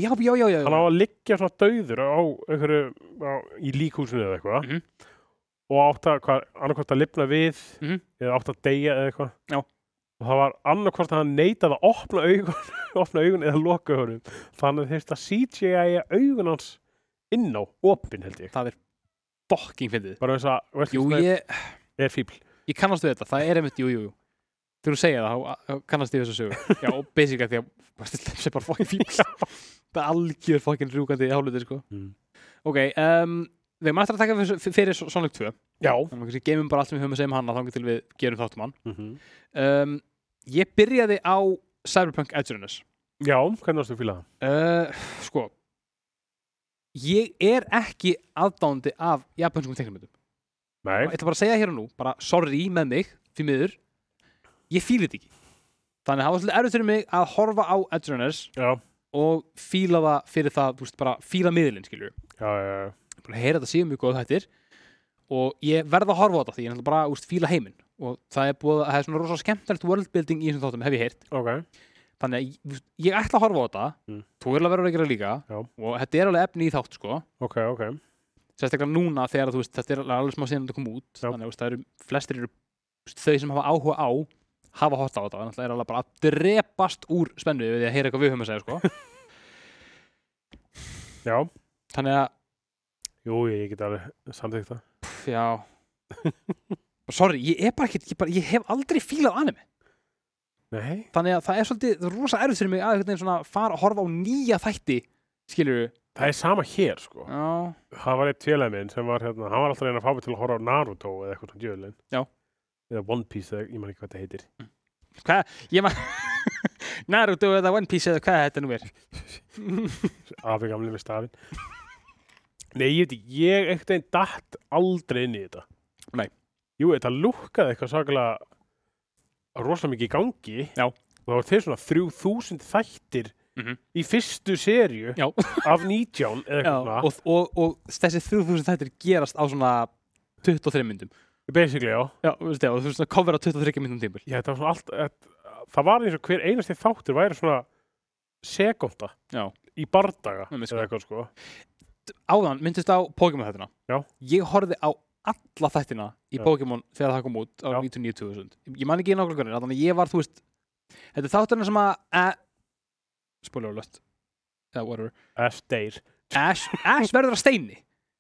Speaker 2: já, já, já, já,
Speaker 1: hann á að liggja svona dauður á einhverju, á, í líkhúsinu eða eitthvað
Speaker 2: Mhm.
Speaker 1: og átt að, hvað, annarkvort að lifna við
Speaker 2: Mhm.
Speaker 1: eða átt að deyja eða eitthvað.
Speaker 2: Já.
Speaker 1: Og það var annarkvort að hann neitaði að opna augun, opna augun eða loka augunum. Þannig þurfti að CGI augun hans inn á opin held ég.
Speaker 2: það er fucking fyndið
Speaker 1: Bara þess að, veist,
Speaker 2: Jú, ég,
Speaker 1: er fíbl.
Speaker 2: ég kannast við þetta, það er einmitt, jú, jú, jú Þegar þú segja það, þá- þá kannast ég við þessu sögu Já, og basically því að Bara til þess er bara fucking fíl Það er algjör fucking rjúkandi hálfluti, sko
Speaker 1: Mm.
Speaker 2: Ok, um, við erum eftir að taka fyrir, fyrir Son- Sonic 2
Speaker 1: Já.
Speaker 2: Þannig að við geymum bara allt sem við höfum að segja um hana Þannig til við gerum þáttum hann
Speaker 1: Mm -hmm.
Speaker 2: um, Ég byrjaði á Cyberpunk Edge Runners
Speaker 1: Já, hvernig varstu að fíla það?
Speaker 2: uh, Sko Ég er ekki aðdándi af japanskum teknumöndum
Speaker 1: Nei.
Speaker 2: Ég ætla bara að segja hér og nú, bara sorry með mig, fyrir miður, ég fíla þetta ekki. Þannig að það var svolítið erfitt fyrir mig að horfa á Edge Runners
Speaker 1: Já.
Speaker 2: og fíla það fyrir það, þú veist, bara fíla miðlinn, skiljur.
Speaker 1: Já, já, já.
Speaker 2: Ég er búin að heyra þetta síðan mjög góð hættir og ég verð að horfa á þetta því ég er náttúrulega bara, þú veist, fíla heiminn og það er búið að það er svona rosa skemmtilegt worldbuilding í þessum þáttum, hef ég heyrt.
Speaker 1: Ok.
Speaker 2: Þannig að ég, þú veist, ég ætla að horfa á þetta,
Speaker 1: Mm.
Speaker 2: þú verður að vera að gera líka
Speaker 1: Já.
Speaker 2: og þetta er alveg efni í þátt, sko.
Speaker 1: Ok, ok.
Speaker 2: sérstaklega núna þegar þú veist, þetta er alveg smá síðan þetta kom út
Speaker 1: Já.
Speaker 2: þannig að þú veist, það eru, flestir eru þú veist, þau sem hafa áhuga á hafa hort á þetta þannig að það er alveg bara að drepast úr spennu við því að heyra eitthvað við höfum að segja sko.
Speaker 1: Já,
Speaker 2: þannig að,
Speaker 1: jú, ég get alveg samþygt það.
Speaker 2: pff, já sorry, ég er bara ekkert ég, bara, ég hef aldrei fílað anime
Speaker 1: Nei,
Speaker 2: þannig að það er svolítið, það er rosa erfitt fyrir mig að einhvern veginn svona fara að horfa á nýja þætti skilur við
Speaker 1: það er sama hér, sko.
Speaker 2: já,
Speaker 1: Það var eitt félag minn sem var hérna, hann var alltaf að reyna að fá mig til að horfa á Naruto eða eitthvað svona djöðlinn.
Speaker 2: Já.
Speaker 1: Eða One Piece, eða, ég man ekki hvað þetta heitir.
Speaker 2: hvað, ég maður Naruto eða One Piece eða hvað þetta nú er
Speaker 1: Afi gamli með stafinn. Nei, ég veit ekki, ég einhvern veginn datt aldrei inn í þetta.
Speaker 2: Nei.
Speaker 1: Jú, þetta lúkkaði eitthvað sakalega rosalega mikið í gangi.
Speaker 2: Já.
Speaker 1: Og það var til svona 3000 þættir
Speaker 2: Mhm.
Speaker 1: í fyrstu serju
Speaker 2: já,
Speaker 1: af 19 eða
Speaker 2: já
Speaker 1: eitthvað svona.
Speaker 2: og, og, og þessi 3000 þættir gerast á svona 23 myndum
Speaker 1: Basically, já.
Speaker 2: já, þú veist, já, þú veist, svona cover á 23 myndum tímpil
Speaker 1: Já, þetta var svona allt, þetta, það var eins og hver einasti þáttur væri svona sekunda
Speaker 2: Já.
Speaker 1: í bardaga
Speaker 2: Nei, sko.
Speaker 1: eða eitthvað sko.
Speaker 2: áðan myndist á Pokémon þættina
Speaker 1: Já.
Speaker 2: ég horfði á alla þættina í
Speaker 1: Já.
Speaker 2: Pokémon þegar það kom út á
Speaker 1: Já.
Speaker 2: 99.000 ég man ekki í nákvæmlega hvernig, þannig að ég var þú veist þetta er þátturinn sem að a, spoiler alert eða whatever,
Speaker 1: F-Dayr.
Speaker 2: Ash, Ash verður að steini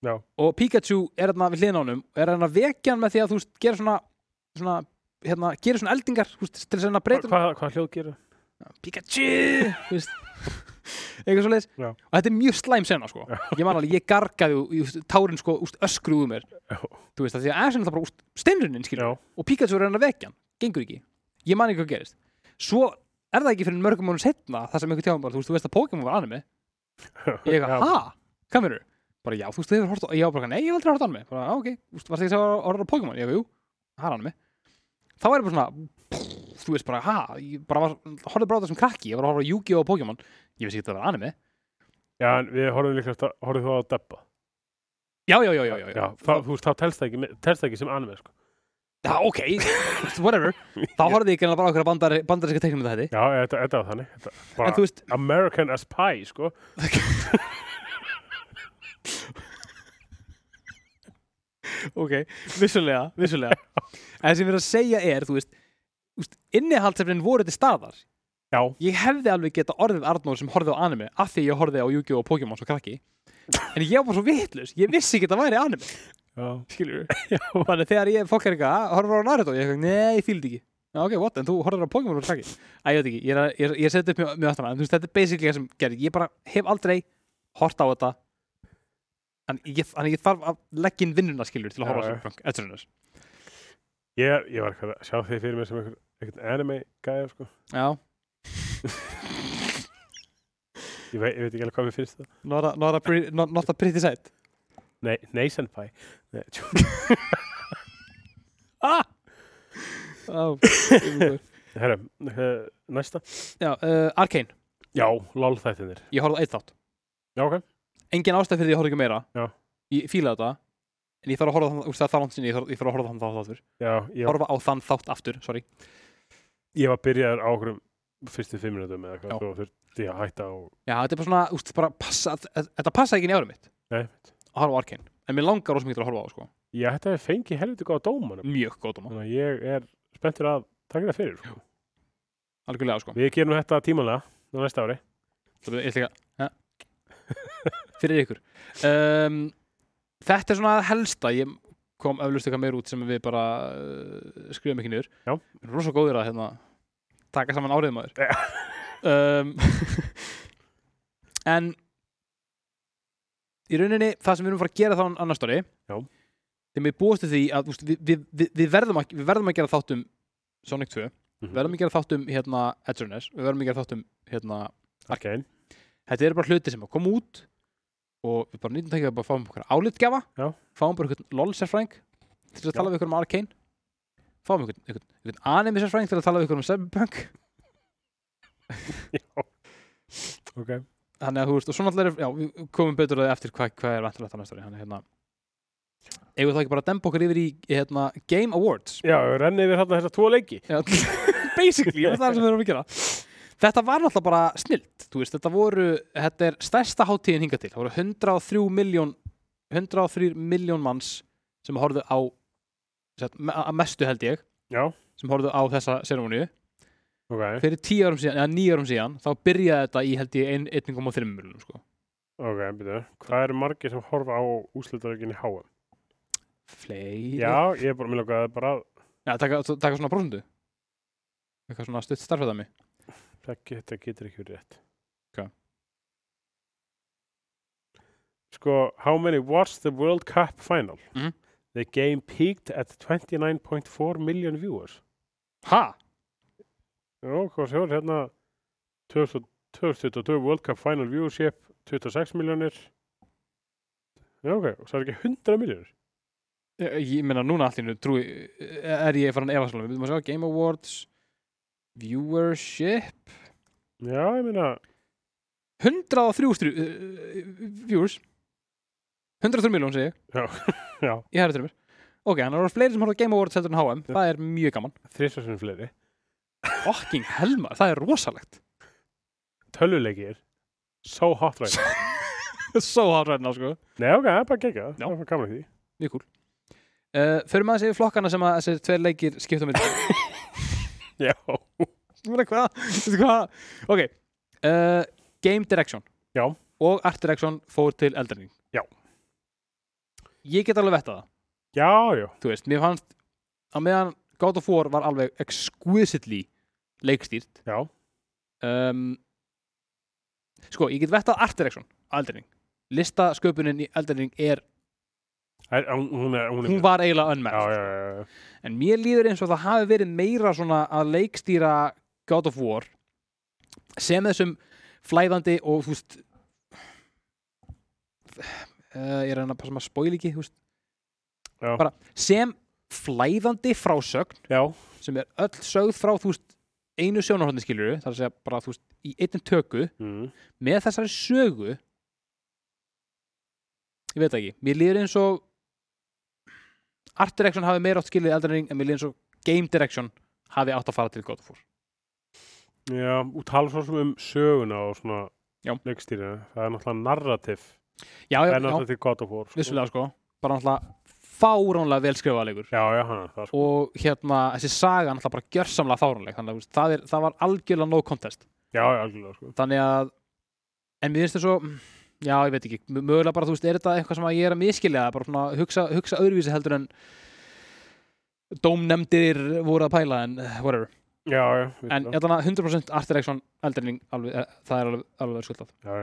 Speaker 1: Já.
Speaker 2: og Pikachu er þarna við hliðin á honum og er þarna að vekja hann með því að þú veist gera svona, svona hérna, gera svona eldingar þú veist, til þess að hérna breyta
Speaker 1: Hvað, hvað hljóð gerir?
Speaker 2: Pikachu þú veist, eitthvað svo leiðis
Speaker 1: Já.
Speaker 2: og þetta er mjög slæm sena sko ég man alveg, ég gargaði og ég, þú veist, tárin sko úst, öskruðu úr mér
Speaker 1: Já.
Speaker 2: þú veist, af því að Ash er náttúrulega bara úst, steinrunnin skilur
Speaker 1: Já,
Speaker 2: og Pikachu er hann að vekja hann, gengur ekki ég man ekki hvað gerist svo er það ekki fyrir mörgum mánu setna það sem einhver tjáum bara, þú veist, þú veist að Pokémon var anime
Speaker 1: Já.
Speaker 2: ég eitthvað, ha, hvað meinarðu? bara já, þú veist, þú hefur hort á, já, bara, nei, ég hef aldrei hort á anime bara, "Ah, ok, þú veist, varst ekki að horfa á Pokémon ég eitthvað, jú, það er anime þá er ég bara svona, pff, þú veist bara, ha ég bara var, horfði bara á það sem krakki ég var að horfa á Yu-Gi-Oh! og Pokémon, ég vissi ekki að það var anime
Speaker 1: já en við horfum líka, horfum þú á Debba.
Speaker 2: já, já, já, já, já, já.
Speaker 1: það, þú veist, þá telst það ekki, með- telst það ekki sem anime sko.
Speaker 2: já ok, þú veist, whatever þá horfði ég ekki bara okkur bandar, bandarinska teiknum þetta
Speaker 1: Já, þetta, þetta var þannig. Þetta,
Speaker 2: en
Speaker 1: bara
Speaker 2: þú veist,
Speaker 1: American as pie, sko.
Speaker 2: ok, vissulega, vissulega en það sem ég er að segja er, þú veist, þú veist innihaldsefnin voru til staðar
Speaker 1: Já.
Speaker 2: ég hefði alveg geta orðið Arnór sem horfði á anime af því ég horfði á Yu-Gi-Oh! og Pokémon svo krakki en ég var svo vitlus, ég vissi ekki að það væri anime
Speaker 1: Já.
Speaker 2: skilur þannig þegar ég, fólk er eitthvað, "Ah, horfir á Naruto ég er eitthvað, nei, ég fíldi ekki Já, ok, what, en þú horfður á Pokémon og krakki Æ, ég veit ekki, ég, er að- ég, er- ég seti upp mjög, mjög aftan að, en þú veist, þetta er basically það sem gerir, ég bara hef aldrei hort á þetta en ég, en ég þarf að leggja inn vinnuna skilur til að
Speaker 1: Já, já.
Speaker 2: horfa á Cyberpunk, eftir hennar
Speaker 1: Ég, ég var eitthvað að sjá þig fyrir mér sem einhvern- einhvern anime gæja, sko.
Speaker 2: Já,
Speaker 1: Ég veit, ég veit ekki alveg hvað mér finnst það.
Speaker 2: not a, not a, pre, not, not a pretty sight
Speaker 1: Nei, nei, senpai. Nei, tjú.
Speaker 2: Ah! Oh, já,
Speaker 1: Herra, eh, næsta.
Speaker 2: uh, Arkane,
Speaker 1: Já, lol þættinir.
Speaker 2: ég horfði á eitt þátt
Speaker 1: Já, ok.
Speaker 2: Engin ástæð fyrir því að ég horfði ekki meira
Speaker 1: Já. Ég,
Speaker 2: Ég fíla þetta En ég þarf að horfa á þann, úst, það er það langt sinni, ég þarf, ég þarf að horfa á þann þátt aftur
Speaker 1: já, ég,
Speaker 2: Horfa á þann þátt aftur, sorry
Speaker 1: ég var byrjaður á okkurum fyrstu fimm minutum eða
Speaker 2: Já.
Speaker 1: hvað, svo þurfti ég að hætta og
Speaker 2: Já, þetta er bara svona, úst, bara passa þ- Þetta passa ekki inn í árum mitt
Speaker 1: Nei.
Speaker 2: Að horfa á Arkane En mér langar rosa mikið til að horfa á, það, sko
Speaker 1: ég hætti að fengi helviti góða dómanum
Speaker 2: Mjög góð dóma,
Speaker 1: þannig að ég er spenntur að taka það fyrir sko.
Speaker 2: algjörlega, sko
Speaker 1: við gerum þetta tímanlega á næsta ári
Speaker 2: Það er eitthvað ha? Fyrir ykkur um, Þetta er svona það helsta Ég kom öflust eitthvað meir út sem við bara uh, skrifum ekki niður
Speaker 1: Já.
Speaker 2: Við erum Rosa góðir að hérna, taka saman árið maður
Speaker 1: Já.
Speaker 2: um, En Í rauninni það sem við erum að fara að gera þá annars stóri
Speaker 1: Já.
Speaker 2: Þegar við búast við því að úst, við, við, við, við, verðum að, við verðum að gera þáttum Sonic 2
Speaker 1: Mhm.
Speaker 2: Við verðum að gera þáttum hérna, Edgerness Við verðum að gera þáttum hérna,
Speaker 1: okay.
Speaker 2: þetta eru bara hluti sem að koma út og við bara nýttum tækið að bara fáum okkur álitgjafa
Speaker 1: Já.
Speaker 2: fáum bara einhvern lol-sérfræðing til að
Speaker 1: Já.
Speaker 2: tala við ykkur um Arcane fáum einhvern, einhvern, einhvern anime-sérfræðing til að tala við ykkur um Cyberpunk
Speaker 1: ok
Speaker 2: þannig að þú veist, og svo náttúrulega er- já, við komum betur að því eftir hvað, hvað er vantilegt að næsta ári, þannig að, hérna eigum við þá ekki bara að dempa okkur yfir í hérna, Game Awards
Speaker 1: já, við rennum yfir þarna þessa tvo leiki
Speaker 2: Já, basically, það er sem við erum að gera Þetta var náttúrulega bara snilt veist, þetta voru, þetta er stærsta hátíðin hingað til, það voru 103 miljón 103 miljón manns sem horfðu á sem sagt, me- að mestu held ég
Speaker 1: já,
Speaker 2: sem sem horfðu á þessa seremóníu
Speaker 1: ok,
Speaker 2: fyrir 10 árum síðan, eða 9 árum síðan þá byrjaði þetta í held ég ein- 1,3 miljonum sko.
Speaker 1: ok, byrju hvað eru margir sem horfa á úslitaðurkin í HM?
Speaker 2: fleiri
Speaker 1: Já, ég er bara, mér langaði bara að
Speaker 2: Já, taka, taka svona prósundu eitthvað svona stutt starfðami
Speaker 1: Ekki, þetta getur ekki verið rétt.
Speaker 2: Ok.
Speaker 1: Sko, how many was the World Cup final?
Speaker 2: Mhm.
Speaker 1: The game peaked at 29.4 million viewers.
Speaker 2: ha?
Speaker 1: Jó, hvað séu hérna 2000 2022 World Cup final viewership 26 miljónir. Já, ok, og það er ekki 100 miljónir.
Speaker 2: Ég, Eh, ég meina núna allt í hennu trúi eh, er ég farin að efa svona við maður sjá Game Awards viewership
Speaker 1: Já, ég meina,
Speaker 2: 103 stru, uh, viewers 103 miljón segi ég
Speaker 1: já, já,
Speaker 2: ég herri trumur ok, hann er fleiri sem horfðu á Game Awards heldur en HM
Speaker 1: Já.
Speaker 2: það er mjög gaman
Speaker 1: þrísasunum fleiri.
Speaker 2: fucking helmar, það er rosalegt
Speaker 1: Tölvuleikir, so hot right now.
Speaker 2: svo hátræðina sko
Speaker 1: Nei, ok, það er bara gegja,
Speaker 2: Já.
Speaker 1: það er bara gaman að því.
Speaker 2: mjög cool uh, förum aðeins yfir flokkana sem að þessir tveir leikir skipta myndi
Speaker 1: Já.
Speaker 2: Þú meina hvað? Veistu hvað? Ok, uh, Game Direction
Speaker 1: Já.
Speaker 2: Og Art Direction fór til Elden Ring
Speaker 1: Já.
Speaker 2: Ég get alveg vetta það
Speaker 1: Já, já,
Speaker 2: Þú veist, mér fannst að meðan God of War var alveg exquisitely leikstýrt
Speaker 1: já,
Speaker 2: um, Sko, ég get vettað Art Direction á Elden Ring Listasköpunin í Elden Ring er
Speaker 1: Er, hún, hún er, hún er
Speaker 2: hún var
Speaker 1: já,
Speaker 2: eiginlega unmatched
Speaker 1: já, já, já.
Speaker 2: en mér líður eins og það hafi verið meira svona að leikstýra God of War sem þessum flæðandi og þú veist uh, ég er að reyna að passa maður spóil ekki þú veist,
Speaker 1: Já.
Speaker 2: bara sem flæðandi frásögn
Speaker 1: já,
Speaker 2: sem er öll sögð frá þú veist einu sjónarhóðni skiljuru þar að segja bara þú veist í einnig töku
Speaker 1: mm.
Speaker 2: með þessari sögu ég veit það ekki, mér líður eins og Art Direction hafi meira átt skilið Elden Ring en mér líður eins og Game Direction hafi átt að fara til God of War
Speaker 1: já og tala svo sem um söguna og svona
Speaker 2: Já.
Speaker 1: leikstýrina, það er náttúrulega narrativ það
Speaker 2: já, já,
Speaker 1: er
Speaker 2: já,
Speaker 1: náttúrulega til God of War sko.
Speaker 2: vissulega sko bara náttúrulega fáránlega vel skrifað leikur
Speaker 1: já, já, hann er það sko.
Speaker 2: og hérna, þessi saga náttúrulega bara gjörsamlega fáránleg þannig að þú veist, það, er, það var algjörlega no contest
Speaker 1: já, já, algjörlega sko.
Speaker 2: þannig að, en mér finnst það svo já, ég veit ekki, mö- mögulega bara þú veist, er þetta eitthvað sem að ég er að miskilja bara svona hugsa, hugsa öðruvísi heldur en dómnefndir voru að pæla en eh, whatever
Speaker 1: já, já, vissulega.
Speaker 2: en ég þannig að 100% Art Direction eldreining, alveg, eh, það er alveg, alveg verið skuldað
Speaker 1: já, já.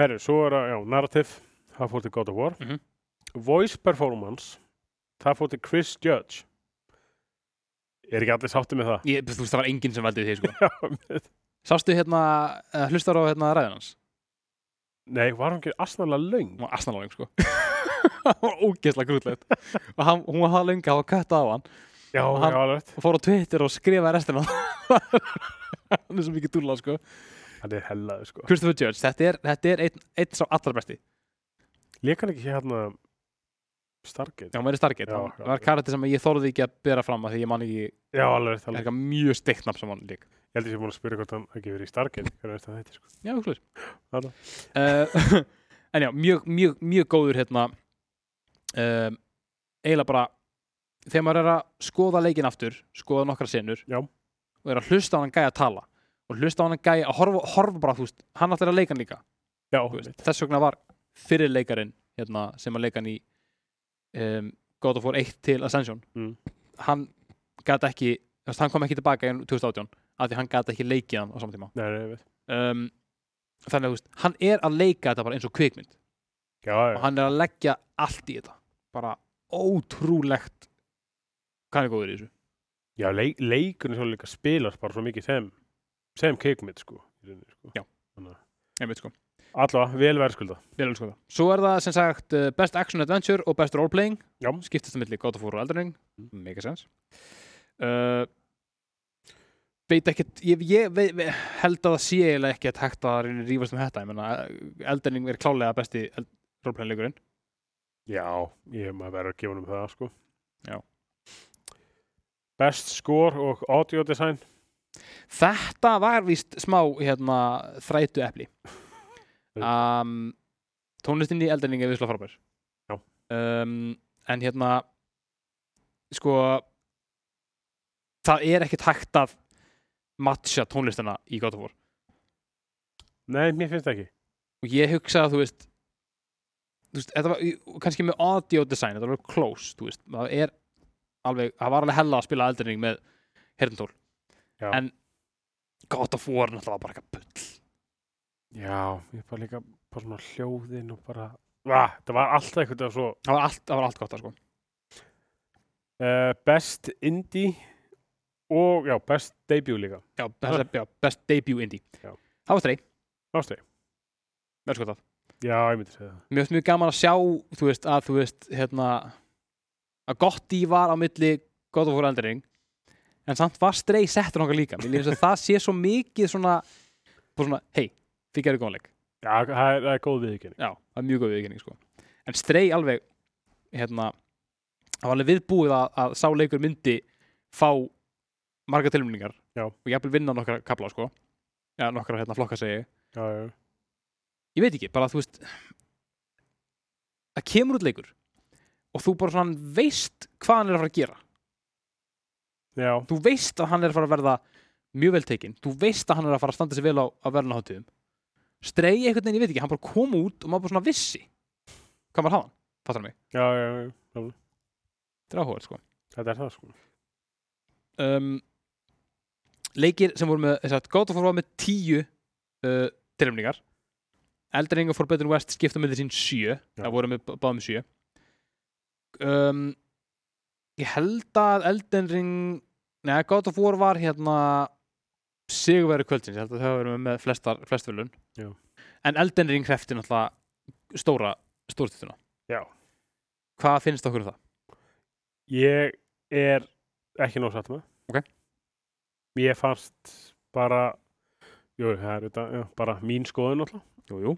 Speaker 1: herru, svo er að, já, narrativ það fór til God of War
Speaker 2: Mhm.
Speaker 1: voice performance það fór til Chris Judge er ekki allir sátti með það
Speaker 2: ég, þú veist, það var enginn sem veldið því sko
Speaker 1: já, með-
Speaker 2: sástu hérna, eh, hlustar á hérna ræðin hans
Speaker 1: nei, var hann ekki asnalega löng
Speaker 2: hún var asnaláðing sko hún var ógeðslega grútlegt og hann, hún var það lönga og kött á hann
Speaker 1: já,
Speaker 2: Hann-
Speaker 1: já, alveg rétt.
Speaker 2: og fór á Twitter og skrifaði restina hann er svo mikið dúlla sko
Speaker 1: hann er hellaði sko
Speaker 2: Christopher Judge, þetta er, þetta er einn, einn sá allra besti
Speaker 1: Lekan ekki hérna Stargate?
Speaker 2: Já, hún verið Stargate,
Speaker 1: Já,
Speaker 2: já,
Speaker 1: já,
Speaker 2: það var
Speaker 1: já.
Speaker 2: karakter sem ég þorði ekki að bera fram að því ég man ekki,
Speaker 1: Já, alveg rétt,
Speaker 2: það er
Speaker 1: alveg.
Speaker 2: eitthvað mjög steikt nafn sem hann lík
Speaker 1: Ég held að ég sé búin að spyrja hvort hann ekki verið í Stargate. Hvernig veist það þetta, sko?
Speaker 2: Já, okkur
Speaker 1: Þarna.
Speaker 2: uh, En já, mjög, mjög, mjög góður hérna um, eiginlega bara þegar maður er að skoða leikinn aftur skoða nokkra senur
Speaker 1: Já.
Speaker 2: og er að hlusta á hann gæja að tala og hlusta á hann gæja að horfa, horfa bara, þú veist, hann allir að leika hann líka
Speaker 1: Já,
Speaker 2: Þú veist,
Speaker 1: einmitt.
Speaker 2: þess vegna var fyrir leikarin hérna, sem að leika hann í um, God of War 1 til Ascension
Speaker 1: Mm.
Speaker 2: hann gæti ekki þú veist, hann kom ekki tilbaka í 2018 af því hann gæti ekki leikið hann á saman tíma
Speaker 1: Nei, nei, ég veit.
Speaker 2: um, þannig að þú veist, hann er að leika þetta bara eins og kvikmynd
Speaker 1: Já,
Speaker 2: og
Speaker 1: já,
Speaker 2: hann er að leggja allt í þetta bara ótrúlegt hvað hann er góður í þessu
Speaker 1: já leik, leikunni svo líka spilast bara svo mikið sem, sem keikmynd, sko. í rauninni, sko.
Speaker 2: Já. einmitt sko,
Speaker 1: Alla, vel verðskulda.
Speaker 2: vel sko. elsku það svo er það sem sagt eh, Best Action Adventure og Best Roleplaying
Speaker 1: Já.
Speaker 2: skiptist á milli God of War og Elden Ring
Speaker 1: Mm.
Speaker 2: mega sens uh, veit ekkert ég, ég vei, vei, held að það sé eiginlega ekkert hægt að reyna að rífast um þetta ég menna Elden Ring er klálega besti roleplaying leikurinn
Speaker 1: Já, ég hef maður verið að gefa um það, sko.
Speaker 2: Já.
Speaker 1: Best score og audio design.
Speaker 2: þetta var víst smá hérna þrætu epli um, tónlistin í Elden Ring er visslega frábær
Speaker 1: Já.
Speaker 2: um, en hérna sko það er ekkert hægt að matcha tónlistina í God of War
Speaker 1: Nei, mér finnst það ekki.
Speaker 2: og ég hugsa að þú veist þú veist, þetta var og kannski með audio design, þetta var alveg close þú veist, það er alveg það var alveg hella að spila eldurning með herntól,
Speaker 1: Já.
Speaker 2: en God of War náttúrulega var bara eitthvað bull
Speaker 1: Já, ég bara líka bara svona hljóðin og bara ah, Það var alltaf einhvern veginn svo
Speaker 2: það var allt, það var allt gott það sko
Speaker 1: uh, Best Indie og já, Best Debut líka
Speaker 2: já, best, já, best debut indie
Speaker 1: Já.
Speaker 2: það var þrei,
Speaker 1: Ástæði,
Speaker 2: vel sko það
Speaker 1: já, ég myndi segja það
Speaker 2: mér finnst mjög gaman að sjá þú veist, að þú veist hérna, að gott í var á milli God of War Eldering en samt var strey settur nokkar líka mér finnst að það sé svo mikið svona, bara svona hei, þið gerir góðanleik
Speaker 1: Já, það er, það er góð viðkynning
Speaker 2: já, það er mjög góð viðkynning sko. en strey alveg hérna, það var alveg viðbúið að, að sá leikur myndi fá marga tilmyndingar
Speaker 1: Já.
Speaker 2: og jafnvel vinna nokkra kapla sko. ja, nokkra hérna, flokka segi
Speaker 1: Já, já,
Speaker 2: ég veit ekki, bara þú veist það kemur út leikur og þú bara svona veist hvað hann er að fara að gera
Speaker 1: já,
Speaker 2: þú veist að hann er að fara að verða mjög vel tekinn, þú veist að hann er að fara að standa sig vel á, á verðunaháttuðum stregi einhvern veginn, ég veit ekki, hann bara kom út og maður bara svona vissi hvað maður hafa hann, fattar mig,
Speaker 1: já, já, já.
Speaker 2: þetta er áhugað sko
Speaker 1: Þetta er það sko
Speaker 2: um, leikir sem voru með sem sagt, God of War var með tíu uh, tilnæmningar Eldring og Forbidden West skipta með sín sjö
Speaker 1: Já.
Speaker 2: það voru með báð með sjö um, ég held að Elden Ring neða God of War var hérna sigurveri kvöldsins, ég held að þau verið með flestar, flest völun
Speaker 1: Já.
Speaker 2: en Elden Ring hrefti náttúrulega stóra stórtituna
Speaker 1: Já.
Speaker 2: hvað finnst okkur um það?
Speaker 1: Ég er ekki nóg satt með
Speaker 2: Ok.
Speaker 1: Mér fannst bara Jú, það er þetta, já, bara mín skoðun alltaf
Speaker 2: Jú, jú.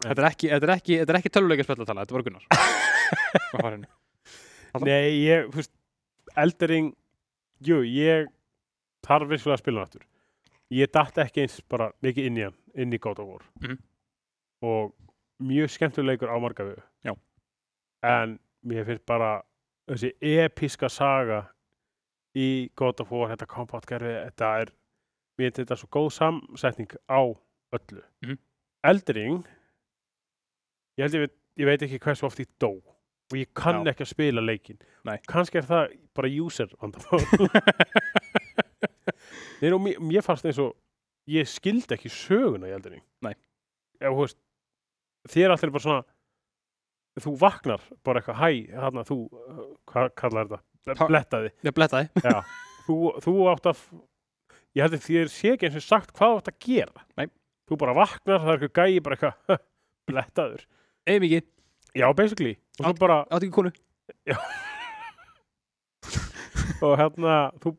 Speaker 2: Þetta er ekki, þetta er ekki, þetta er ekki töluleika spjallatala, þetta var Gunnar. Hvað var hérna? henni? Alltaf?
Speaker 1: Nei, ég, þú veist, eldering, jú, ég þarf vissulega að spila hann aftur. Ég datt ekki eins bara mikið inn í hann, inn í God of War.
Speaker 2: Mhm.
Speaker 1: Og mjög skemmtuleikur á marga við.
Speaker 2: Já.
Speaker 1: En mér finnst bara þessi episka saga í God of War, þetta kompáttgerfi, þetta er, mér finnst þetta svo góð samsetning á öllu.
Speaker 2: Mhm.
Speaker 1: Eldering, ég held ég veit, ég veit ekki hversu oft ég dó og ég kann
Speaker 2: Já.
Speaker 1: ekki að spila leikin
Speaker 2: Nei.
Speaker 1: kannski er það bara user vandamál Nei, og mér, mér fannst eins og ég skildi ekki söguna í eldinni
Speaker 2: Nei.
Speaker 1: Ef, þú veist, þér allir bara svona þú vaknar bara eitthvað hæ, hana, þú, uh, hvað kallar þetta
Speaker 2: Pa-
Speaker 1: blettaði,
Speaker 2: Ég blettaði.
Speaker 1: þú, þú átt að ég held að þér sé ekki eins og sagt hvað þú átt að gera
Speaker 2: Nei.
Speaker 1: þú bara vaknar, það er eitthvað gæi bara eitthvað blettaður,
Speaker 2: Eða mikið,
Speaker 1: já basically og svo bara
Speaker 2: átt ekki konu.
Speaker 1: og hérna, þú,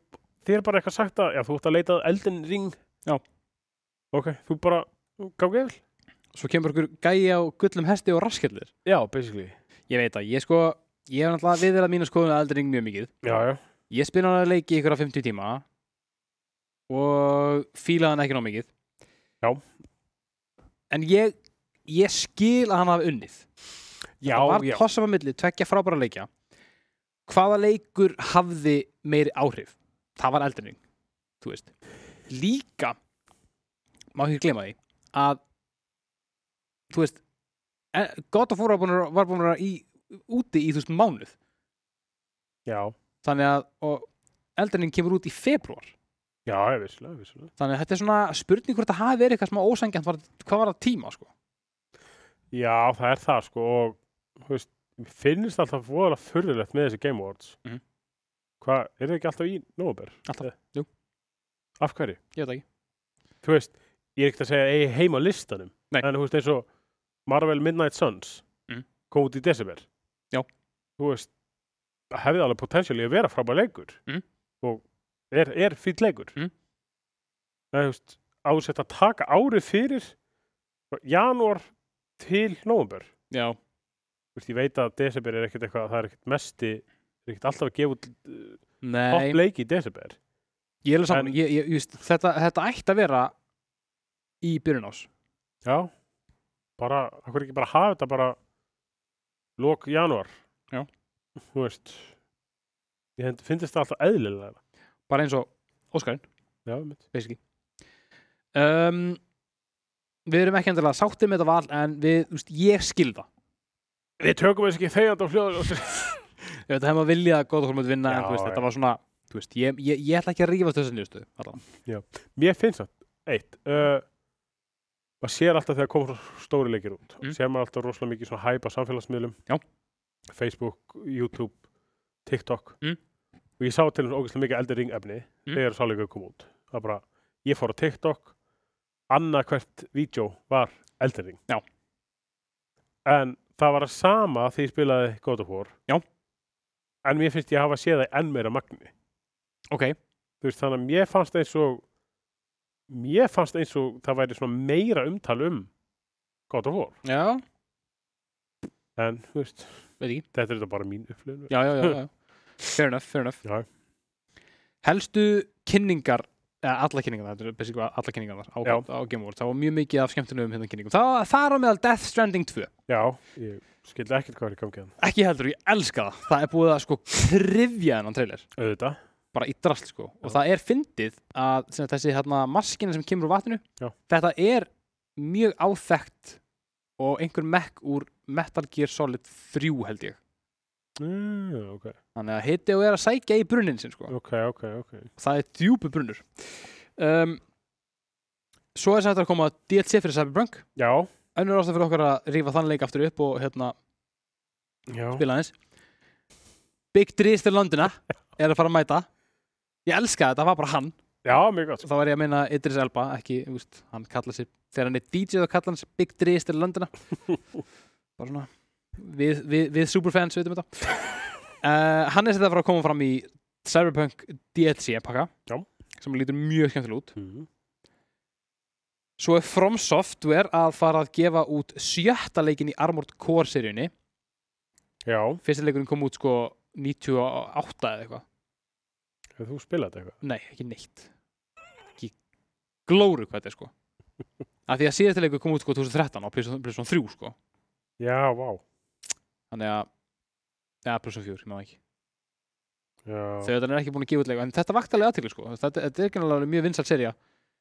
Speaker 1: þér er bara eitthvað sagt að já, þú ert að leita að eldin ring
Speaker 2: Já.
Speaker 1: ok, þú bara gangi yfir
Speaker 2: Svo kemur okkur gæi á gullum hesti og raskellir.
Speaker 1: já, basically
Speaker 2: Ég veit að ég sko, ég hef náttúrulega viðverið að mínu skoðuna eldring mjög mikið.
Speaker 1: já, já,
Speaker 2: Ég spila hann að leiki ykkur á 50 tíma og fíla hann ekki ná mikið.
Speaker 1: Já.
Speaker 2: En ég, ég skil að hann hafi unnið.
Speaker 1: já,
Speaker 2: það var
Speaker 1: já.
Speaker 2: tossum á milli, tvekja frábæra leikja hvaða leikur hafði meiri áhrif? Það var eldurning þú veist líka, má ekki glema því að þú veist, en- God of War var búin að, var búin að vera í, úti í þú veist mánuð,
Speaker 1: já,
Speaker 2: þannig að og eldurning kemur út í februar
Speaker 1: já, ég visslega, visslega
Speaker 2: þannig að þetta er svona spurning hvort það hafi verið eitthvað smá ósangjönd, hvað var það tíma sko?
Speaker 1: já, það er það sko og, þú veist, mér finnst alltaf voðalega furðulegt með þessi Game Awards
Speaker 2: Mhm.
Speaker 1: hvað, er það ekki alltaf í nóver?
Speaker 2: Alltaf, jú.
Speaker 1: af hverju?
Speaker 2: ég veit það ekki,
Speaker 1: þú veist, ég er ekkert að segja eigi heima listanum
Speaker 2: Nei.
Speaker 1: en þú veist eins og Marvel Midnight Suns
Speaker 2: Mhm.
Speaker 1: kom út í desember
Speaker 2: Já.
Speaker 1: þú veist, það hefði alveg potensiali að vera frábær leikur
Speaker 2: Mhm.
Speaker 1: og er, er fýll leikur
Speaker 2: Mhm.
Speaker 1: en þú veist, ásett að taka árið fyrir frá janúar til nóvember
Speaker 2: já,
Speaker 1: þú veist, ég veit að desember er ekkert eitthvað það er ekkert mesti, það er ekkert alltaf að gefa út
Speaker 2: nei
Speaker 1: topp leiki í desember
Speaker 2: Ég er alveg saman,
Speaker 1: En-
Speaker 2: ég, ég, just, þetta, þetta ætti að vera í byrjun ás
Speaker 1: Já, bara, það hverju ekki bara hafa þetta bara lok janúar
Speaker 2: Já.
Speaker 1: Þú veist Ég hend- finnst þetta alltaf eðlilega
Speaker 2: bara eins og Óskarinn
Speaker 1: já, mitt.
Speaker 2: basically um, við erum ekki endilega sáttir með þetta val en við, þú veist, ég skil það
Speaker 1: Við tökum þess ekki þegjand á hljóðaljósi.
Speaker 2: ég veit að hefum að vilja að góða hólmöld vinna en
Speaker 1: Já,
Speaker 2: þú veist,
Speaker 1: já.
Speaker 2: þetta var svona þú veist, ég, ég, ég ætla ekki að rífast þessan nýðustu
Speaker 1: Mér finnst það, eitt, uh, maður sér alltaf þegar koma svona stóri leikir út.
Speaker 2: Mm.
Speaker 1: Sér maður alltaf rosalega mikið svona hæpa samfélagsmiðlum.
Speaker 2: Já.
Speaker 1: Facebook, YouTube, TikTok.
Speaker 2: Mm.
Speaker 1: Og ég sá til þess ógeðslega mikið eldir ring efni
Speaker 2: Mm.
Speaker 1: þegar sáleikur kom út. Það er bara, ég fór á TikTok, annað hvert vídeo var eldir ring.
Speaker 2: Já.
Speaker 1: En það var að sama því ég spilaði God of War.
Speaker 2: Já.
Speaker 1: En mér finnst ég hafa séð það í enn meira magni
Speaker 2: ok,
Speaker 1: þú veist, þannig að mér fannst eins og mér fannst eins og það væri svona meira umtal um God of War
Speaker 2: já,
Speaker 1: en, þú veist,
Speaker 2: veit ekki
Speaker 1: þetta er þetta bara mín upplifun
Speaker 2: já, já, já, já. fair enough, fair enough
Speaker 1: Já.
Speaker 2: helstu kynningar eða alla kynningar, þetta er basically alla kynningar á,
Speaker 1: Já.
Speaker 2: á Game Awards, það var mjög mikið af skemmtunum hérna kynningum, það, það er á meðal Death Stranding 2
Speaker 1: já, ég skildi ekkert hvað er í gangi hérna. hann
Speaker 2: ekki heldur, ég elska það það er búið að sko krifja þennan trailer
Speaker 1: auðvitað,
Speaker 2: bara í drast sko og það er fyndið að sem sagt, þessi hérna, maskina sem kemur úr vatninu
Speaker 1: Já.
Speaker 2: þetta er mjög áþekkt og einhver mekk úr Metal Gear Solid 3 held ég
Speaker 1: mm, ok,
Speaker 2: þannig að hiti og er að sækja í brunnin sinn sko
Speaker 1: ok, ok, ok
Speaker 2: það er djúpu brunnur um, svo er þetta að koma DLC fyrir Cyberpunk
Speaker 1: já,
Speaker 2: önnur ástæð fyrir okkar að rífa þann leik aftur upp og hérna
Speaker 1: já,
Speaker 2: spila aðeins Big Dries til Londona er að fara að mæta ég elska þetta, það var bara hann
Speaker 1: já, mjög gott
Speaker 2: þá var ég að meina Idris Elba ekki, þú veist, hann kalla sér þegar hann er DJ þá kalla hann sér Big Dries til Londona bara svona við, við, við superfans veitum þetta uh, hann er þetta að fara að koma fram í Cyberpunk DLC pakka
Speaker 1: Já.
Speaker 2: sem lítur mjög skemmtilega út
Speaker 1: mm.
Speaker 2: Svo er From Software að fara að gefa út sjötta leikin í Armored Core seríunni.
Speaker 1: já,
Speaker 2: Fyrsta leikurinn kom út sko 98 eða eitthvað.
Speaker 1: hefur þú spilað þetta eitthvað?
Speaker 2: Nei, ekki neitt. Ekki glóru hvað þetta er sko. Af því að síðasta leikur kom út sko 2013 á PlayStation PlayStation 3 sko.
Speaker 1: já, vá,
Speaker 2: Þannig að, eða PlayStation 4, ég maður ekki.
Speaker 1: já,
Speaker 2: Þegar þetta er ekki búin að gefa út leikur. En þetta vakti alveg aðtekli sko. Þetta, þetta er ekki alveg mjög vinsal seria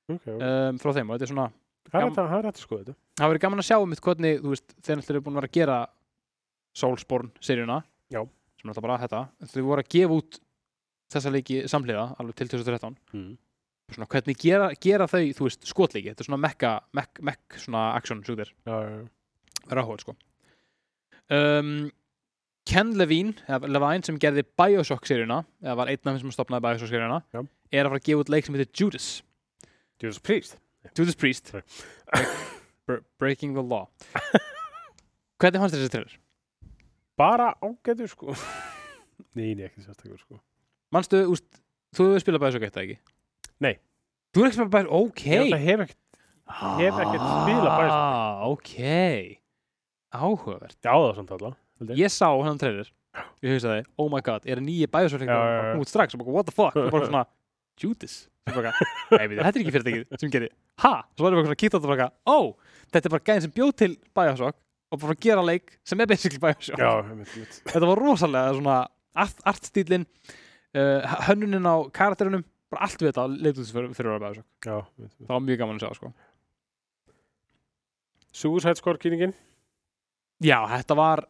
Speaker 1: ok, ok
Speaker 2: um, frá þeim og þetta er svona
Speaker 1: það er
Speaker 2: já.
Speaker 1: hægt að- það er hægt að skoða þetta
Speaker 2: það verið gaman að sjá um mitt hvernig þú veist, þeir náttúrulega eru búin að vera að gera Soulsborne seríuna
Speaker 1: Já.
Speaker 2: sem er alltaf bara þetta þau voru að gefa út þessa leiki samhliða alveg til 2013
Speaker 1: mm.
Speaker 2: svona, hvernig gera, gera þau, þú veist, skotleiki þetta er svona mekka, mekk, mekk svona action sjúktir,
Speaker 1: já, já, já,
Speaker 2: er áhugað sko um, Ken Levine eða Levine sem gerði Bioshock seríuna eða var einn af þeim sem stopnaði Bioshock seríuna
Speaker 1: Já.
Speaker 2: er að fara að gefa út leik sem heitir Judas
Speaker 1: Jesus Priest
Speaker 2: Judas Priest
Speaker 1: Sorry.
Speaker 2: Bre- Breaking the Law hvernig fannst þér þessi trailer?
Speaker 1: bara ágætur sko nei, nei, ekki sérstakur sko
Speaker 2: Manstu, úst, þú hefur spilað Bioshock 1 eða ekki?
Speaker 1: Nei.
Speaker 2: Þú hefur ekki spilað Bioshock, ok
Speaker 1: ég held að hef ekki, ég hef ekkert spilað Bioshock.
Speaker 2: Ah, Ok Áhugavert
Speaker 1: já, það samt alla Nei.
Speaker 2: Ég sá hann trailer Ég hugsaði, oh my god, er nýji Bioshock
Speaker 1: Já, já, já.
Speaker 2: leikur út strax og bara, what the fuck og bara svona, Judas Svo bara, Nei, við, þetta er ekki fyrirtækið sem gerir Ha, svo var ég bara svona kýtt á þetta og bara, ó Þetta er bara gæðin sem bjóð til Bioshock og bara að gera leik sem er basically Bioshock
Speaker 1: já, einmitt, einmitt
Speaker 2: þetta var rosalega svona art, artstílin uh, hönnunin á karakterunum bara allt við þetta leitt út fyrir, fyrir að bæða svo
Speaker 1: Já, veit, veit.
Speaker 2: það var mjög gaman að sjá sko
Speaker 1: Suicide Squad kýningin?
Speaker 2: já, þetta var,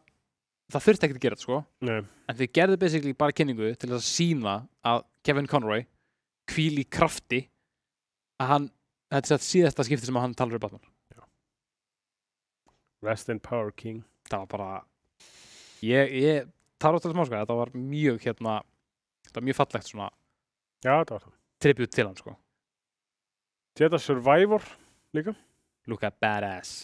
Speaker 2: það þurfti ekkert að gera þetta sko
Speaker 1: Nei,
Speaker 2: en þau gerðu basically bara kynningu til þess að sína að Kevin Conroy kvíl í krafti að hann, þetta er satt síðasta skipti sem að hann talar um Batman
Speaker 1: Rest in Power King
Speaker 2: það var bara ég, ég tar átt að smá sko, þetta var mjög hérna, þetta var mjög fallegt svona
Speaker 1: Já, það var það
Speaker 2: tribut til hann sko
Speaker 1: Jedi Survivor
Speaker 2: lukka badass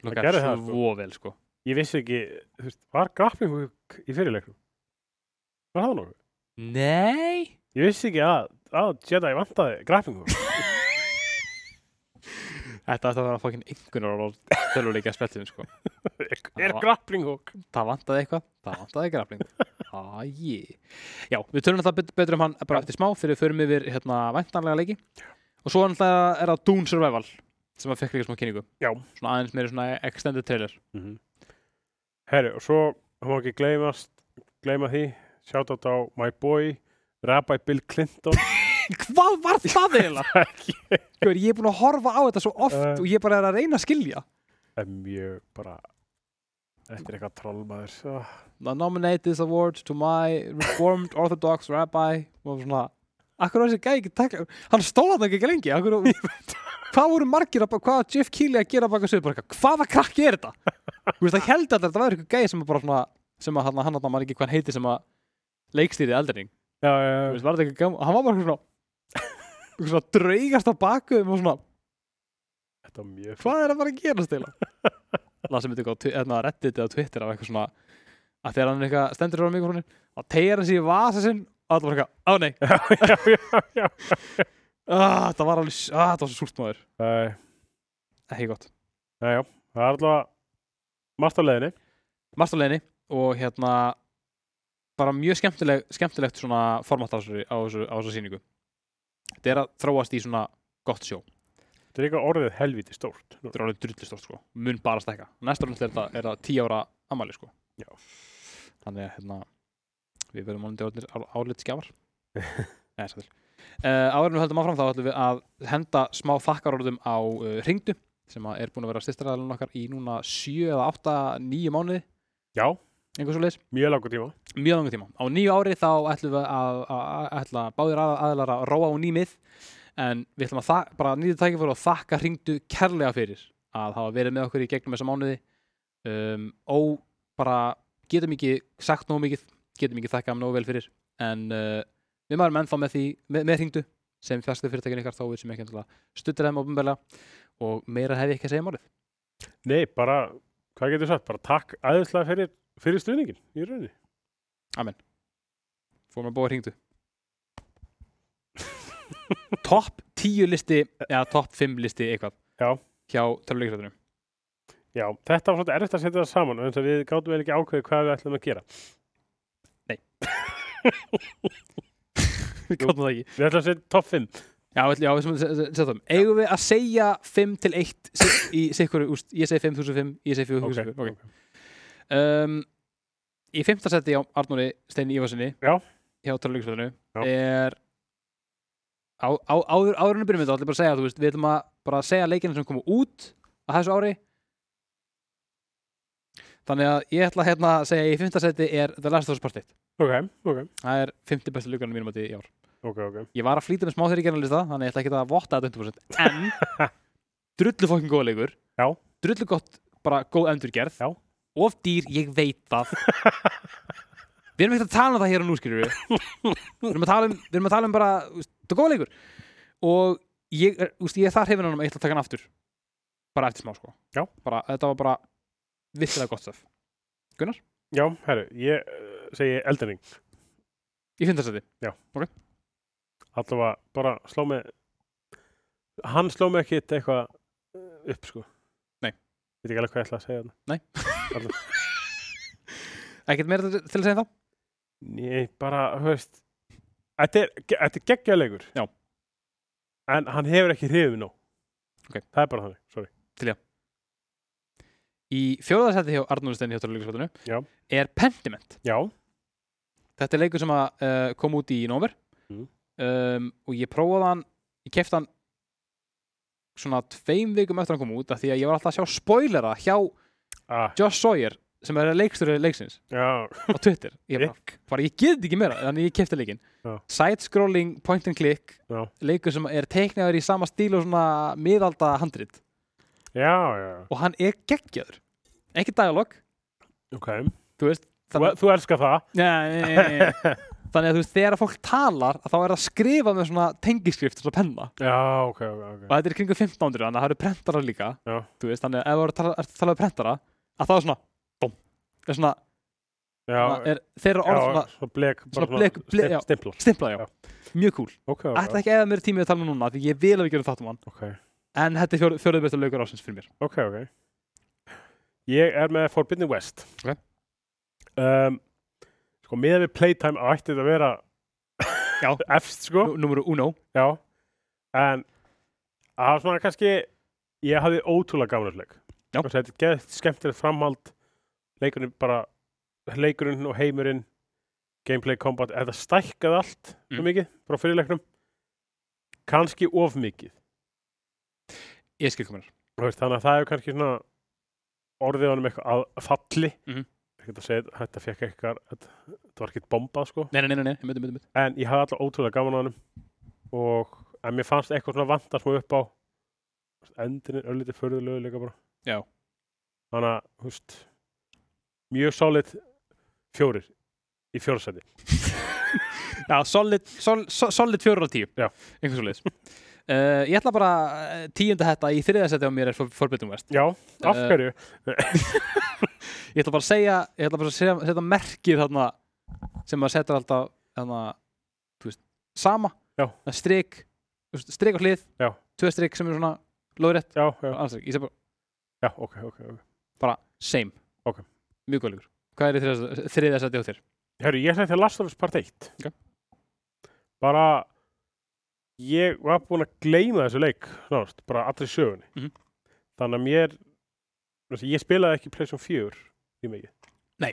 Speaker 1: Það
Speaker 2: lukka
Speaker 1: gerði það, sko.
Speaker 2: svo vel sko
Speaker 1: Ég vissi ekki, þú veist, var grappling hook í fyrirleiknum? Var það nokkuð?
Speaker 2: nei
Speaker 1: Ég vissi ekki að, að Jedi vantaði grappling hook
Speaker 2: þetta ætti að vera fokkin einhvernar og tölvuleika spjallum sko
Speaker 1: Er,
Speaker 2: Það
Speaker 1: er
Speaker 2: var-
Speaker 1: grappling hook?
Speaker 2: það vantaði eitthvað, það vantaði grafling aji já, við tölum það bet- betur um hann bara
Speaker 1: Já.
Speaker 2: eftir smá fyrir við förum yfir hérna væntanlega leiki og svo er það, er það Dune Survival sem að fekk líka smá kynningu
Speaker 1: Já.
Speaker 2: svona aðeins meiri svona extended trailer
Speaker 1: Mm -hmm. Herri, og svo, það má ekki gleymast gleyma því, shoutout á my boy Rabbi Bill Clinton
Speaker 2: Hvað var það eiginlega? Gauður, ég er búin að horfa á þetta svo oft
Speaker 1: Eh.
Speaker 2: og ég bara er að reyna að skilja
Speaker 1: er mjög bara Þetta er eitthvað trollmaður Ah,
Speaker 2: I nominate this award to my reformed orthodox rabbi og svona Akkur var þessi gæði ekki takla Hann stóla það ekki lengi akkur, Hvað voru margir að Hvað var Jeff Keighley að gera baka sögur bara, eitthvað, Hvaða krakki er þetta? Þú veist það held að þetta var eitthvað gæði sem að bara svona sem að hann hann hann man ekki hvað hann heiti sem að leikstýrið eldering
Speaker 1: Já, já, já.
Speaker 2: Hann var bara eitthvað svona eitthvað svona draugast á baku og svona
Speaker 1: Þetta er mjög
Speaker 2: hvað er að fara að gera stila lasum þetta eitthvað á Twi- hérna, reddit eða twitter af eitthvað svona að þegar hann eitthvað stendur á mikrofónin þá tegir hann sér í vasa sinn og alltaf bara eitthvað, á nei
Speaker 1: já, já, já, já.
Speaker 2: ah, það var alveg, s- ah, það var svo súrt maður
Speaker 1: Æ,
Speaker 2: ekki gott,
Speaker 1: já, já, það er allavega margt á leiðinni
Speaker 2: margt á leiðinni og hérna bara mjög skemmtileg, skemmtilegt svona format á þessu, á þessu, á þessu sýningu þetta er að þróast í svona gott sjó
Speaker 1: Þetta er eitthvað orðið helviti stórt Nú,
Speaker 2: þetta er alveg drullistort sko, mun bara stækka næsta rund er það, er það 10 ára amali sko
Speaker 1: Já.
Speaker 2: þannig að hérna við verðum vonandi orðnir á- álit skjafar Nei, sæll. uh, áður en við höldum áfram þá ætlum við að henda smá þakkarorðum á uh, ringdu sem að er búin að vera styrstaræðan okkar í núna 7 eða 8, 9 mánuði
Speaker 1: Já,
Speaker 2: einhvers og leis,
Speaker 1: mjög langur tíma
Speaker 2: mjög langan tíma á nýju ári þá ætlum við að, að, að ætla báðir að, aðlar að róa á nýmið en við ætlum að þak, bara nýðu tækifæri og þakka hringdu kærlega fyrir að hafa verið með okkur í gegnum þessa mánuði um, og bara getum ekki sagt nógu mikið getum ekki þakkað hann nógu vel fyrir en uh, við maður ennþá með því með, með hringdu sem fjastu fyrirtækinu ykkar þá við sem ekki endilega stuttir þeim ofinbælega og meira hef ég ekki að segja um orðið
Speaker 1: Nei, bara, hvað getur sagt, bara takk aðeinslega fyrir, fyrir stuðningin í rauninni
Speaker 2: fórum að búa hringdu topp 10 listi eða topp 5 listi eitthvað
Speaker 1: Já.
Speaker 2: hjá töluleikrættinu
Speaker 1: Já, þetta var svolítið erfitt að setja það saman en við gátum vel ekki ákveðið hvað við ætlum að gera
Speaker 2: við gáttum það ekki
Speaker 1: Við ætlum að setja topp 5
Speaker 2: já, við ætlum- já, við sem se- se- setjum eigum við að segja 5 til 1 si- í sikkur úst ég segi 5005 ég segi 4005 okay. um, í 5. seti á Arnóri Steini Ívarsinni
Speaker 1: Já.
Speaker 2: hjá töluleikrættinu
Speaker 1: Já.
Speaker 2: er á, á, áður áður en við byrjum þetta ætlum ég bara að segja þú veist við ætlum að bara segja leikina sem komu út á þessu ári Þannig að ég ætla hérna að segja að í fimmta seti er The Last of Us Part 1.
Speaker 1: Ok, ok,
Speaker 2: Það er fimmti bestu lukanum mínum að því í ár.
Speaker 1: ok, ok
Speaker 2: Ég var að flýta með smá þegar ég gerði lista, þannig ég ætla ekki að votta þetta 100%. En, drullu fokkin góða leikur.
Speaker 1: Já.
Speaker 2: Drullu gott, bara góð endurgerð.
Speaker 1: Já.
Speaker 2: Of dýr, ég veit það. við erum ekkert að tala um það hér og nú, skiljur við. við, erum að tala um, við erum að tala um bara, þú veist, þetta er góða leikur. Og ég, er- þú veist, ég er þar hefinn hann um að ég ætla að taka hann aftur. Bara eftir smá, sko.
Speaker 1: Já.
Speaker 2: Bara, þetta var bara virkilega gott stöf.
Speaker 1: Já, herru, ég uh, segi eldurning
Speaker 2: Í fimmtarsæti.
Speaker 1: allavega bara sló mig hann sló mig ekki eitthvað uh, upp sko
Speaker 2: Nei.
Speaker 1: Ég veit ekki alveg hvað ég ætla að segja þarna.
Speaker 2: Ekkert meira til til að segja um það?
Speaker 1: Nei, bara, þú veist Þetta er, ge- þetta er geggjæðleikur
Speaker 2: Já.
Speaker 1: En hann hefur ekki hrifið nóg
Speaker 2: Ok.
Speaker 1: Það er bara þannig, sorry
Speaker 2: í fjóðarsætti hjá Arnóri Steini hjá
Speaker 1: Já.
Speaker 2: Töluleikarsvartinu er Pentiment.
Speaker 1: Já,
Speaker 2: Þetta er leikur sem að uh, kom út í nóver
Speaker 1: Mm.
Speaker 2: um, og ég prófaði hann, ég kefti hann svona tveim vikum eftir að hann kom út af því að ég var alltaf að sjá spoilera hjá
Speaker 1: ah,
Speaker 2: Josh Sawyer sem er leikstur leiksins
Speaker 1: já,
Speaker 2: á Twitter. Ég bara, bara ég get ekki meira, þannig ég kefti leikin.
Speaker 1: Já.
Speaker 2: Side-scrolling, point and click,
Speaker 1: Já.
Speaker 2: leikur sem er teiknaður í sama stíl og svona miðalda handrit
Speaker 1: já, já
Speaker 2: og hann er geggjaður. Ekki dialog,
Speaker 1: Ok,
Speaker 2: þú veist,
Speaker 1: þú, þú elskar það
Speaker 2: Nei, nei, nei, nei. Þannig að þú veist, þegar fólk talar þá er það að skrifa með svona tengiskrift svona penna
Speaker 1: Já, ok, ok,
Speaker 2: og
Speaker 1: ok
Speaker 2: þetta er kringu 1500 þannig að það eru prentara líka
Speaker 1: Já.
Speaker 2: þú veist, þannig að ef þú ert að tala- ert að tala um prentara að það er svona bom, er svona,
Speaker 1: Já,
Speaker 2: svona er, þeirra
Speaker 1: já
Speaker 2: orð svona
Speaker 1: svona blek bara
Speaker 2: svona blek- ble-
Speaker 1: stim-
Speaker 2: já.
Speaker 1: Stimplar
Speaker 2: stimplað, já.
Speaker 1: Já.
Speaker 2: mjög cool
Speaker 1: Ok, ok,
Speaker 2: ætla ekki að eða mér tími að tala um núna því ég vil að við gerum þátt um hann
Speaker 1: ok,
Speaker 2: en þetta er fjör, fjörðu besta laukur ásins fyrir mér
Speaker 1: ok, ok Ég er með Forbidden West
Speaker 2: Ok.
Speaker 1: um, Sko, miðað við playtime ætti þetta að vera
Speaker 2: Já.
Speaker 1: Efst, sko
Speaker 2: Nú- númeru uno,
Speaker 1: Já, en það var svona kannski, ég hafði ótrúlega gaman þessu leik.
Speaker 2: Já.
Speaker 1: Þess að Þetta er geðt skemmtilegt framhald, leikurinn bara, leikurinn og heimurinn, gameplay, combat, þetta stækkað allt svo
Speaker 2: Mm.
Speaker 1: mikið frá fyrirleiknum kannski of mikið
Speaker 2: ég skil komur
Speaker 1: Þú veist, þannig að það hefur kannski svona orðið honum eitthvað að falli
Speaker 2: Mhm.
Speaker 1: ekki að segja, þetta fekk eitthvað þetta þetta var ekkert bombað sko
Speaker 2: nei, nei, nei, nei, nei, mjög, mjög, mjög
Speaker 1: en ég hafði alltaf ótrúlega gaman á hann og en mér fannst eitthvað svona vanta smá upp á endin er öllítið förðulegu líka bara
Speaker 2: Já.
Speaker 1: þannig að, húst mjög solid fjórir í fjórsæti
Speaker 2: já, solid, sol, sol, solid fjórar af tíu
Speaker 1: Já.
Speaker 2: einhvers svo leiðis ég ætla bara eh, tíunda þetta í þriðasæti á mér er For- Forbidden West
Speaker 1: já, af
Speaker 2: Eh,
Speaker 1: hverju
Speaker 2: ég ætla bara að segja ég ætla bara að segja, setja merkið þarna sem maður setur alltaf þarna, þú veist, sama
Speaker 1: Já.
Speaker 2: Það er strik, þú veist, strik á hlið
Speaker 1: Já.
Speaker 2: tvö strik sem er svona lóðrétt
Speaker 1: já, já,
Speaker 2: annars strik, ég seg bara,
Speaker 1: já, ok, ok, ok
Speaker 2: bara same
Speaker 1: Ok.
Speaker 2: mjög góðlegur hvað er í þriðja- þriðja sæti á þér?
Speaker 1: herru, ég sætti Last of Us part 1
Speaker 2: Ok.
Speaker 1: bara ég var búinn að gleyma þessu leik náðast, bara allri sögunni
Speaker 2: Mhm.
Speaker 1: þannig að mér þú veist, ég spilaði ekki Playstation 4 í mikið
Speaker 2: Nei.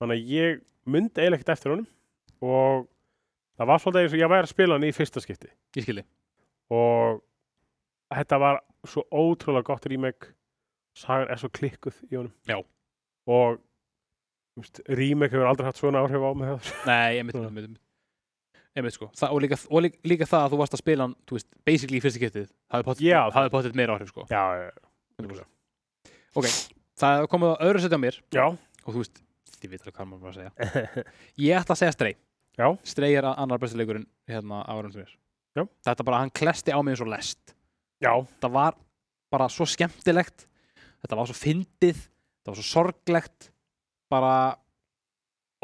Speaker 1: þannig að ég myndi eiginlega ekkert eftir honum og það var svolítið eins og ég væri að spila hann í fyrsta skipti
Speaker 2: ég skilji
Speaker 1: og þetta var svo ótrúlega gott remake sagan er svo klikkuð í honum
Speaker 2: Já.
Speaker 1: og þú veist, remake hefur aldrei haft svona áhrif á mig það
Speaker 2: Nei, ég mitt,
Speaker 1: Svona.
Speaker 2: ég mitt, ég mitt sko. Þa, og líka, og líka, líka það að þú varst að spila hann, þú veist, basically í fyrsta getið, hafði pottet,
Speaker 1: Já.
Speaker 2: hafði pottet meira áhrif sko.
Speaker 1: já, já, já.
Speaker 2: 100%. Ok, það er komið á öðru setja á mér
Speaker 1: Já,
Speaker 2: og þú veist, þið veit alveg hvað maður var að segja. Ég ætla að segja Stray.
Speaker 1: Já.
Speaker 2: Stray er a- annar besti leikurinn hérna á árum sem er.
Speaker 1: Já.
Speaker 2: Þetta bara, hann klesti á mig eins og lest.
Speaker 1: já,
Speaker 2: Þetta var bara svo skemmtilegt, þetta var svo fyndið, þetta var svo sorglegt, bara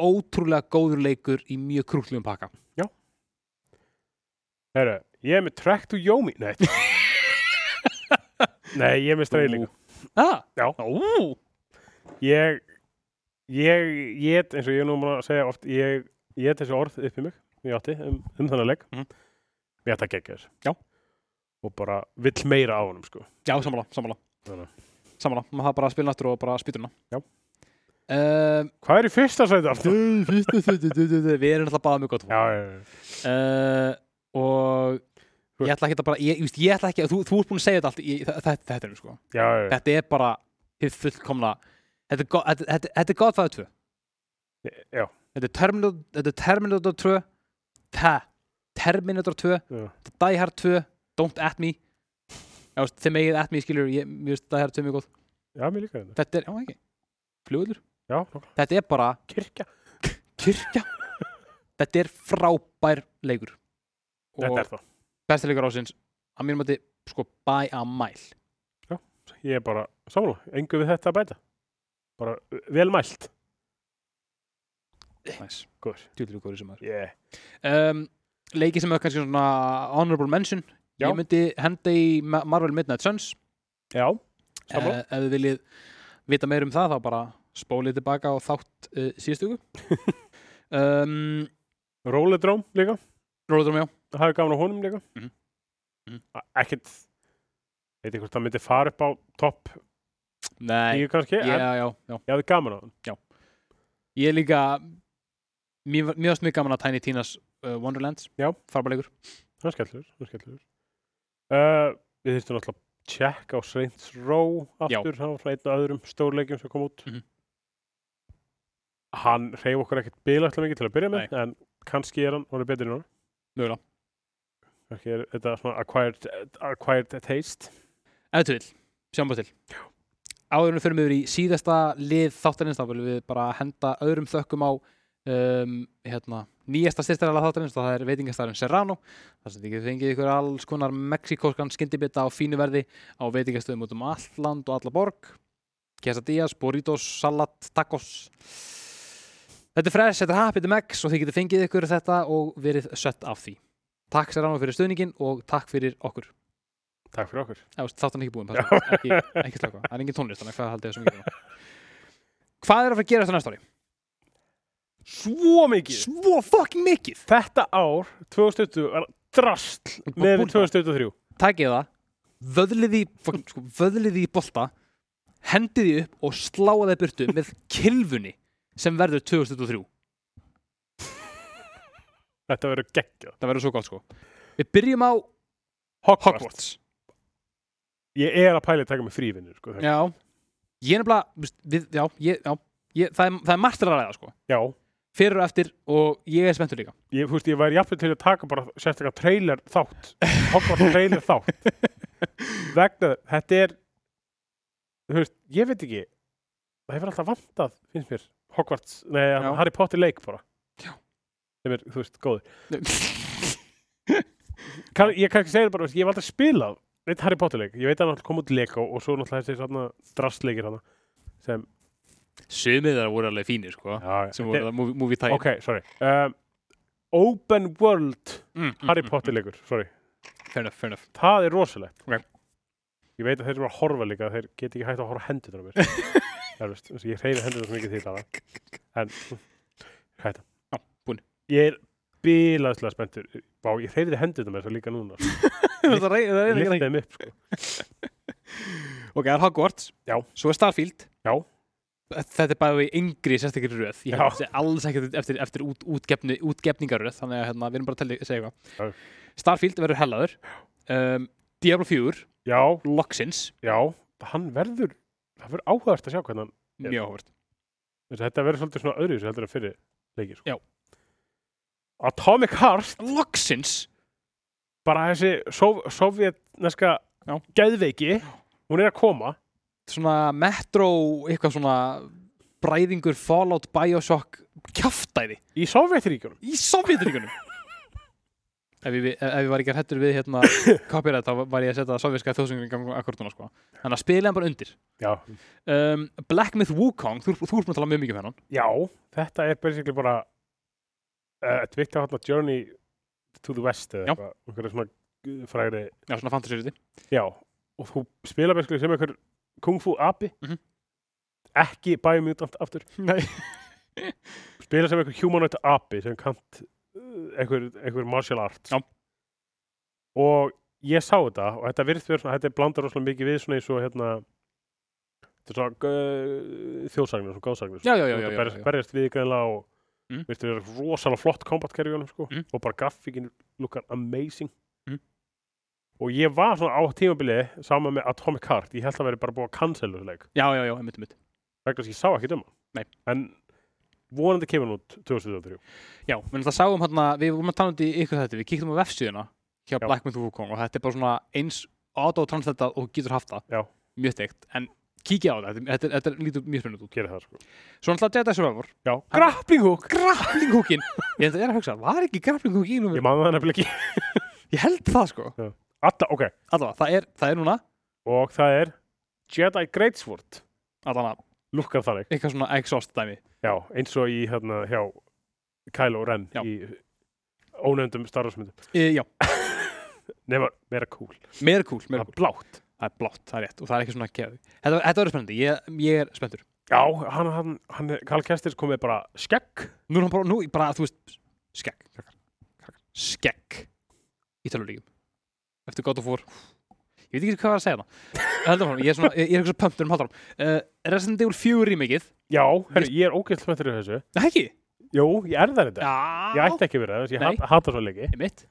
Speaker 2: ótrúlega góður leikur í mjög krúllum pakka.
Speaker 1: herru, ég er með Track to Yomi, nei Nei, ég er með Stray líka
Speaker 2: Ah,
Speaker 1: Já.
Speaker 2: Ú,
Speaker 1: Ég, ég, ég, get, eins og ég er nú maður að segja oft Ég, ég get þessi orð upp í mig Ég átti um, um þannig leik
Speaker 2: Mhm.
Speaker 1: Ég ætti að gegja þessu
Speaker 2: Já.
Speaker 1: Og bara vill meira á honum, sko
Speaker 2: já, sammála, sammála
Speaker 1: Þannig.
Speaker 2: Sammála, maður það bara að spila náttúr og bara spýturna
Speaker 1: Já.
Speaker 2: um,
Speaker 1: Hvað er í fyrsta sæti aftur?
Speaker 2: Við erum alltaf báða mjög gott
Speaker 1: Já, já, já
Speaker 2: uh, Og ég ætla ekki að bara ég, ég, veist, ég ætla ekki að, þú, þú ert búin að segja þetta allt í, þetta, þetta, þetta, er, sko.
Speaker 1: Já, já, já.
Speaker 2: þetta er bara hið fullkomna Þetta er, go- þetta, þetta, þetta er Godfather 2
Speaker 1: já.
Speaker 2: Þetta er Terminator, þetta er Terminator 2 Það Terminator 2
Speaker 1: Já.
Speaker 2: Die Hard 2 Don't At Me Já, veist, Þið megið At Me skilur ég, Mér veist Die Hard 2 mjög góð
Speaker 1: Já, mér líka þetta
Speaker 2: Þetta er, já ekki Flugullur
Speaker 1: Já, nokkuð.
Speaker 2: Þetta er bara
Speaker 1: kirkja
Speaker 2: kyrkja Þetta er frábær leikur
Speaker 1: Þetta er það
Speaker 2: besti leikur ásins að mínum að þið sko by a mile
Speaker 1: Ég er bara, samlega, engu við þetta að bæta Bara uh, vel mælt
Speaker 2: nice.
Speaker 1: Góður
Speaker 2: djúlur góður sem maður
Speaker 1: Yeah.
Speaker 2: um, leiki sem er kannski svona honorable mention
Speaker 1: Já.
Speaker 2: ég myndi henda í Ma- Marvel Midnight Suns
Speaker 1: Já,
Speaker 2: uh,
Speaker 1: sammála.
Speaker 2: ef þið viljið vita meir um það þá bara spólið tilbaka og þátt uh, síðustugu um,
Speaker 1: Róledróm líka,
Speaker 2: Róðurum já
Speaker 1: það hefði gaman á honum líka
Speaker 2: Mhm. Mhm.
Speaker 1: A- Ekkert veit ekki hvort það myndi fara upp á topp
Speaker 2: Nei,
Speaker 1: tíu kannski,
Speaker 2: já,
Speaker 1: en
Speaker 2: já, já
Speaker 1: ég hefði gaman á hann
Speaker 2: Ég er líka Mér var- mér varst mjög gaman að Tiny Tina's uh, Wonderlands
Speaker 1: Já.
Speaker 2: Farbarleikur
Speaker 1: Það er skellur, það er skellur uh, Við þyrstum alltaf að tjekka á Saints Row
Speaker 2: Já.
Speaker 1: aftur, hann var svona einn af öðrum stórleikjum sem kom út
Speaker 2: Mhm.
Speaker 1: Hann reyf okkur ekkert bilætla mikið til að byrja með,
Speaker 2: Nei.
Speaker 1: en kannski er hann orðið betri núna
Speaker 2: Mögulega
Speaker 1: Kannski er þetta svona acquired, acquired taste
Speaker 2: Ef þú vil, sjáum bara til Áðurum fyrir miður í síðasta lið þáttarins þá viljum við bara henda öðrum þökkum á um, hérna, nýjasta styrstaralega þáttarins það er veitingastæðurinn Serrano þar sem þið getur fengið ykkur alls konar mexikóskan skyndibita á fínu verði á veitingastöðum út um allt land og alla borg quesadillas, burritos, salat, tacos Þetta er fresh, þetta er happy, þetta er mex og þið getur fengið ykkur þetta og verið sött af því Takk Serrano fyrir stöðningin og takk fyrir okkur
Speaker 1: Takk fyrir okkur
Speaker 2: Já, veist, þáttan ekki búin, passa, ekki, ekki slaka Það er engin tónlist, þannig að hvað haldið þessum ekki núna? Hvað er að fara að gera þetta næsta ári?
Speaker 1: Svo mikið
Speaker 2: Svo fucking mikið
Speaker 1: þetta ár 2020 var drastl með
Speaker 2: búin-
Speaker 1: 2023
Speaker 2: Takið það, vöðlið í fucking, sko, vöðlið í bolta hendið því upp og sláið það burtu með kilfunni sem verður 2023
Speaker 1: Þetta verður geggjað.
Speaker 2: það verður svo gott sko við byrjum á
Speaker 1: Hogwarts.
Speaker 2: Hogwarts
Speaker 1: Ég er að pæli að taka mig frívinnir, sko. þegar-
Speaker 2: já ég er nefnilega þú veist, við, já, ég, já, ég, það, er, það er margt að ræða sko
Speaker 1: Já.
Speaker 2: fyrir og eftir og ég er spenntur líka
Speaker 1: Ég, þú veist, ég væri jafnveg til að taka bara sérstaklega trailer þátt. Hogwarts trailer þátt. Vegna, þetta er, þú veist, ég veit ekki, það hefur alltaf vantað, finnst mér, Hogwarts, nei,
Speaker 2: Já.
Speaker 1: Harry Potter leik bara.
Speaker 2: Já.
Speaker 1: Sem er, þú veist, góður. kann, ég kannski segja það bara, veist, ég hef aldrei spilað neitt Harry Potter leik, ég veit að hann kom út Lego og svo náttúrulega þessi svona drastleikir hann sem,
Speaker 2: sumið þeirra voru alveg fínir sko
Speaker 1: já,
Speaker 2: sem voru það movie, movie tæk
Speaker 1: ok, sorry um, Open World
Speaker 2: mm, mm,
Speaker 1: Harry
Speaker 2: mm,
Speaker 1: Potter leikur, sorry
Speaker 2: fair enough, fair enough
Speaker 1: það er rosalegt
Speaker 2: Ok.
Speaker 1: ég veit að þeir eru að horfa líka, þeir get ekki hægt að horfa hendur á mér það er veist, þess að ég hreyfi hendur svo mikið því það en, hætta
Speaker 2: Já, búin.
Speaker 1: ég er bilaðslega spenntur Vá, ég hreyfði hendur á mér svo líka núna sko.
Speaker 2: það rey- það er
Speaker 1: Lyfti
Speaker 2: ekki-
Speaker 1: þeim upp, sko.
Speaker 2: ok, það er Hogwarts
Speaker 1: Já.
Speaker 2: svo er Starfield
Speaker 1: Já.
Speaker 2: þetta er bara við yngri sérstakir röð ég
Speaker 1: Já.
Speaker 2: hef alls ekki eftir, eftir út, útgefni, útgefningaröð þannig að hérna, við erum bara að telli-
Speaker 1: Já.
Speaker 2: segja eitthvað Starfield verður hellaður um, Diablo 4
Speaker 1: já,
Speaker 2: Loxins
Speaker 1: já, hann verður það verður áhugast að sjá hvernig hann Já.
Speaker 2: mjög áhvert
Speaker 1: Þess að þetta verður svolítið svona öðru sem heldur að fyrir leikir sko.
Speaker 2: Já.
Speaker 1: Atomic Heart
Speaker 2: Loxins
Speaker 1: bara þessi sov sovjetneska
Speaker 2: Já.
Speaker 1: geðveiki hún er að koma
Speaker 2: svona Metro eitthvað svona bræðingur Fallout Bioshock kjaftæði
Speaker 1: í Sovjetríkjunum
Speaker 2: í Sovjetríkunum ef, ég vi- ef ef ég var ekki hættur við hérna copyright þá var ég að setja sovjerska þjóðsöngin í gang akkorduna sko þannig að spila hann bara undir
Speaker 1: já.
Speaker 2: um, Black Myth Wukong, þú, þú ert búin að tala mjög mikið um hennan
Speaker 1: já, þetta er basically bara uh, Twitter hátna Journey to the West
Speaker 2: Já.
Speaker 1: eða eitthvað, einhverja svona uh, frægri
Speaker 2: já, svona fantasy-riti
Speaker 1: já, og þú spila basically sem einhver kung fu abi
Speaker 2: Mhm.
Speaker 1: ekki bæjumutant aftur
Speaker 2: Nei.
Speaker 1: spila sem einhver humanoid api sem kant uh, einhver, einhver martial art
Speaker 2: Já.
Speaker 1: og ég sá þetta og þetta virðist verið svona, þetta blandar rosalega mikið við svona eins og hérna þetta er svona uh, þjóðsagnir, svona góðsagnir
Speaker 2: já, já, já,
Speaker 1: Þú ert
Speaker 2: já,
Speaker 1: að
Speaker 2: já,
Speaker 1: berjast,
Speaker 2: já.
Speaker 1: berjast við greinlega og
Speaker 2: Mm.
Speaker 1: mm. virðist verið rosalega flott kombatkerfjónum sko
Speaker 2: Mm.
Speaker 1: og bara graffíkin lukkar amazing
Speaker 2: Mm.
Speaker 1: og ég var svona á tímabilið saman með Atomic Heart, ég held að verið bara búið að cancela þessu leik
Speaker 2: já, já, já, einmitt, einmitt
Speaker 1: vegna þess að ég sá ekki um hann
Speaker 2: Nei.
Speaker 1: en vonandi kemur hann út 2023
Speaker 2: já, við náttúrulega sáum hérna, við vorum að tala um þetta í ykkur þetta við kíktum á vefsíðuna hjá
Speaker 1: Já.
Speaker 2: Black Myth Wukong og þetta er bara svona eins auto transletað og getur haft það
Speaker 1: Já.
Speaker 2: mjög steikt, en kíkja á þetta, þetta, þetta, þetta lítur mjög spennandi út
Speaker 1: gera það sko
Speaker 2: Svo náttúrulega Jedi Survivor
Speaker 1: já.
Speaker 2: Grappling hook Grappling hookin Ég enda- ég er að hugsa, var ekki grappling hook í númer?
Speaker 1: ég man það nefnilega ekki
Speaker 2: Ég held það sko
Speaker 1: Alla, ok,
Speaker 2: Allavega, það er, það er núna
Speaker 1: og það er Jedi Greatsword
Speaker 2: Allavega,
Speaker 1: lukkar þannig,
Speaker 2: eitthvað svona exhaust dæmi
Speaker 1: já, eins og í hérna hjá Kylo Ren
Speaker 2: Já.
Speaker 1: í ónefndum Star Wars myndum
Speaker 2: e, Já,
Speaker 1: nema, meira cool,
Speaker 2: meira kúl,
Speaker 1: það
Speaker 2: meira
Speaker 1: er
Speaker 2: kúl
Speaker 1: blátt
Speaker 2: Það er blátt, það er rétt og það er ekki svona kefi Þetta, þetta verður spennandi, ég, ég er spenntur
Speaker 1: já, hann, hann, hann er- Karl Kestis komið bara skekk,
Speaker 2: Nú er hann bara, nú er bara, þú veist Skegg krakkar, krakkar, Skegg Í tölvulíkum Eftir God of War Ég veit ekki hvað var að segja það Heldum hann, ég er svona, ég ég er eitthvað pömptur um haldur uh, Resident Evil 4 remikið
Speaker 1: já, herri, ég er ógæst með þér þessu,
Speaker 2: Það ekki?
Speaker 1: jú, ég er það þetta
Speaker 2: Já
Speaker 1: ég ætti ekki verið, þess að
Speaker 2: Nei.
Speaker 1: ég hat- hata svo leiki
Speaker 2: Einmitt.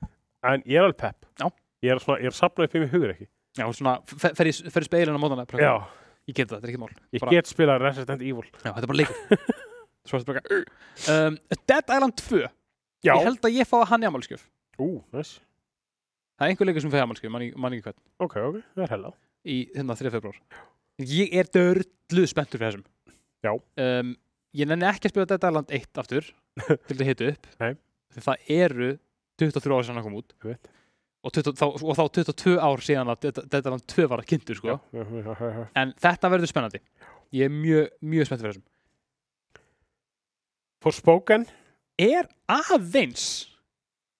Speaker 1: en ég er alveg pepp
Speaker 2: Já.
Speaker 1: ég er svona, ég er sapnað upp í mig hugur ekki
Speaker 2: Já, svona, fer, fer, í- fer í speilin á mótana bara,
Speaker 1: já,
Speaker 2: Ég get það, þetta er ekki mál
Speaker 1: Ég
Speaker 2: Bara-
Speaker 1: get spilað Resident Evil
Speaker 2: Já, þetta er bara leikur Svo er þetta bara eitthvað, um, Dead Island 2
Speaker 1: Já
Speaker 2: Ég held að ég fá hann í ammálskjöf
Speaker 1: Ú, næs
Speaker 2: Það er einhver leikur sem fæði ammálskjöf, mann, ekki- mann ekki hvern
Speaker 1: Ok, ok, það er hella
Speaker 2: Í hérna 3. februar Ég er dörlu spenntur fyrir þessum
Speaker 1: Já.
Speaker 2: um, Ég nenni ekki að spila Dead Island 1 aftur Til þetta hitu upp
Speaker 1: Nei.
Speaker 2: Því það eru 23 ára sem hann kom út
Speaker 1: Ég veit.
Speaker 2: og, 20, þá, og þá 22 ár síðan að Dead Dead Island 2 var að kynntur sko.
Speaker 1: Já.
Speaker 2: en þetta verður spennandi ég er mjög, mjög spennt fyrir þessum
Speaker 1: Forspoken
Speaker 2: er aðeins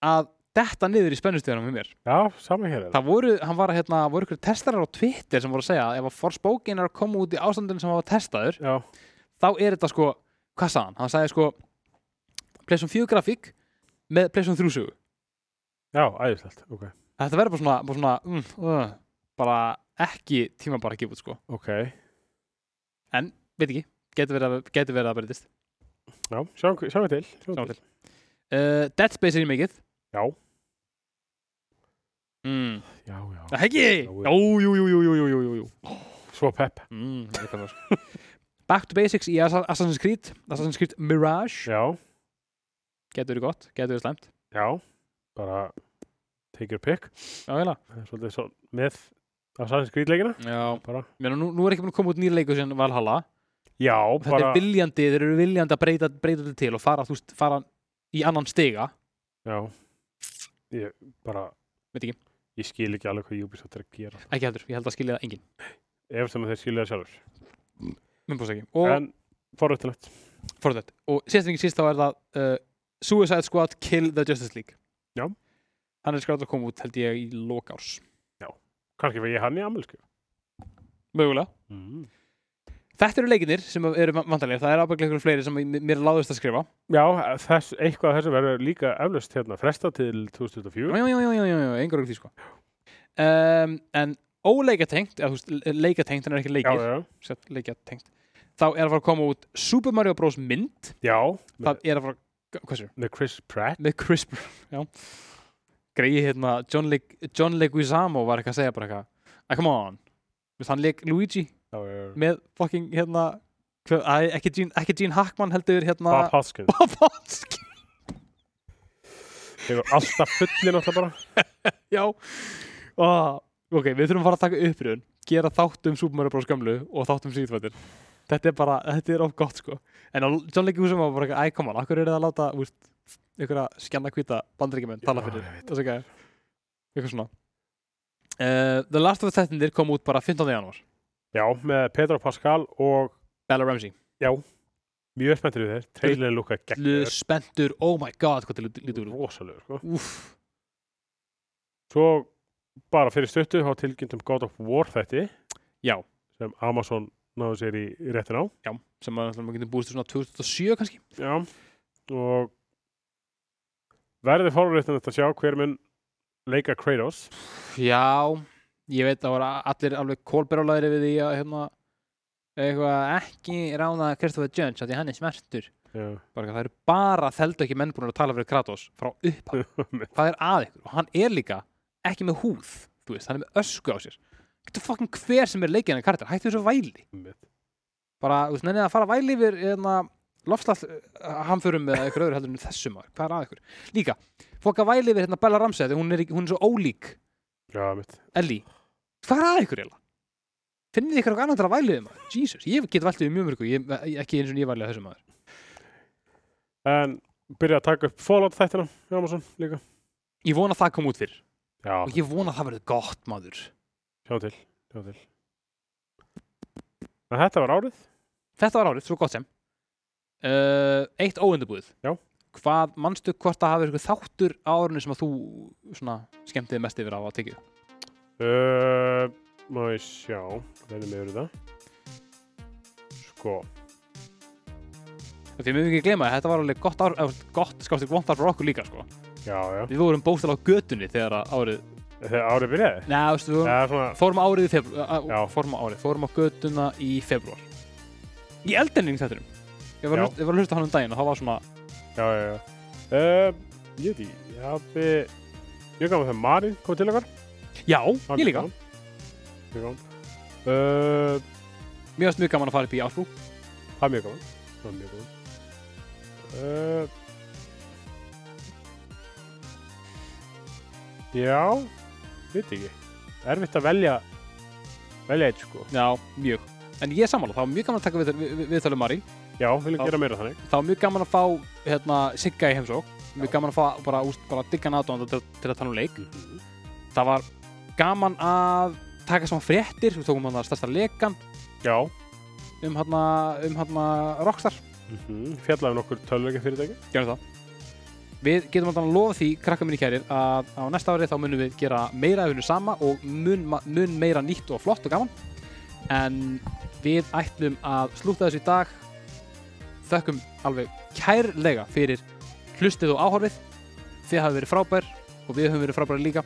Speaker 2: að detta niður í spennustíðanum með mér.
Speaker 1: Já, saman hér er það
Speaker 2: Það voru, hann var að hérna, voru ykkur testarar á Twitter sem voru að segja að ef að Forspoken er að koma út í ástandinu sem hann var testaður,
Speaker 1: Já,
Speaker 2: þá er þetta sko, hvað sagði hann? Hann sagði sko, Playsum 4 grafík með Playsum 3 sögu.
Speaker 1: já, æðislegt Ok,
Speaker 2: Þetta verður bara svona, bara svona, mm, uh, bara ekki tíma bara að gefa út sko.
Speaker 1: ok
Speaker 2: Veit ekki, getur verið að, getur verið að breytist.
Speaker 1: Já, sjáum, sjáum við til
Speaker 2: Sjáum til. uh, Dead Space er í mikið
Speaker 1: Já,
Speaker 2: mm.
Speaker 1: já, já.
Speaker 2: Það ekki?
Speaker 1: Já,
Speaker 2: Jú, jú, jú, jú, jú, jú, jú, jú.
Speaker 1: Svo pepp.
Speaker 2: Mm, ég kann það, sko. Back to Basics í Assa- Assassin's Creed Assassin's Creed Mirage
Speaker 1: Já,
Speaker 2: Getur verið gott, getur verið slæmt
Speaker 1: já. Bara take your pick.
Speaker 2: Já, heila
Speaker 1: Það er Svolítið svo með Assassin's Creed leikina.
Speaker 2: Já,
Speaker 1: Bara.
Speaker 2: Menna, nú, nú er ekki búin að koma út nýr leikur sem Valhalla
Speaker 1: Já,
Speaker 2: og þetta
Speaker 1: bara.
Speaker 2: er viljandi, þeir eru viljandi að breyta, breyta þetta til og fara, þú veist, fara í annan stiga
Speaker 1: Já. Ég bara.
Speaker 2: Veit ekki.
Speaker 1: Ég skil ekki alveg hvað Ubisoft er að gera.
Speaker 2: ekki heldur, ég held að skilja það engin
Speaker 1: Ef sem þeir skilja það sjálfur.
Speaker 2: og,
Speaker 1: En forrættilegt.
Speaker 2: Fortnite. og síðast en ekki síst þá er það uh, Suicide Squad Kill the Justice League
Speaker 1: Já.
Speaker 2: hann er skrátt að koma út held ég í lokárs
Speaker 1: Kanski fyrir ég hann í ammælsku.
Speaker 2: mögulega
Speaker 1: Mm.
Speaker 2: þetta eru leikinir sem eru vantanlega það eru ábygglega ykkur fleiri sem m- mér láðist að skrifa
Speaker 1: Já, þess, eitthvað af þessu verður líka eflaust hérna fresta til 2024.
Speaker 2: já, já, já, já, já, já, einhver okkur því sko um, en óleikatengt eða þú veist, leikatengt, hann er ekki
Speaker 1: Já,
Speaker 2: leikir
Speaker 1: já,
Speaker 2: sett leikatengt þá er að fara að koma út Super Mario Bros. mynd
Speaker 1: já, með,
Speaker 2: það er að fara, hvað sér,
Speaker 1: með Chris Pratt
Speaker 2: með Chris Br- já, greiði hérna John, Le John Leguizamo var eitthvað að segja bara eitthvað, ah, come on Þú veist, hann leik Luigi
Speaker 1: já, já, já.
Speaker 2: með fucking hérna hver, æ, ekki, Gene, ekki Gene Hackman heldur hérna
Speaker 1: Bob Hoskins
Speaker 2: Bob Hoskins
Speaker 1: Þeir eru alltaf fullin alltaf bara
Speaker 2: já, ah, ok, við þurfum að fara að taka uppröðun gera þátt um Super Mario Bros. gamlu og þátt um síðvættir þetta er bara, þetta er of gott sko en á John Leguizamo var bara eitthvað, æ, come on, akkur er það að láta úst, ykkur að skjanna hvita bandaríkjumenn tala
Speaker 1: Já,
Speaker 2: fyrir
Speaker 1: ég veit.
Speaker 2: þessu gæði eitthvað svona uh, The Last of Us þettindir kom út bara 15. janúar
Speaker 1: Já, með Pedro Pascal og
Speaker 2: Bella Ramsey,
Speaker 1: mjög spenntur við þeir Trailer lúka
Speaker 2: Lur,
Speaker 1: geggjur
Speaker 2: spendur, oh my god hvað til lítur úr
Speaker 1: Rósalur sko.
Speaker 2: Úff,
Speaker 1: Svo bara fyrir stuttu þá tilkynntum God of War þætti
Speaker 2: já,
Speaker 1: sem Amazon náðu sér í réttin á
Speaker 2: já sem að maður getur búist til svona 2007 kannski
Speaker 1: Já Og verði fórréttin að sjá hver mun leika Kratos
Speaker 2: Já, ég veit að voru allir alveg kólberálaðir við því að hérna, eitthvað ekki ráða Kristoffer Jones af því hann er smertur
Speaker 1: Já,
Speaker 2: bara, það eru bara þeldu ekki menn búin að tala fyrir Kratos frá upphaf, hvað er að ykkur og hann er líka ekki með húð þú veist, hann er með ösku á sér getur fucking hver sem er leikinn að karakter, hættu þessu væli
Speaker 1: Einmitt.
Speaker 2: bara, þú veist, nennið að fara að væli yfir hérna, lofslað hamförum eða eitthvað öðru heldur en þessum maður, hvað er að ykkur líka, fólk að væli yfir hérna Bella Ramsey af því hún er, ekki- hún er svo ólík
Speaker 1: já mitt
Speaker 2: Ellie, hvað er að ykkur eiginlega? Finnið ykkur eitthvað annað til að væliðið maður? Jesus, ég get valdið um mjög mörgu, ég, ekki eins og ég valið að þessum maður.
Speaker 1: En byrja að taka upp Fallout þættina í Amazon líka
Speaker 2: Ég vona að það kom út fyrr
Speaker 1: Já,
Speaker 2: og ég vona að það verði gott maður.
Speaker 1: sjá til, sjá til. En þetta var árið
Speaker 2: Þetta var árið, svo gott sem. Uh, eitt óundabúið.
Speaker 1: Já.
Speaker 2: Hvað, manstu hvort það hafi ykkur þáttur á árinu sem að þú svona skemmtið mest yfir á að tekið?
Speaker 1: Uh, má ég sjá, reynir mig yfir það. Sko,
Speaker 2: Því mér ekki gleyma að þetta var alveg gott ár, eða gott, skáttið vont ár fyrir okkur líka, sko.
Speaker 1: já, já.
Speaker 2: Við vorum bóstal á götunni þegar að árið,
Speaker 1: Þegar árið byrjaði?
Speaker 2: neða, veistu, við vorum
Speaker 1: Já, svona,
Speaker 2: fórum á árið í februar
Speaker 1: Já.
Speaker 2: fórum á árið, fórum á göduna í februar í eldending þettunum ég var
Speaker 1: Já.
Speaker 2: að hlusta- ég var að hlusta á hann um daginn og það var svona
Speaker 1: já, já, já. Uh, ég veit ekki, ég hafi, ég gaf með það Marið kom til okkar.
Speaker 2: já,
Speaker 1: Hann
Speaker 2: ég
Speaker 1: kom til
Speaker 2: líka,
Speaker 1: hann. Mjög gaman. Uh,
Speaker 2: mér varst mjög gaman að fara upp í Ásbrú
Speaker 1: það er mjög gaman. Það er mjög gaman. Uh, já, veit ekki. Erfitt að velja, velja eitt, sko.
Speaker 2: já, mjög, en ég er sammála það var mjög gaman að taka viðtöl- við, við, viðtalið Mari
Speaker 1: Já, viljum
Speaker 2: Já.
Speaker 1: gera meira þannig.
Speaker 2: það var mjög gaman að fá hérna, Sigga í heimsók mjög gaman að fá bara, úst, bara diggan aðdóðan til, til að tala um leik það var gaman að taka saman fréttir, við tókum hann að stærsta leikan
Speaker 1: Já.
Speaker 2: um hann um, hérna, Rockstar
Speaker 1: Mm
Speaker 2: Mhm.
Speaker 1: -hmm. Fjallaði nokkur tölvöka fyrirtæki
Speaker 2: gerum það Við getum alltaf að lofa því, krakka minni kærir, að á næsta ári þá munum við gera meira af hennu sama og mun, ma- mun meira nýtt og flott og gaman. En við ætlum að slúta þessu í dag. Þökkum alveg kærlega fyrir hlustið og áhorfið. Þið hafa verið frábær og við höfum verið frábæri líka.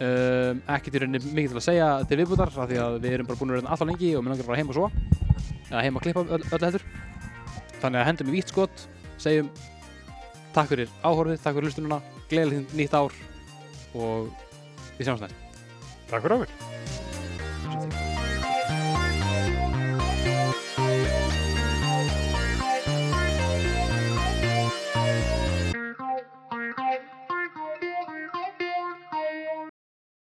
Speaker 2: Um, ekki til rauninni mikið til að segja til viðbútar af því að við erum bara búin að vera alltaf lengi og mér langar að fara heim og svo. Eða heim að klippa öll, öll heldur. Þannig að hendum í vítt skot, segjum takk fyrir áhorfið, takk fyrir hlustununa gleðilegt nýtt ár og við sjáumst næst
Speaker 1: Takk fyrir okkur.
Speaker 2: Sjáumst.